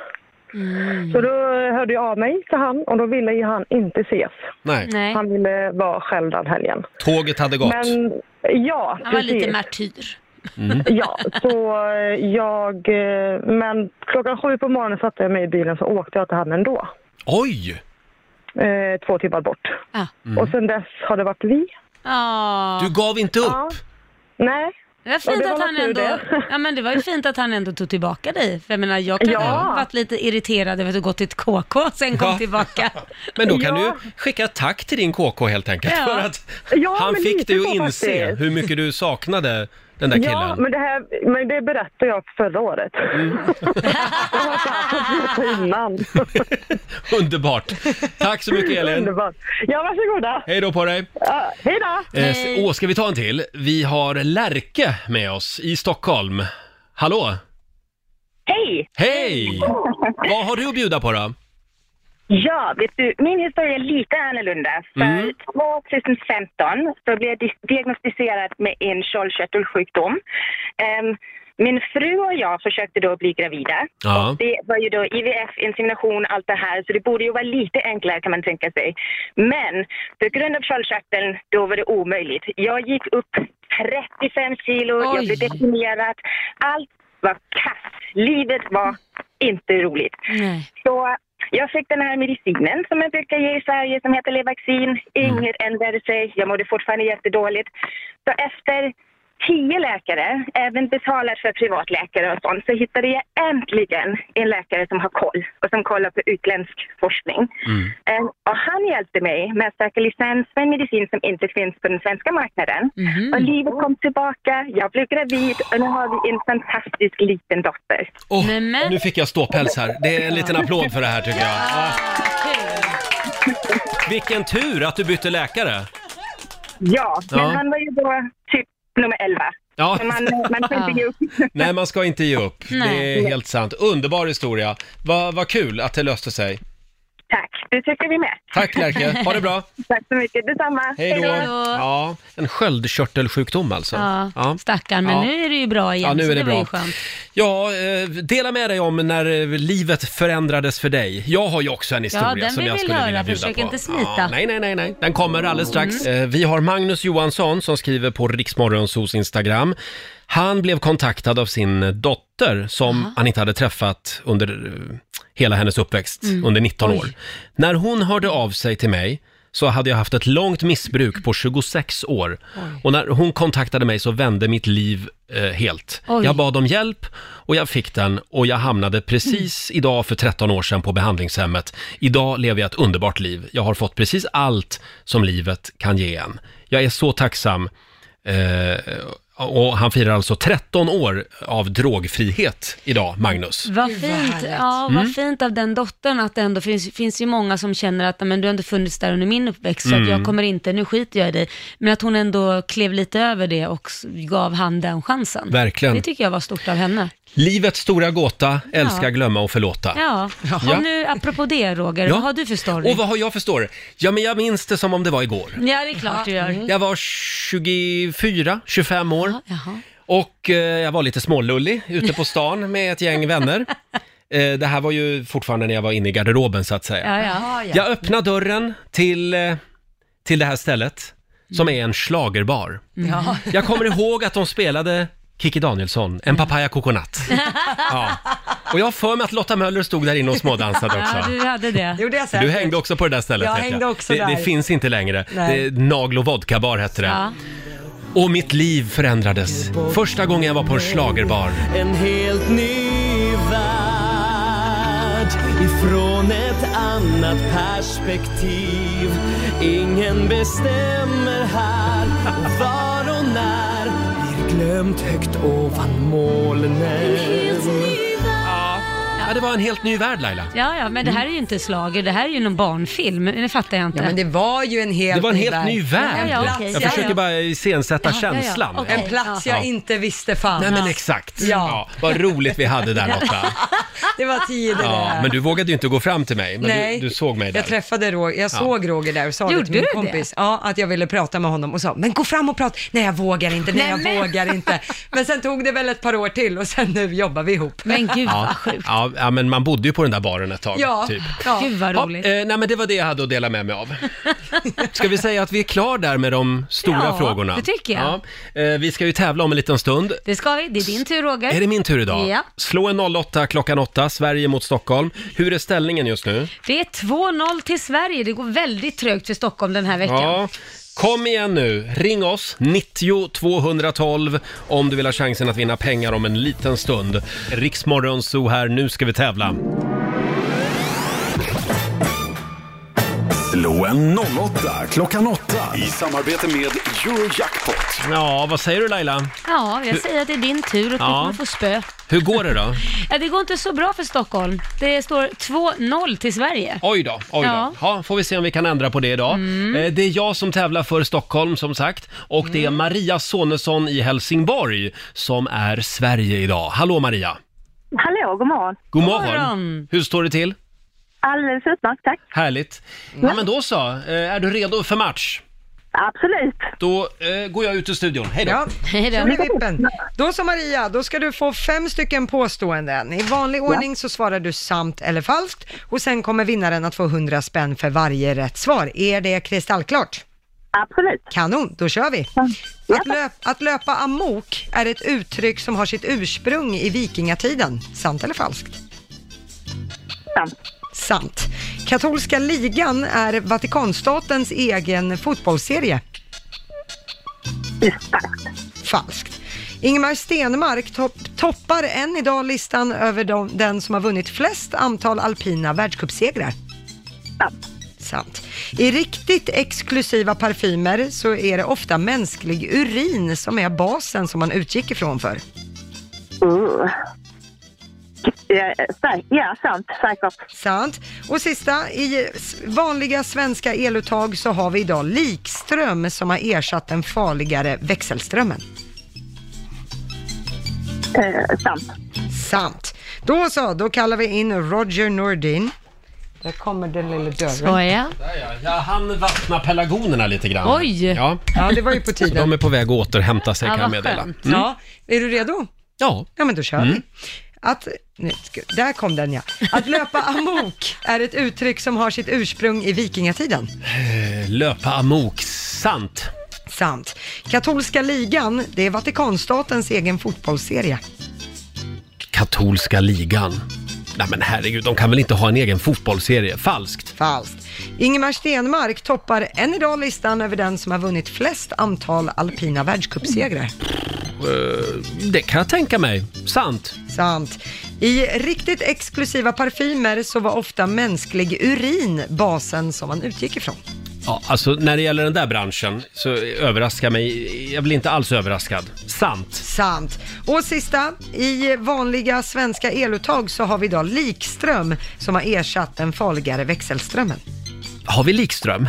[SPEAKER 17] Så då hörde jag av mig till han och då ville ju han inte ses.
[SPEAKER 1] Nej. Nej.
[SPEAKER 17] Han ville vara själv den helgen.
[SPEAKER 1] Tåget hade gått.
[SPEAKER 17] Men ja,
[SPEAKER 4] Han var
[SPEAKER 17] precis.
[SPEAKER 4] lite martyr.
[SPEAKER 1] Mm.
[SPEAKER 17] Ja, så eh, jag... eh, Men klockan sju på morgonen satte jag mig i bilen så åkte jag till han ändå.
[SPEAKER 1] Oj!
[SPEAKER 17] Eh, två timmar bort.
[SPEAKER 1] Mm.
[SPEAKER 17] Och sen dess har det varit vi.
[SPEAKER 4] Ja.
[SPEAKER 1] Du gav inte upp?
[SPEAKER 17] Ja. Nej.
[SPEAKER 4] Det var
[SPEAKER 17] Och
[SPEAKER 4] fint
[SPEAKER 17] det
[SPEAKER 4] att
[SPEAKER 17] var
[SPEAKER 4] han
[SPEAKER 17] tur
[SPEAKER 4] ändå,
[SPEAKER 17] det.
[SPEAKER 4] ja men det var ju fint att han ändå tog tillbaka dig. För jag menar, jag kan
[SPEAKER 17] Ja.
[SPEAKER 4] ha varit lite irriterad över att du gått till ett KK och sen kom
[SPEAKER 1] Ja.
[SPEAKER 4] tillbaka.
[SPEAKER 1] Men då kan du skicka ett tack till din KK helt enkelt.
[SPEAKER 4] Ja.
[SPEAKER 1] För att
[SPEAKER 17] Ja,
[SPEAKER 1] han
[SPEAKER 17] men
[SPEAKER 1] fick
[SPEAKER 17] lite
[SPEAKER 1] dig att
[SPEAKER 17] så
[SPEAKER 1] inse
[SPEAKER 17] faktiskt.
[SPEAKER 1] hur mycket du saknade den där
[SPEAKER 17] Ja,
[SPEAKER 1] killen. Mm.
[SPEAKER 17] men det, här, men det berättade jag förra året. jag har inte haft det innan.
[SPEAKER 1] Underbart! Tack så mycket Elin!
[SPEAKER 17] Underbart. Ja, varsågoda.
[SPEAKER 1] Hej då på dig!
[SPEAKER 17] Ja, hej då.
[SPEAKER 1] Eh, s- Åh, ska vi ta en till? Vi har Lärke med oss i Stockholm. Hallå!
[SPEAKER 19] Hej!
[SPEAKER 1] Hej! Vad har du att bjuda på då?
[SPEAKER 19] Ja, vet du, min historia är lite annorlunda. För
[SPEAKER 17] Eh,
[SPEAKER 1] Mm.
[SPEAKER 19] 2015 så blev jag dis- diagnostiserad med en sköldkörtelsjukdom. Ehm, min fru och jag försökte då bli gravida.
[SPEAKER 20] Ja.
[SPEAKER 19] Och det var ju då IVF, insemination, allt det här, så det borde ju vara lite enklare kan man tänka sig. Men på grund av sköldkörteln, då var det omöjligt. Jag gick upp 35 kilo, jag blev deprimerad. Allt var kass. Livet var inte roligt.
[SPEAKER 4] Nej.
[SPEAKER 19] Så jag fick den här medicinen som jag brukar ge i Sverige som heter Levaxin. Inget ändrade sig. Jag mådde fortfarande jättedåligt. Så efter tio läkare, även betalat för privatläkare och sånt, så hittade jag äntligen en läkare som har koll och som kollar på utländsk forskning.
[SPEAKER 1] Mm.
[SPEAKER 19] Eh, Och han hjälpte mig med att söka licens för en medicin som inte finns på den svenska marknaden.
[SPEAKER 4] Mhm.
[SPEAKER 19] Och livet kom tillbaka, jag blev gravid och nu har vi en fantastisk liten dotter.
[SPEAKER 1] Åh, Nu fick jag ståpäls här. Det är en liten applåd för det här tycker jag. Ja. Vilken tur att du bytte läkare!
[SPEAKER 19] Ja, men
[SPEAKER 1] Ja.
[SPEAKER 19] han var ju då typ nummer 11.
[SPEAKER 1] Ja.
[SPEAKER 19] Så man, man får inte ge upp.
[SPEAKER 1] Nej, man ska inte ge upp.
[SPEAKER 19] Nej.
[SPEAKER 1] Det är helt sant. Underbar historia. Vad vad kul att det löste sig.
[SPEAKER 19] Tack. Det tycker vi med.
[SPEAKER 1] Tack Lärke, ha det bra.
[SPEAKER 19] Tack så mycket, detsamma.
[SPEAKER 1] Hej då. Ja, en sköldkörtelsjukdom alltså.
[SPEAKER 4] Ja, stackarn, men
[SPEAKER 1] Ja.
[SPEAKER 4] nu är det ju bra igen.
[SPEAKER 1] Ja, nu
[SPEAKER 4] så
[SPEAKER 1] är det
[SPEAKER 4] var ju
[SPEAKER 1] bra.
[SPEAKER 4] skönt.
[SPEAKER 1] Ja, eh, dela med dig om när eh, livet förändrades för dig. Jag har ju också en historia
[SPEAKER 4] den
[SPEAKER 1] som
[SPEAKER 4] vill
[SPEAKER 1] jag
[SPEAKER 4] vi
[SPEAKER 1] skulle
[SPEAKER 4] höra.
[SPEAKER 1] vilja bjuda
[SPEAKER 4] Försök
[SPEAKER 1] på.
[SPEAKER 4] inte smita.
[SPEAKER 1] Ja, nej, nej, nej, nej. Den kommer alldeles strax.
[SPEAKER 16] Mm.
[SPEAKER 1] Eh, Vi har Magnus Johansson som skriver på Riksmorgonsos Instagram. Han blev kontaktad av sin dotter som han inte hade träffat under eh, hela hennes uppväxt,
[SPEAKER 16] Mm.
[SPEAKER 1] under 19
[SPEAKER 16] Oj.
[SPEAKER 1] år. När hon hörde av sig till mig så hade jag haft ett långt missbruk på 26 år. Och när hon kontaktade mig så vände mitt liv eh, helt.
[SPEAKER 16] Oj.
[SPEAKER 1] Jag bad om hjälp och jag fick den och jag hamnade precis
[SPEAKER 4] Mm.
[SPEAKER 1] idag för 13 år sedan på behandlingshemmet. Idag lever jag ett underbart liv. Jag har fått precis allt som livet kan ge en. Jag är så tacksam. Eh, och han firar alltså 13 år av drogfrihet idag, Magnus.
[SPEAKER 4] Vad fint, ja,
[SPEAKER 1] Mm.
[SPEAKER 4] vad fint av den dottern att det ändå finns, finns ju många som känner att men du har inte funnits där under min uppväxt så
[SPEAKER 1] Mm.
[SPEAKER 4] att jag kommer inte, nu skiter jag i dig. Men att hon ändå klev lite över det och s- gav han den chansen.
[SPEAKER 1] Verkligen.
[SPEAKER 4] Det tycker jag var stort av henne.
[SPEAKER 1] Livets stora gåta, älska,
[SPEAKER 4] Ja.
[SPEAKER 1] glömma och förlåta.
[SPEAKER 4] Ja,
[SPEAKER 1] Ja.
[SPEAKER 4] och nu apropå det Roger,
[SPEAKER 1] Ja.
[SPEAKER 4] vad har du för story?
[SPEAKER 1] Och vad har jag för story? Ja, men jag minns det som om det var igår.
[SPEAKER 4] Ja, det är klart du gör.
[SPEAKER 1] Jag var 24, 25 år. Och eh, jag var lite smålullig ute på stan med ett gäng vänner. Eh, det här var ju fortfarande när jag var inne i garderoben så att säga.
[SPEAKER 4] Ja, ja.
[SPEAKER 1] Jag öppnade dörren till, eh, till det här stället, som är en schlagerbar.
[SPEAKER 4] Mm. Ja.
[SPEAKER 1] Jag kommer ihåg att de spelade Kikki Danielsson, En papaya coconut. Ja. Och jag har för mig att Lotta Möller stod där inne och smådansade också.
[SPEAKER 4] Ja, du hade det.
[SPEAKER 2] Gjorde jag
[SPEAKER 1] Du hängde också på det där stället.
[SPEAKER 4] Jag
[SPEAKER 1] vet
[SPEAKER 4] hängde också
[SPEAKER 1] det, det
[SPEAKER 4] där.
[SPEAKER 1] finns inte längre.
[SPEAKER 4] Nej.
[SPEAKER 1] Det, Nagel och vodkabar hette det. Och mitt liv förändrades. Första gången jag var på en schlagerbar.
[SPEAKER 18] En helt ny värld ifrån ett annat perspektiv. Ingen bestämmer här och var och när blir glömt högt ovan molnen.
[SPEAKER 1] Ja. ja, det var en helt ny värld Laila.
[SPEAKER 4] Ja, ja, men det här är ju inte slager, det här är ju någon barnfilm, det fattar jag inte.
[SPEAKER 2] Ja, men det var ju en helt
[SPEAKER 1] Det var en
[SPEAKER 2] ny
[SPEAKER 1] helt
[SPEAKER 2] värld.
[SPEAKER 1] ny värld.
[SPEAKER 4] Ja, ja, okej.
[SPEAKER 1] Jag
[SPEAKER 4] Ja,
[SPEAKER 1] försöker
[SPEAKER 4] ja.
[SPEAKER 1] bara iscensätta känslan.
[SPEAKER 2] En plats jag
[SPEAKER 1] Ja.
[SPEAKER 2] inte visste fanns.
[SPEAKER 1] Nej men exakt. Ja.
[SPEAKER 2] Ja.
[SPEAKER 1] vad roligt vi hade där Lotta.
[SPEAKER 2] Det var tider
[SPEAKER 1] Ja,
[SPEAKER 2] det.
[SPEAKER 1] men du vågade ju inte gå fram till mig, men
[SPEAKER 2] Nej.
[SPEAKER 1] du, du såg mig där.
[SPEAKER 2] Jag träffade Roger, jag
[SPEAKER 1] Ja.
[SPEAKER 2] såg Roger där och sa det
[SPEAKER 4] Gjorde
[SPEAKER 2] till min
[SPEAKER 4] du
[SPEAKER 2] kompis. Ja, att jag ville prata med honom och sa, men gå fram och prata. Nej, jag vågar inte, nej,
[SPEAKER 4] Nej,
[SPEAKER 2] jag
[SPEAKER 4] men-
[SPEAKER 2] vågar inte. Men sen tog det väl ett par år till och sen nu jobbar vi ihop.
[SPEAKER 4] Men gud
[SPEAKER 1] ja. Ja, ja, men man bodde ju på den där baren ett tag.
[SPEAKER 2] Ja.
[SPEAKER 1] Typ.
[SPEAKER 2] Ja.
[SPEAKER 4] Gud vad roligt.
[SPEAKER 1] Eh, nej, men det var det jag hade att dela med mig av. Ska vi säga att vi är klar där med de stora
[SPEAKER 4] Ja,
[SPEAKER 1] frågorna?
[SPEAKER 4] det tycker jag.
[SPEAKER 1] Ja. Eh, vi ska ju tävla om en liten stund.
[SPEAKER 4] Det ska vi, det är din tur Roger.
[SPEAKER 1] Är det min tur idag?
[SPEAKER 4] Ja.
[SPEAKER 1] Slå en 08 klockan 8, Sverige mot Stockholm. Hur är ställningen just nu?
[SPEAKER 4] Det är 2-0 till Sverige. Det går väldigt trögt för Stockholm den här veckan.
[SPEAKER 1] Ja. Kom igen nu, ring oss, 90 212 om du vill ha chansen att vinna pengar om en liten stund. Riksmorgon så här, nu ska vi tävla.
[SPEAKER 3] Slå en 08 klockan 8 i samarbete med Eurojackpot.
[SPEAKER 1] Ja, vad säger du Laila?
[SPEAKER 4] Ja, jag
[SPEAKER 1] Hur-
[SPEAKER 4] säger att det är din tur och
[SPEAKER 1] Ja.
[SPEAKER 4] du kommer få spö.
[SPEAKER 1] Hur går det då?
[SPEAKER 4] Ja, det går inte så bra för Stockholm. Det står 2-0 till Sverige.
[SPEAKER 1] Oj då, oj då. Ja.
[SPEAKER 4] Ja.
[SPEAKER 1] får vi se om vi kan ändra på det idag.
[SPEAKER 2] Mm.
[SPEAKER 1] Eh, Det är jag som tävlar för Stockholm som sagt och det är Maria Sonesson i Helsingborg som är Sverige idag. Hallå Maria!
[SPEAKER 11] Hallå, god morgon.
[SPEAKER 1] God morgon! Hur står det till?
[SPEAKER 11] Alldeles utmärkt, tack.
[SPEAKER 1] Härligt. Ja men då så, Eh, är du redo för match?
[SPEAKER 11] Absolut.
[SPEAKER 1] Då eh, går jag ut ur studion. Hej då!
[SPEAKER 2] Ja,
[SPEAKER 4] Hej då.
[SPEAKER 2] då blir vippen. Då så Maria, då ska du få fem stycken påståenden. I vanlig ordning så svarar du sant eller falskt och sen kommer vinnaren att få 100 spänn för varje rätt svar. Är det kristallklart?
[SPEAKER 11] Absolut.
[SPEAKER 2] Kanon, då kör vi. Att, löp, att löpa amok är ett uttryck som har sitt ursprung i vikingatiden. Sant eller falskt?
[SPEAKER 11] Sant.
[SPEAKER 2] Sant. Katolska ligan är Vatikanstatens egen fotbollsserie. Falskt. Ingemar Stenmark topp, toppar än idag listan över de, den som har vunnit flest antal alpina världscupsegrar. Sant. I riktigt exklusiva parfymer så är det ofta mänsklig urin som är basen som man utgick ifrån för.
[SPEAKER 11] Uh. Ja, sä- Eh, ja, sant. Säkert.
[SPEAKER 2] Sant. Och sista, i s- vanliga svenska eluttag så har vi idag likström som har ersatt den farligare växelströmmen.
[SPEAKER 11] Eh, sant. Eh,
[SPEAKER 2] Sant. Då så, då kallar vi in Roger Nordin. Där kommer den lilla dörren.
[SPEAKER 4] Skoja.
[SPEAKER 1] Jag hann vattna pelargonerna lite grann.
[SPEAKER 2] Oj!
[SPEAKER 1] Ja,
[SPEAKER 2] Ja, det var ju på
[SPEAKER 1] Så
[SPEAKER 2] tiden.
[SPEAKER 1] de är på väg att återhämta sig kan jag meddela.
[SPEAKER 2] skönt.
[SPEAKER 1] Mm.
[SPEAKER 2] Ja, är du redo?
[SPEAKER 1] Ja.
[SPEAKER 2] Ja, men då kör vi.
[SPEAKER 1] Mm.
[SPEAKER 2] Att, nu, sku- där kom den ja. Att löpa amok är ett uttryck som har sitt ursprung i vikingatiden.
[SPEAKER 1] Eh, Löpa amok, sant.
[SPEAKER 2] Sant. Katolska ligan, det är Vatikanstatens egen fotbollsserie.
[SPEAKER 1] Katolska ligan. Nej men herregud, de kan väl inte ha en egen fotbollsserie? Falskt.
[SPEAKER 2] Falskt. Ingemar Stenmark toppar än idag listan över den som har vunnit flest antal alpina världscupsegrar.
[SPEAKER 1] Eh, det kan jag tänka mig. Sant.
[SPEAKER 2] Sant. I riktigt exklusiva parfymer så var ofta mänsklig urin basen som man utgick ifrån.
[SPEAKER 1] Ja, alltså när det gäller den där branschen så överraskar mig, jag blir inte alls överraskad. Sant.
[SPEAKER 2] Sant. Och sista, i vanliga svenska eluttag så har vi idag likström som har ersatt den farligare växelströmmen.
[SPEAKER 1] Har vi Likström?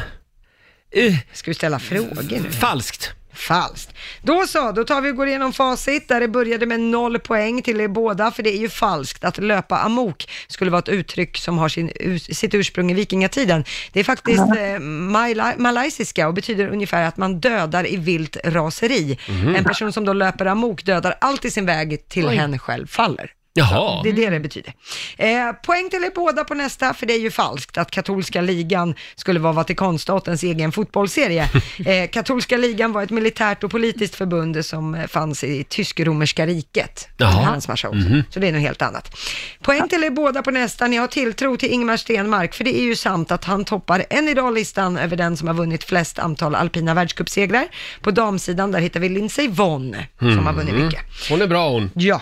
[SPEAKER 2] Ska vi ställa frågor nu?
[SPEAKER 1] Uh. Falskt.
[SPEAKER 2] Falskt. Då så, då tar vi och går igenom facit där det började med noll poäng till er båda, för det är ju falskt att löpa amok skulle vara ett uttryck som har sin, us- sitt ursprung i vikingatiden. Det är faktiskt eh, mala- malaysiska och betyder ungefär att man dödar i vilt raseri.
[SPEAKER 1] Mhm.
[SPEAKER 2] En person som då löper amok dödar allt i sin väg till
[SPEAKER 1] Oj.
[SPEAKER 2] hen själv faller.
[SPEAKER 1] Jaha.
[SPEAKER 2] Det är det det betyder. Eh, poäng till er båda på nästa, för det är ju falskt att katolska ligan skulle vara Vatikanstatens egen fotbollsserie. Eh, katolska ligan var ett militärt och politiskt förbund som eh, fanns i tysk-romerska riket.
[SPEAKER 1] Jaha.
[SPEAKER 2] Det är Hans massa också.
[SPEAKER 1] Mhm.
[SPEAKER 2] Så det är något helt annat. Poäng till er båda på nästa, ni har tilltro till Ingmar Stenmark, för det är ju sant att han toppar än idag listan över den som har vunnit flest antal alpina världscupsegrar. På damsidan, där hittar vi Lindsey Vonn, som har vunnit
[SPEAKER 1] Mm.
[SPEAKER 2] mycket.
[SPEAKER 1] Hon är bra hon.
[SPEAKER 2] Ja.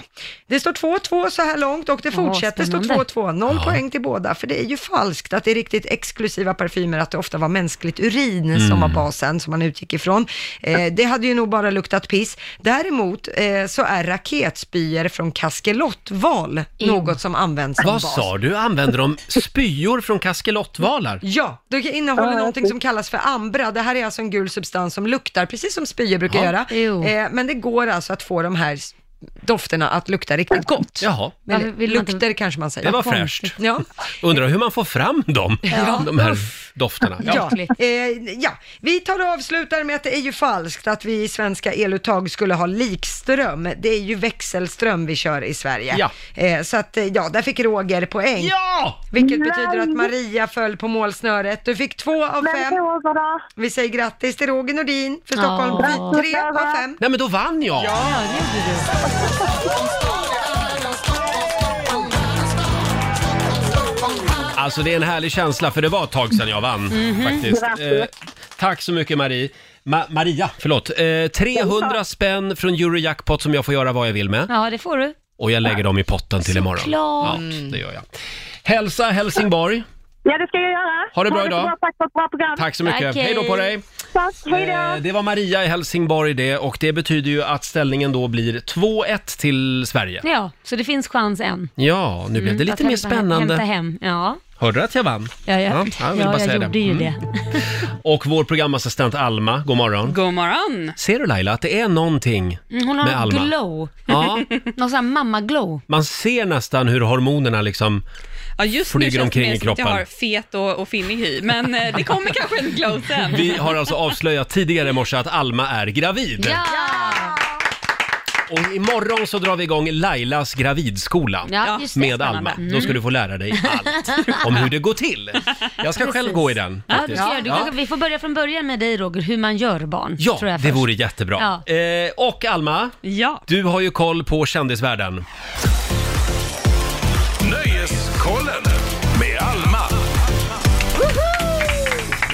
[SPEAKER 2] Det står 2-2 så här långt och det
[SPEAKER 1] Ja,
[SPEAKER 2] fortsätter stå
[SPEAKER 1] spännande.
[SPEAKER 2] 2-2. Noll
[SPEAKER 1] Ja.
[SPEAKER 2] poäng till båda, för det är ju falskt att det är riktigt exklusiva parfymer, att det ofta var mänskligt urin som
[SPEAKER 4] Mm.
[SPEAKER 2] var basen, som man utgick ifrån. Eh, det hade ju nog bara luktat piss. Däremot eh, så är raketspyor från kaskelottval något som används som
[SPEAKER 1] Vad
[SPEAKER 2] bas.
[SPEAKER 1] sa du? Använder de spyor från kaskelottvalar?
[SPEAKER 2] Ja, det innehåller någonting som kallas för ambra. Det här är alltså en gul substans som luktar, precis som spyor brukar
[SPEAKER 1] Ja.
[SPEAKER 2] göra. Eh, men det går alltså att få de här s- dofterna att lukta riktigt gott.
[SPEAKER 1] Jaha.
[SPEAKER 2] Eller,
[SPEAKER 4] Varför vill man inte-
[SPEAKER 2] lukter kanske man säger.
[SPEAKER 1] Det var
[SPEAKER 2] Vad
[SPEAKER 1] fräscht.
[SPEAKER 2] konstigt. Ja.
[SPEAKER 1] Undrar hur man får fram dem,
[SPEAKER 2] Ja.
[SPEAKER 1] de här dofterna.
[SPEAKER 2] Ja. Eh, ja, vi tar och avslutar med att det är ju falskt att vi i svenska eluttag skulle ha likström. Det är ju växelström vi kör i Sverige.
[SPEAKER 1] Ja.
[SPEAKER 2] Eh, så att, eh, ja, där fick Roger poäng.
[SPEAKER 1] Ja!
[SPEAKER 2] Vilket
[SPEAKER 10] Nej!
[SPEAKER 2] betyder att Maria föll på målsnöret. Du fick två av fem. Vi säger grattis till Roger Nordin för Stockholm.
[SPEAKER 1] Ja.
[SPEAKER 2] Tre av fem.
[SPEAKER 1] Nej men då vann jag!
[SPEAKER 2] Ja, det gjorde du.
[SPEAKER 1] Alltså det är en härlig känsla för det var ett tag sedan jag vann
[SPEAKER 18] Mhm.
[SPEAKER 1] faktiskt.
[SPEAKER 18] Grattis.
[SPEAKER 1] Eh, tack så mycket Marie. Ma- Maria, förlåt. Eh, 300 spänn från Eurojackpot som jag får göra vad jag vill med.
[SPEAKER 4] Ja, det får du.
[SPEAKER 1] Och jag lägger dem i potten till imorgon.
[SPEAKER 4] Såklart.
[SPEAKER 1] Ja, det gör jag. Hälsa Helsingborg.
[SPEAKER 11] Ja, det ska jag göra.
[SPEAKER 1] Ha det bra idag.
[SPEAKER 11] så Tack för ett bra program.
[SPEAKER 1] Tack så mycket. Tack, hej. Hej då på dig.
[SPEAKER 11] Tack, hej då.
[SPEAKER 1] Eh, Det var Maria i Helsingborg det och det betyder ju att ställningen då blir 2-1 till Sverige.
[SPEAKER 4] Ja, så det finns chans än.
[SPEAKER 1] Ja, nu blev
[SPEAKER 4] Mm,
[SPEAKER 1] det
[SPEAKER 4] att
[SPEAKER 1] lite mer
[SPEAKER 4] hämta hem- Hämta
[SPEAKER 1] spännande.
[SPEAKER 4] hem, ja.
[SPEAKER 1] Hörde du att jag vann?
[SPEAKER 4] Ja, ja.
[SPEAKER 1] jag
[SPEAKER 4] ja,
[SPEAKER 1] ville bara
[SPEAKER 4] jag
[SPEAKER 1] säga
[SPEAKER 4] gjorde
[SPEAKER 1] det.
[SPEAKER 4] ju
[SPEAKER 1] Mm.
[SPEAKER 4] det.
[SPEAKER 1] Och vår programassistent Alma, god morgon.
[SPEAKER 14] God morgon.
[SPEAKER 1] Ser du Laila att det är någonting
[SPEAKER 4] Mm, Hon har
[SPEAKER 1] med
[SPEAKER 4] en
[SPEAKER 1] Alma?
[SPEAKER 4] glow.
[SPEAKER 1] Ja.
[SPEAKER 4] Någon sån här mamma-glow.
[SPEAKER 1] Man ser nästan hur hormonerna liksom...
[SPEAKER 14] Ja, just
[SPEAKER 1] Flyger
[SPEAKER 14] nu känns
[SPEAKER 1] omkring
[SPEAKER 14] det
[SPEAKER 1] i
[SPEAKER 14] mer som att jag
[SPEAKER 1] kroppen.
[SPEAKER 14] har fet och, och finnig hy, men eh, det kommer kanske en glow sen.
[SPEAKER 1] Vi har alltså avslöjat tidigare i morse att Alma är gravid.
[SPEAKER 14] Ja!
[SPEAKER 1] Och imorgon så drar vi igång Lailas gravidskola
[SPEAKER 18] Ja, just det,
[SPEAKER 1] med
[SPEAKER 18] spännande.
[SPEAKER 1] Alma.
[SPEAKER 18] Mm.
[SPEAKER 1] Då ska du få lära dig allt om hur det går till. Jag ska själv gå i den.
[SPEAKER 4] Ja, du
[SPEAKER 1] faktiskt.
[SPEAKER 4] ska, göra det. du,
[SPEAKER 1] Ja.
[SPEAKER 4] kanske- Vi får börja från början med dig Roger, hur man gör barn.
[SPEAKER 1] Ja,
[SPEAKER 4] tror jag
[SPEAKER 1] det
[SPEAKER 4] först.
[SPEAKER 1] vore jättebra. Eh, och Alma,
[SPEAKER 14] ja.
[SPEAKER 1] du har ju koll på kändisvärlden.
[SPEAKER 3] Nöjeskollen med Alma.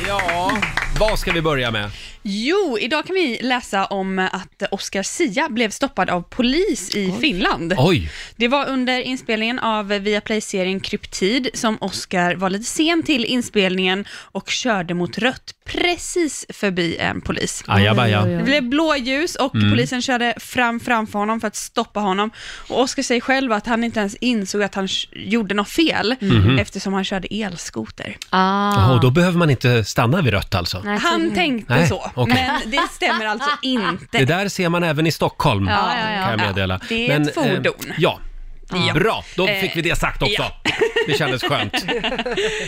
[SPEAKER 1] Ja, vad ska vi börja med?
[SPEAKER 14] Jo, idag kan vi läsa om att Oscar Sia blev stoppad av polis i Finland.
[SPEAKER 1] Oj.
[SPEAKER 14] Det var under inspelningen av Viaplay-serien Kryptid som Oscar var lite sen till inspelningen och körde mot rött precis förbi en polis.
[SPEAKER 1] Ajabaja.
[SPEAKER 14] Det blev blåljus och
[SPEAKER 1] Mm.
[SPEAKER 14] polisen körde fram framför honom för att stoppa honom. Och Oscar säger själv att han inte ens insåg att han sh- gjorde något fel
[SPEAKER 1] Mhm.
[SPEAKER 14] eftersom han körde elskoter.
[SPEAKER 1] Jaha, då behöver man inte stanna vid rött alltså?
[SPEAKER 14] Han tänkte
[SPEAKER 1] Nej,
[SPEAKER 14] så,
[SPEAKER 1] okej.
[SPEAKER 14] men det stämmer alltså inte.
[SPEAKER 1] Det där ser man även i Stockholm,
[SPEAKER 14] Ja, ja, ja.
[SPEAKER 1] kan jag meddela.
[SPEAKER 14] Ja, det är ett
[SPEAKER 1] eh,
[SPEAKER 14] fordon.
[SPEAKER 1] ja.
[SPEAKER 14] Ja.
[SPEAKER 1] Bra, då
[SPEAKER 14] Eh,
[SPEAKER 1] fick vi det sagt också.
[SPEAKER 14] ja.
[SPEAKER 1] det kändes skönt.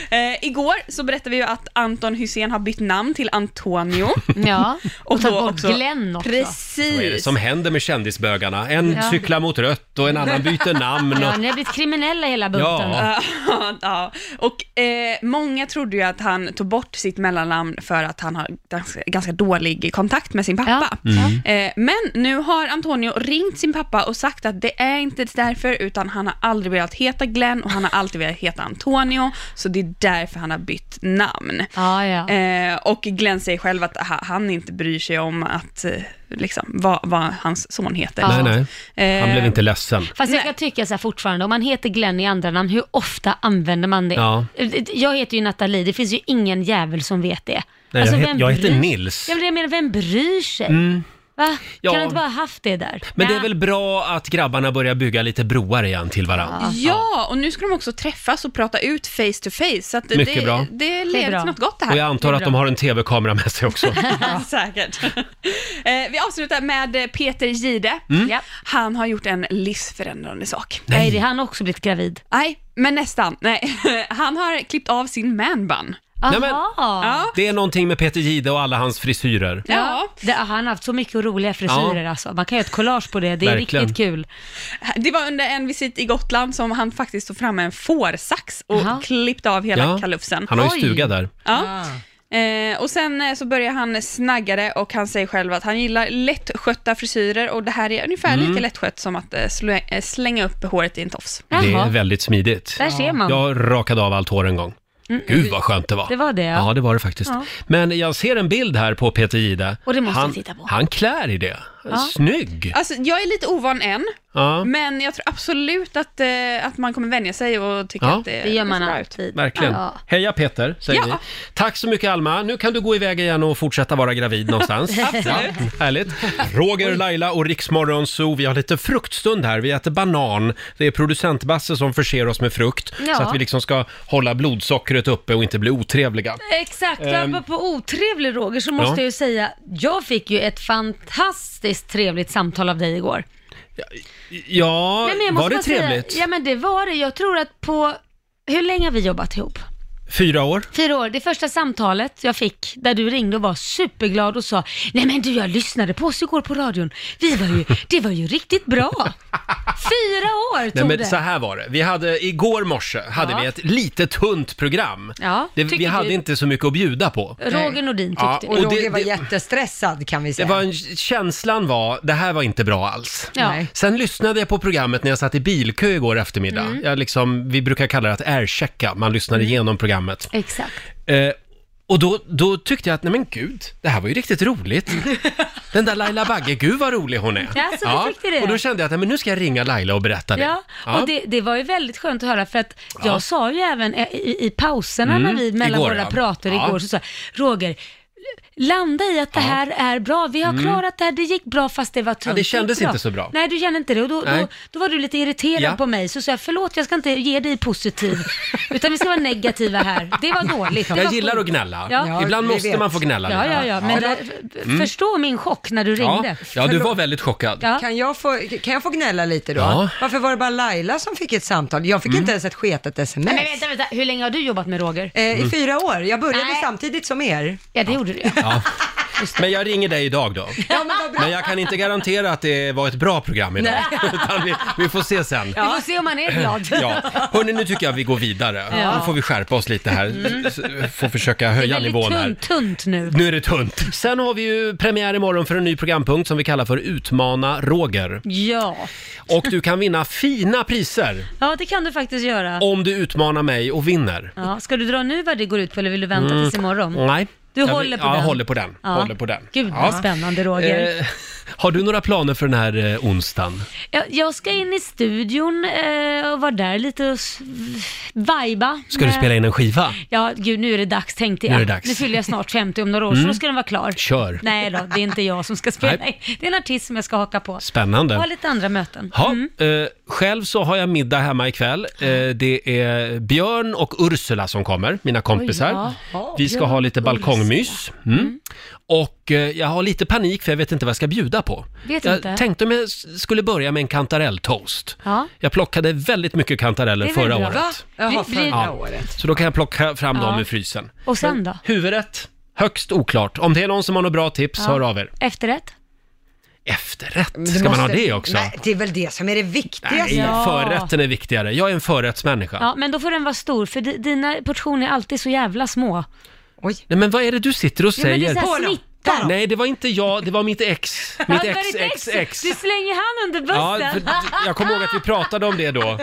[SPEAKER 14] Eh, igår så berättade vi ju att Anton Hussein har bytt namn till Antonio.
[SPEAKER 4] Ja, och
[SPEAKER 14] då
[SPEAKER 4] tagit bort Glenn också.
[SPEAKER 14] Precis.
[SPEAKER 1] Vad är det som händer med kändisbögarna? En
[SPEAKER 4] Ja.
[SPEAKER 1] cyklar mot rött och en annan byter namn.
[SPEAKER 4] Ja,
[SPEAKER 1] Och...
[SPEAKER 4] ni har blivit kriminella hela bunten.
[SPEAKER 1] Ja.
[SPEAKER 14] ja, och eh, många trodde ju att han tog bort sitt mellannamn för att han har ganska, ganska dålig kontakt med sin pappa.
[SPEAKER 5] Mm.
[SPEAKER 14] Eh, men nu har Antonio ringt sin pappa och sagt att det är inte därför, utan han har aldrig velat heta Glenn och han har alltid velat heta Antonio, så det är därför han har bytt namn. Eh, och Glenn säger själv att ha- han inte bryr sig om att eh, liksom, vad, vad hans son heter.
[SPEAKER 1] Nej, nej. Han
[SPEAKER 4] Eh,
[SPEAKER 1] blev inte ledsen.
[SPEAKER 4] Fast jag kan tycka så här fortfarande, om man heter Glenn i andra namn, hur ofta använder man det?
[SPEAKER 1] Ja.
[SPEAKER 4] Jag heter ju Nathalie, det finns ju ingen jävel som vet det. Alltså,
[SPEAKER 1] Nej, jag het-
[SPEAKER 4] vem
[SPEAKER 1] jag heter
[SPEAKER 4] bryr-
[SPEAKER 1] Nils.
[SPEAKER 4] Ja, men jag menar, vem bryr sig?
[SPEAKER 1] Mm.
[SPEAKER 4] Va?
[SPEAKER 1] Ja.
[SPEAKER 4] Kan du inte bara ha haft det där?
[SPEAKER 1] Men det är
[SPEAKER 4] Nä.
[SPEAKER 1] väl bra att grabbarna börjar bygga lite broar igen till varandra.
[SPEAKER 14] Alltså. Ja, och nu ska de också träffas och prata ut face to face. Så att det,
[SPEAKER 1] Mycket bra.
[SPEAKER 14] det leder till något gott det här.
[SPEAKER 1] Och jag antar att de har en tv-kamera med sig också.
[SPEAKER 14] Säkert. Eh, Vi avslutar med Peter Gide.
[SPEAKER 1] Mm.
[SPEAKER 14] Han har gjort en livsförändrande sak.
[SPEAKER 4] Nej, det han har också blivit gravid.
[SPEAKER 14] Nej, men nästan. Nej. Han har klippt av sin manbun.
[SPEAKER 1] Nej, men-
[SPEAKER 14] Ja.
[SPEAKER 1] Det är någonting med Peter Gide och alla hans frisyrer.
[SPEAKER 4] Ja, det, han har haft så mycket roliga frisyrer
[SPEAKER 1] Ja.
[SPEAKER 4] alltså. Man kan göra ett collage på det, det är
[SPEAKER 1] Verkligen.
[SPEAKER 4] riktigt kul.
[SPEAKER 14] Det var under en visit i Gotland som han faktiskt tog fram en fårsax och klippte av hela
[SPEAKER 1] Ja,
[SPEAKER 14] kalufsen.
[SPEAKER 1] han har ju Oj. stuga där.
[SPEAKER 14] Ja.
[SPEAKER 4] Ah.
[SPEAKER 14] Eh, och sen eh, så börjar han snagga det och han säger själv att han gillar lättskötta frisyrer och det här är ungefär
[SPEAKER 1] Mm.
[SPEAKER 14] lika lättskött som att eh, slä, eh, slänga upp håret i en tofs.
[SPEAKER 1] Det är väldigt smidigt.
[SPEAKER 14] Där ser man.
[SPEAKER 1] Jag rakade av allt hår en gång.
[SPEAKER 14] Mm.
[SPEAKER 1] Gud vad skönt det var.
[SPEAKER 4] Det var det, ja.
[SPEAKER 1] ja. det var det faktiskt.
[SPEAKER 4] Ja.
[SPEAKER 1] Men jag ser en bild här på Peter Gide.
[SPEAKER 14] Och det måste
[SPEAKER 1] han,
[SPEAKER 14] vi titta på.
[SPEAKER 1] Han klär i det.
[SPEAKER 14] Ja.
[SPEAKER 1] Snygg!
[SPEAKER 14] Alltså, jag är lite ovan än,
[SPEAKER 1] Ja.
[SPEAKER 14] men jag tror absolut att, eh, att man kommer vänja sig och tycka
[SPEAKER 1] Ja.
[SPEAKER 14] att det,
[SPEAKER 1] Det gör
[SPEAKER 4] man
[SPEAKER 14] alltid.
[SPEAKER 1] Verkligen. Heja Peter, säger
[SPEAKER 14] Ja.
[SPEAKER 1] vi. Tack så mycket Alma. Nu kan du gå iväg igen och fortsätta vara gravid någonstans.
[SPEAKER 14] Absolut.
[SPEAKER 1] härligt. Roger, Laila och Riksmorgon Zoo. Vi har lite fruktstund här. Vi äter banan. Det är producent Basse som förser oss med frukt.
[SPEAKER 4] Ja.
[SPEAKER 1] Så att vi liksom ska hålla blodsockret uppe och inte bli otrevliga.
[SPEAKER 4] Exakt, och
[SPEAKER 1] Ehm.
[SPEAKER 4] apropå otrevlig Roger så måste
[SPEAKER 1] Ja.
[SPEAKER 4] jag ju säga, jag fick ju ett fantastiskt trevligt samtal av dig igår.
[SPEAKER 1] Ja,
[SPEAKER 4] Nej, men jag måste
[SPEAKER 1] var det
[SPEAKER 4] bara säga-
[SPEAKER 1] trevligt?
[SPEAKER 4] ja men det var det. Jag tror att på, hur länge har vi jobbat ihop?
[SPEAKER 1] Fyra år?
[SPEAKER 4] Fyra år. Det första samtalet jag fick där du ringde och var superglad och sa Nej men du jag lyssnade på oss igår på radion. Vi var ju, det var ju riktigt bra. Fyra år tog
[SPEAKER 1] Nej, men
[SPEAKER 4] det.
[SPEAKER 1] så här var det. Vi hade, igår morse hade
[SPEAKER 4] Ja.
[SPEAKER 1] vi ett lite tunt program.
[SPEAKER 4] Ja,
[SPEAKER 1] det,
[SPEAKER 4] tycker
[SPEAKER 1] vi
[SPEAKER 4] du?
[SPEAKER 1] hade inte så mycket att bjuda på.
[SPEAKER 2] Roger
[SPEAKER 4] Nordin
[SPEAKER 2] tyckte.
[SPEAKER 1] Ja,
[SPEAKER 2] och
[SPEAKER 1] och det-
[SPEAKER 2] Roger var
[SPEAKER 1] det-
[SPEAKER 2] jättestressad kan vi
[SPEAKER 1] Det
[SPEAKER 2] säga.
[SPEAKER 1] var en, känslan var, det här var inte bra alls.
[SPEAKER 2] Ja. Nej.
[SPEAKER 1] Sen lyssnade jag på programmet när jag satt i bilkö igår eftermiddag.
[SPEAKER 4] Mm.
[SPEAKER 1] Jag liksom, vi brukar kalla det att airchecka, man lyssnar igenom programmet.
[SPEAKER 4] Exakt.
[SPEAKER 1] Eh, och då, då tyckte jag att, nej men gud, det här var ju riktigt roligt. Den där Laila Bagge, gud vad rolig hon är.
[SPEAKER 4] Ja, så du tyckte det?
[SPEAKER 1] Och då kände jag att, nej, men nu ska jag ringa Laila och berätta det.
[SPEAKER 4] Ja, och det, det var ju väldigt skönt att höra för att jag
[SPEAKER 1] Ja.
[SPEAKER 4] sa ju även i, i, i pauserna
[SPEAKER 1] Mm,
[SPEAKER 4] när vi mellan
[SPEAKER 1] igår,
[SPEAKER 4] våra
[SPEAKER 1] ja.
[SPEAKER 4] prater
[SPEAKER 1] Ja.
[SPEAKER 4] igår så sa jag, Roger, landa i att det här är bra. Vi har
[SPEAKER 1] Mm.
[SPEAKER 4] klarat det här, det gick bra fast det var tungt.
[SPEAKER 1] det kändes
[SPEAKER 4] gick
[SPEAKER 1] inte så bra.
[SPEAKER 4] Nej, du kände inte det och då,
[SPEAKER 1] Nej.
[SPEAKER 4] då, då var du lite irriterad
[SPEAKER 1] Ja.
[SPEAKER 4] på mig så sa jag, förlåt jag ska inte ge dig positiv, utan vi ska vara negativa här. Det var dåligt. Det
[SPEAKER 1] Jag
[SPEAKER 4] var
[SPEAKER 1] gillar
[SPEAKER 4] sjukt.
[SPEAKER 1] att gnälla. Ibland
[SPEAKER 4] vi
[SPEAKER 1] måste
[SPEAKER 4] vet.
[SPEAKER 1] man få gnälla
[SPEAKER 4] Ja,
[SPEAKER 1] lite.
[SPEAKER 4] ja, ja. Men
[SPEAKER 1] Ja.
[SPEAKER 4] där,
[SPEAKER 1] Mm.
[SPEAKER 4] förstå min chock när du ringde.
[SPEAKER 1] Ja, ja du var väldigt chockad.
[SPEAKER 2] Kan, jag få, kan jag få gnälla lite då?
[SPEAKER 1] Ja. Mm.
[SPEAKER 2] Varför var det bara Laila som fick ett samtal? Jag fick inte ens ett sketet sms.
[SPEAKER 4] Nej, men vänta, vänta. Hur länge har du jobbat med Roger?
[SPEAKER 1] Mm.
[SPEAKER 2] Eh, I fyra år. Jag började samtidigt som er.
[SPEAKER 4] Ja, det gjorde du.
[SPEAKER 1] Ja. Men jag ringer dig idag då. Men jag kan inte garantera att det var ett bra program idag. Utan vi, vi får se sen.
[SPEAKER 4] Vi får se om han är glad.
[SPEAKER 1] Ja. Hörni, nu tycker jag vi går vidare.
[SPEAKER 4] Ja.
[SPEAKER 1] Nu får vi skärpa oss lite här.
[SPEAKER 4] Mm.
[SPEAKER 1] S- Får försöka höja nivån här.
[SPEAKER 4] tunt, tunt nu.
[SPEAKER 1] Nu är det tunt. Sen har vi ju premiär imorgon för en ny programpunkt som vi kallar för Utmana Roger.
[SPEAKER 4] Ja.
[SPEAKER 1] Och du kan vinna fina priser
[SPEAKER 4] ja, det kan du faktiskt göra.
[SPEAKER 1] om du utmanar mig och vinner.
[SPEAKER 4] Ja, ska du dra nu vad det går ut på eller vill du vänta
[SPEAKER 1] Mm.
[SPEAKER 4] tills imorgon?
[SPEAKER 1] Nej.
[SPEAKER 4] Du
[SPEAKER 1] Jag vill-
[SPEAKER 4] håller på
[SPEAKER 1] ja,
[SPEAKER 4] den?
[SPEAKER 1] jag håller på den.
[SPEAKER 4] Ja.
[SPEAKER 1] Håller på den.
[SPEAKER 4] Gud vad
[SPEAKER 1] Ja.
[SPEAKER 4] spännande Roger.
[SPEAKER 1] Eh, har du några planer för den här eh, onsdagen?
[SPEAKER 4] Jag, jag ska in i studion eh, och vara där lite och s- vajba.
[SPEAKER 1] Ska du
[SPEAKER 4] med-
[SPEAKER 1] spela in en skiva?
[SPEAKER 4] Ja, gud nu är det dags tänkte jag.
[SPEAKER 1] Nu är det dags.
[SPEAKER 4] nu fyller jag snart 50 om några år så
[SPEAKER 1] Mm.
[SPEAKER 4] då ska den vara klar.
[SPEAKER 1] Kör.
[SPEAKER 4] Nej då, det är inte jag som ska spela.
[SPEAKER 1] Nej.
[SPEAKER 4] Det är en artist som jag ska haka på.
[SPEAKER 1] Spännande.
[SPEAKER 4] Jag har lite andra möten.
[SPEAKER 1] Ja, eh, själv så har jag middag hemma ikväll. Eh, det är Björn och Ursula som kommer, mina kompisar.
[SPEAKER 4] Oj, ja. Ja,
[SPEAKER 1] Vi ska
[SPEAKER 4] Björn,
[SPEAKER 1] ha lite och mys. Mm. Och eh, jag har lite panik för jag vet inte vad jag ska bjuda på.
[SPEAKER 4] Vet
[SPEAKER 1] jag
[SPEAKER 4] inte.
[SPEAKER 1] tänkte om jag s- skulle börja med en kantarelltoast.
[SPEAKER 4] Ja.
[SPEAKER 1] Jag plockade väldigt mycket kantareller
[SPEAKER 4] Det är väl
[SPEAKER 1] förra
[SPEAKER 4] bra.
[SPEAKER 1] året.
[SPEAKER 4] Va? Jaha, förra
[SPEAKER 1] Ja.
[SPEAKER 4] året.
[SPEAKER 1] Så då kan jag plocka fram
[SPEAKER 4] Ja.
[SPEAKER 1] dem ur frysen.
[SPEAKER 4] Och sen då?
[SPEAKER 1] Huvudrätt, högst oklart. Om det är någon som har några bra tips,
[SPEAKER 4] Ja.
[SPEAKER 1] hör av er.
[SPEAKER 4] Efterrätt?
[SPEAKER 1] Efterrätt,
[SPEAKER 2] Du
[SPEAKER 1] ska man ha
[SPEAKER 2] måste-
[SPEAKER 1] det också?
[SPEAKER 2] Nej, det är väl det som är det viktigaste.
[SPEAKER 1] Nej, förrätten är viktigare. Jag är en förrättsmänniska.
[SPEAKER 4] Ja, men då får den vara stor, för di- dina portioner är alltid så jävla små.
[SPEAKER 2] Oj.
[SPEAKER 1] Nej, men vad är det du sitter och
[SPEAKER 4] Ja, men det är
[SPEAKER 1] säger?
[SPEAKER 4] så här snittar.
[SPEAKER 1] Nej, det var inte jag, det var mitt ex.
[SPEAKER 4] Ja,
[SPEAKER 1] Mitt
[SPEAKER 4] det var
[SPEAKER 1] ex,
[SPEAKER 4] ditt
[SPEAKER 1] ex, ex.
[SPEAKER 4] Du slänger han under
[SPEAKER 1] Ja,
[SPEAKER 4] bussen.
[SPEAKER 1] för d- jag kommer ihåg att vi pratade om det då.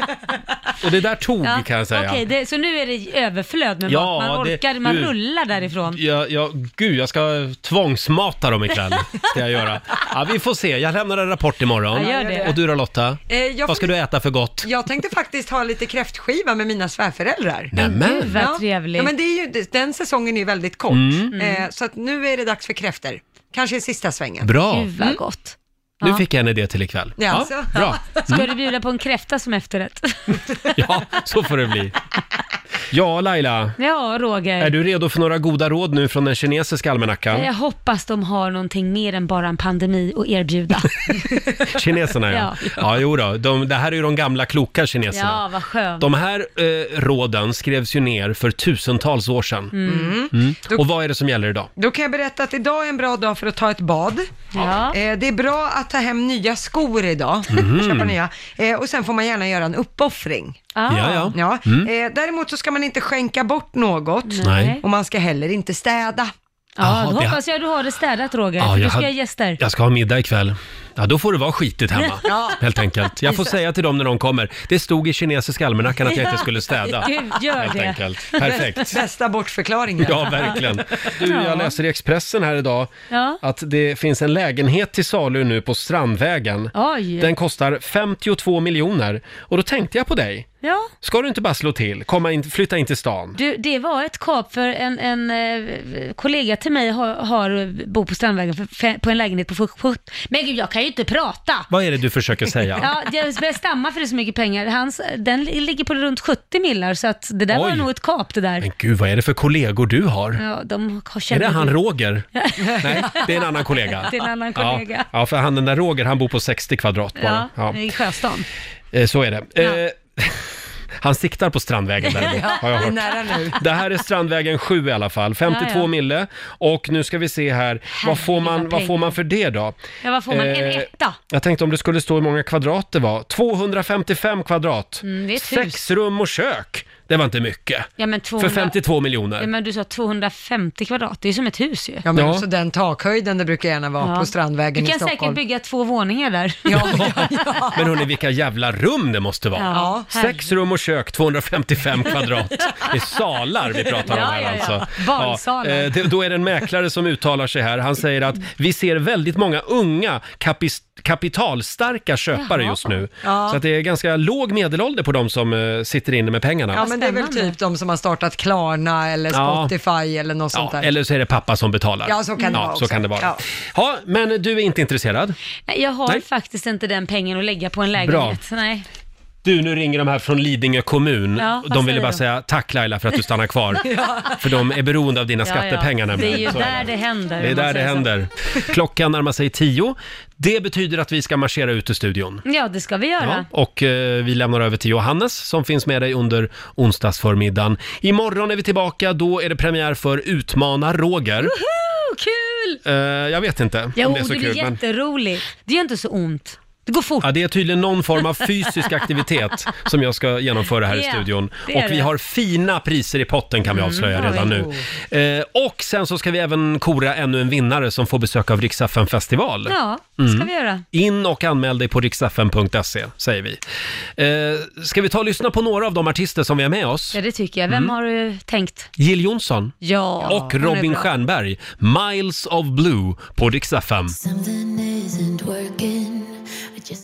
[SPEAKER 1] Och det där tog
[SPEAKER 4] Ja,
[SPEAKER 1] kan jag säga.
[SPEAKER 4] Okej, det, så nu är det överflöd med
[SPEAKER 1] Ja,
[SPEAKER 4] mat. Man
[SPEAKER 1] det-
[SPEAKER 4] orkar, man
[SPEAKER 1] du-
[SPEAKER 4] rullar därifrån.
[SPEAKER 1] Jag, jag, gud, jag ska tvångsmata dem ikväll. Ska jag göra. Ja, vi får se. Jag lämnar en rapport imorgon.
[SPEAKER 2] Ja, gör det.
[SPEAKER 1] Och du då Lotta?
[SPEAKER 2] Eh, jag
[SPEAKER 1] Vad ska
[SPEAKER 2] får-
[SPEAKER 1] du äta för gott?
[SPEAKER 2] Jag tänkte faktiskt ha lite kräftskiva med mina svärföräldrar.
[SPEAKER 1] Nämen. Gud, vad
[SPEAKER 2] Ja.
[SPEAKER 4] trevligt.
[SPEAKER 2] Ja, men det är ju, den säsongen är ju väldigt kort.
[SPEAKER 1] Mm.
[SPEAKER 2] Eh, så att nu är det dags för kräfter. Kanske i sista svängen.
[SPEAKER 1] Bra. Gud, vad
[SPEAKER 2] Mm.
[SPEAKER 4] gott.
[SPEAKER 1] Nu fick jag en idé till ikväll.
[SPEAKER 2] Ja, alltså.
[SPEAKER 1] bra. Mm.
[SPEAKER 4] Ska du bjuda på en kräfta som efterrätt?
[SPEAKER 1] Ja, så får det bli. Ja, Laila.
[SPEAKER 4] ja, Roger.
[SPEAKER 1] Är du redo för några goda råd nu från den kinesiska almanackan?
[SPEAKER 4] Jag hoppas de har någonting mer än bara en pandemi att erbjuda.
[SPEAKER 1] Kineserna ja.
[SPEAKER 4] Ja.
[SPEAKER 1] ja. jo då. De, det här är ju de gamla kloka kineserna.
[SPEAKER 4] ja, vad skönt.
[SPEAKER 1] De här eh, råden skrevs ju ner för tusentals år sedan.
[SPEAKER 2] Mm.
[SPEAKER 1] Mm. Och vad är det som gäller idag?
[SPEAKER 2] Då kan jag berätta att idag är en bra dag för att ta ett bad. Eh, det är bra att ta hem nya skor idag.
[SPEAKER 1] Mhm.
[SPEAKER 4] Mm.
[SPEAKER 2] Köpa nya. Eh, och sen får man gärna göra en uppoffring.
[SPEAKER 4] Ah.
[SPEAKER 1] Ja, ja. Mm.
[SPEAKER 2] Eh, däremot så ska man inte skänka bort något.
[SPEAKER 1] Nej.
[SPEAKER 2] Och man ska heller inte städa.
[SPEAKER 1] Jaha,
[SPEAKER 4] Ja, då
[SPEAKER 1] det-
[SPEAKER 4] hoppas jag du har det städat Roger, för
[SPEAKER 1] Ja,
[SPEAKER 4] du
[SPEAKER 1] Ah, jag
[SPEAKER 4] ska
[SPEAKER 1] hade-
[SPEAKER 4] ha gäster.
[SPEAKER 1] Jag ska ha middag ikväll. Ja, då får det vara skitigt hemma.
[SPEAKER 4] Ja.
[SPEAKER 1] Helt enkelt. Jag får säga till dem när de kommer. Det stod i kinesiska almanackan att jag inte skulle städa.
[SPEAKER 2] Gud, gör
[SPEAKER 1] Helt
[SPEAKER 2] det.
[SPEAKER 1] enkelt. Perfekt.
[SPEAKER 2] Bästa bortförklaringen.
[SPEAKER 1] Ja, verkligen. Du, jag läser i Expressen här idag
[SPEAKER 4] Ja.
[SPEAKER 1] att det finns en lägenhet till salu nu på Strandvägen.
[SPEAKER 4] Oj.
[SPEAKER 1] Den kostar 52 miljoner. Och då tänkte jag på dig.
[SPEAKER 4] Ja.
[SPEAKER 1] Ska du inte bara slå till? Komma in, flytta in till stan?
[SPEAKER 4] Du, det var ett kap för en, en eh, kollega till mig har, har bor på Strandvägen för, för, på en lägenhet på Fuck- Fuck. Men gud, jag kan ju inte prata!
[SPEAKER 1] Vad är det du försöker säga?
[SPEAKER 4] Ja, jag börjar stamma för det är så mycket pengar. Hans, den ligger på runt 70 millar, så att det där var
[SPEAKER 1] Oj.
[SPEAKER 4] nog ett kap det där.
[SPEAKER 1] Men gud, vad är det för kollegor du har?
[SPEAKER 4] Ja, de har
[SPEAKER 1] Är
[SPEAKER 4] känner
[SPEAKER 1] det han
[SPEAKER 4] du-
[SPEAKER 1] Roger? Nej, det är en annan kollega.
[SPEAKER 4] Det är en annan kollega.
[SPEAKER 1] Ja, ja för han den där Roger, han bor på 60 kvadrat bara. Ja.
[SPEAKER 4] Ja, i Sjöstan.
[SPEAKER 1] Eh, Så är det. Eh, Han siktar på Strandvägen däremot,
[SPEAKER 4] Ja,
[SPEAKER 1] har jag
[SPEAKER 4] det är
[SPEAKER 1] hört.
[SPEAKER 4] nära nu.
[SPEAKER 1] Det här är Strandvägen 7 i alla fall, 52
[SPEAKER 4] Ja, ja.
[SPEAKER 1] mille. Och nu ska vi se här, vad får,
[SPEAKER 4] vad
[SPEAKER 1] man, vad får
[SPEAKER 4] pengar.
[SPEAKER 1] man för det då?
[SPEAKER 4] Ja, vad får man? En
[SPEAKER 1] Eh,
[SPEAKER 4] etta?
[SPEAKER 1] Jag tänkte om det skulle stå hur många kvadrat det var. 255 kvadrat.
[SPEAKER 4] Mm, det är ett
[SPEAKER 1] Sex rum och kök. Det var inte mycket.
[SPEAKER 4] Ja, men
[SPEAKER 1] För
[SPEAKER 4] 200
[SPEAKER 1] 52 miljoner.
[SPEAKER 4] Ja, men du sa 250 kvadrat, det är som ett hus ju.
[SPEAKER 2] Ja, men också den takhöjden det brukar gärna vara
[SPEAKER 4] Ja.
[SPEAKER 2] på Strandvägen
[SPEAKER 4] Du
[SPEAKER 2] i
[SPEAKER 4] kan
[SPEAKER 2] Stockholm.
[SPEAKER 4] säkert bygga två våningar där.
[SPEAKER 1] Men hörni, vilka jävla rum det måste vara.
[SPEAKER 4] Ja,
[SPEAKER 1] Sex rum och kök, 255 kvadrat. Det är salar vi pratar om
[SPEAKER 4] Ja,
[SPEAKER 1] här
[SPEAKER 4] ja, ja.
[SPEAKER 1] alltså.
[SPEAKER 4] Barnsalar.
[SPEAKER 1] eh, det, då är det en mäklare som uttalar sig här. Han säger att vi ser väldigt många unga kapis, kapitalstarka köpare
[SPEAKER 2] Jaha.
[SPEAKER 1] just nu.
[SPEAKER 2] Ja.
[SPEAKER 1] Så att det är ganska låg medelålder på de som eh, sitter inne med pengarna.
[SPEAKER 2] Ja, men det är väl typ de som har startat Klarna eller
[SPEAKER 1] Ja.
[SPEAKER 2] Spotify eller något sånt där.
[SPEAKER 1] Eller så är det pappa som betalar.
[SPEAKER 2] Ja, så kan det vara
[SPEAKER 1] så
[SPEAKER 2] också.
[SPEAKER 1] kan det vara. Ja.
[SPEAKER 2] Ja.
[SPEAKER 1] men du är inte intresserad?
[SPEAKER 4] Nej, jag har
[SPEAKER 1] Nej.
[SPEAKER 4] faktiskt inte den pengen att lägga på en lägenhet. Nej.
[SPEAKER 1] Du, nu ringer de här från Lidingö kommun.
[SPEAKER 4] Ja, vad
[SPEAKER 1] de ville
[SPEAKER 4] säger
[SPEAKER 1] bara
[SPEAKER 4] de?
[SPEAKER 1] säga tack Laila för att du stannar kvar. För de är beroende av dina skattepengar
[SPEAKER 4] ja.
[SPEAKER 1] nämligen.
[SPEAKER 4] Det är ju
[SPEAKER 1] Så
[SPEAKER 4] där det händer.
[SPEAKER 1] det är
[SPEAKER 4] om man
[SPEAKER 1] där det
[SPEAKER 4] säger så.
[SPEAKER 1] händer. Klockan närmar sig tio. Det betyder att vi ska marschera ut ur studion.
[SPEAKER 4] Ja, det ska vi göra.
[SPEAKER 1] Och eh, vi lämnar över till Johannes som finns med dig under onsdagsförmiddagen. Imorgon är vi tillbaka. Då är det premiär för Utmana Roger.
[SPEAKER 4] Woho, Oh, kul!
[SPEAKER 1] Eh, jag vet inte
[SPEAKER 4] Jo,
[SPEAKER 1] om
[SPEAKER 4] det
[SPEAKER 1] det är så
[SPEAKER 4] är
[SPEAKER 1] kul. men-
[SPEAKER 4] jätteroligt. Det gör inte så ont. Det går fort.
[SPEAKER 1] Ja, det är tydligen någon form av fysisk aktivitet som jag ska genomföra här i
[SPEAKER 4] Ja,
[SPEAKER 1] studion.
[SPEAKER 4] det är
[SPEAKER 1] Och vi
[SPEAKER 4] det.
[SPEAKER 1] har fina priser i potten kan vi
[SPEAKER 4] Mm,
[SPEAKER 1] avslöja
[SPEAKER 4] ja,
[SPEAKER 1] redan
[SPEAKER 4] jo.
[SPEAKER 1] nu. Eh, och sen så ska vi även kora ännu en vinnare som får besök av Rix FM festival.
[SPEAKER 4] Ja, det ska
[SPEAKER 1] Mm.
[SPEAKER 4] vi göra.
[SPEAKER 1] In och anmäl dig på riksfn.se, säger vi. Eh, ska vi ta och lyssna på några av de artister som vi har med oss?
[SPEAKER 4] Ja, det tycker jag. Vem
[SPEAKER 1] Mm.
[SPEAKER 4] har du tänkt?
[SPEAKER 1] Jill Johnson
[SPEAKER 4] Ja,
[SPEAKER 1] och
[SPEAKER 4] hon är
[SPEAKER 1] Robin
[SPEAKER 4] bra.
[SPEAKER 1] Stjernberg, Miles of Blue på Rix FM.
[SPEAKER 20] Something isn't working. I just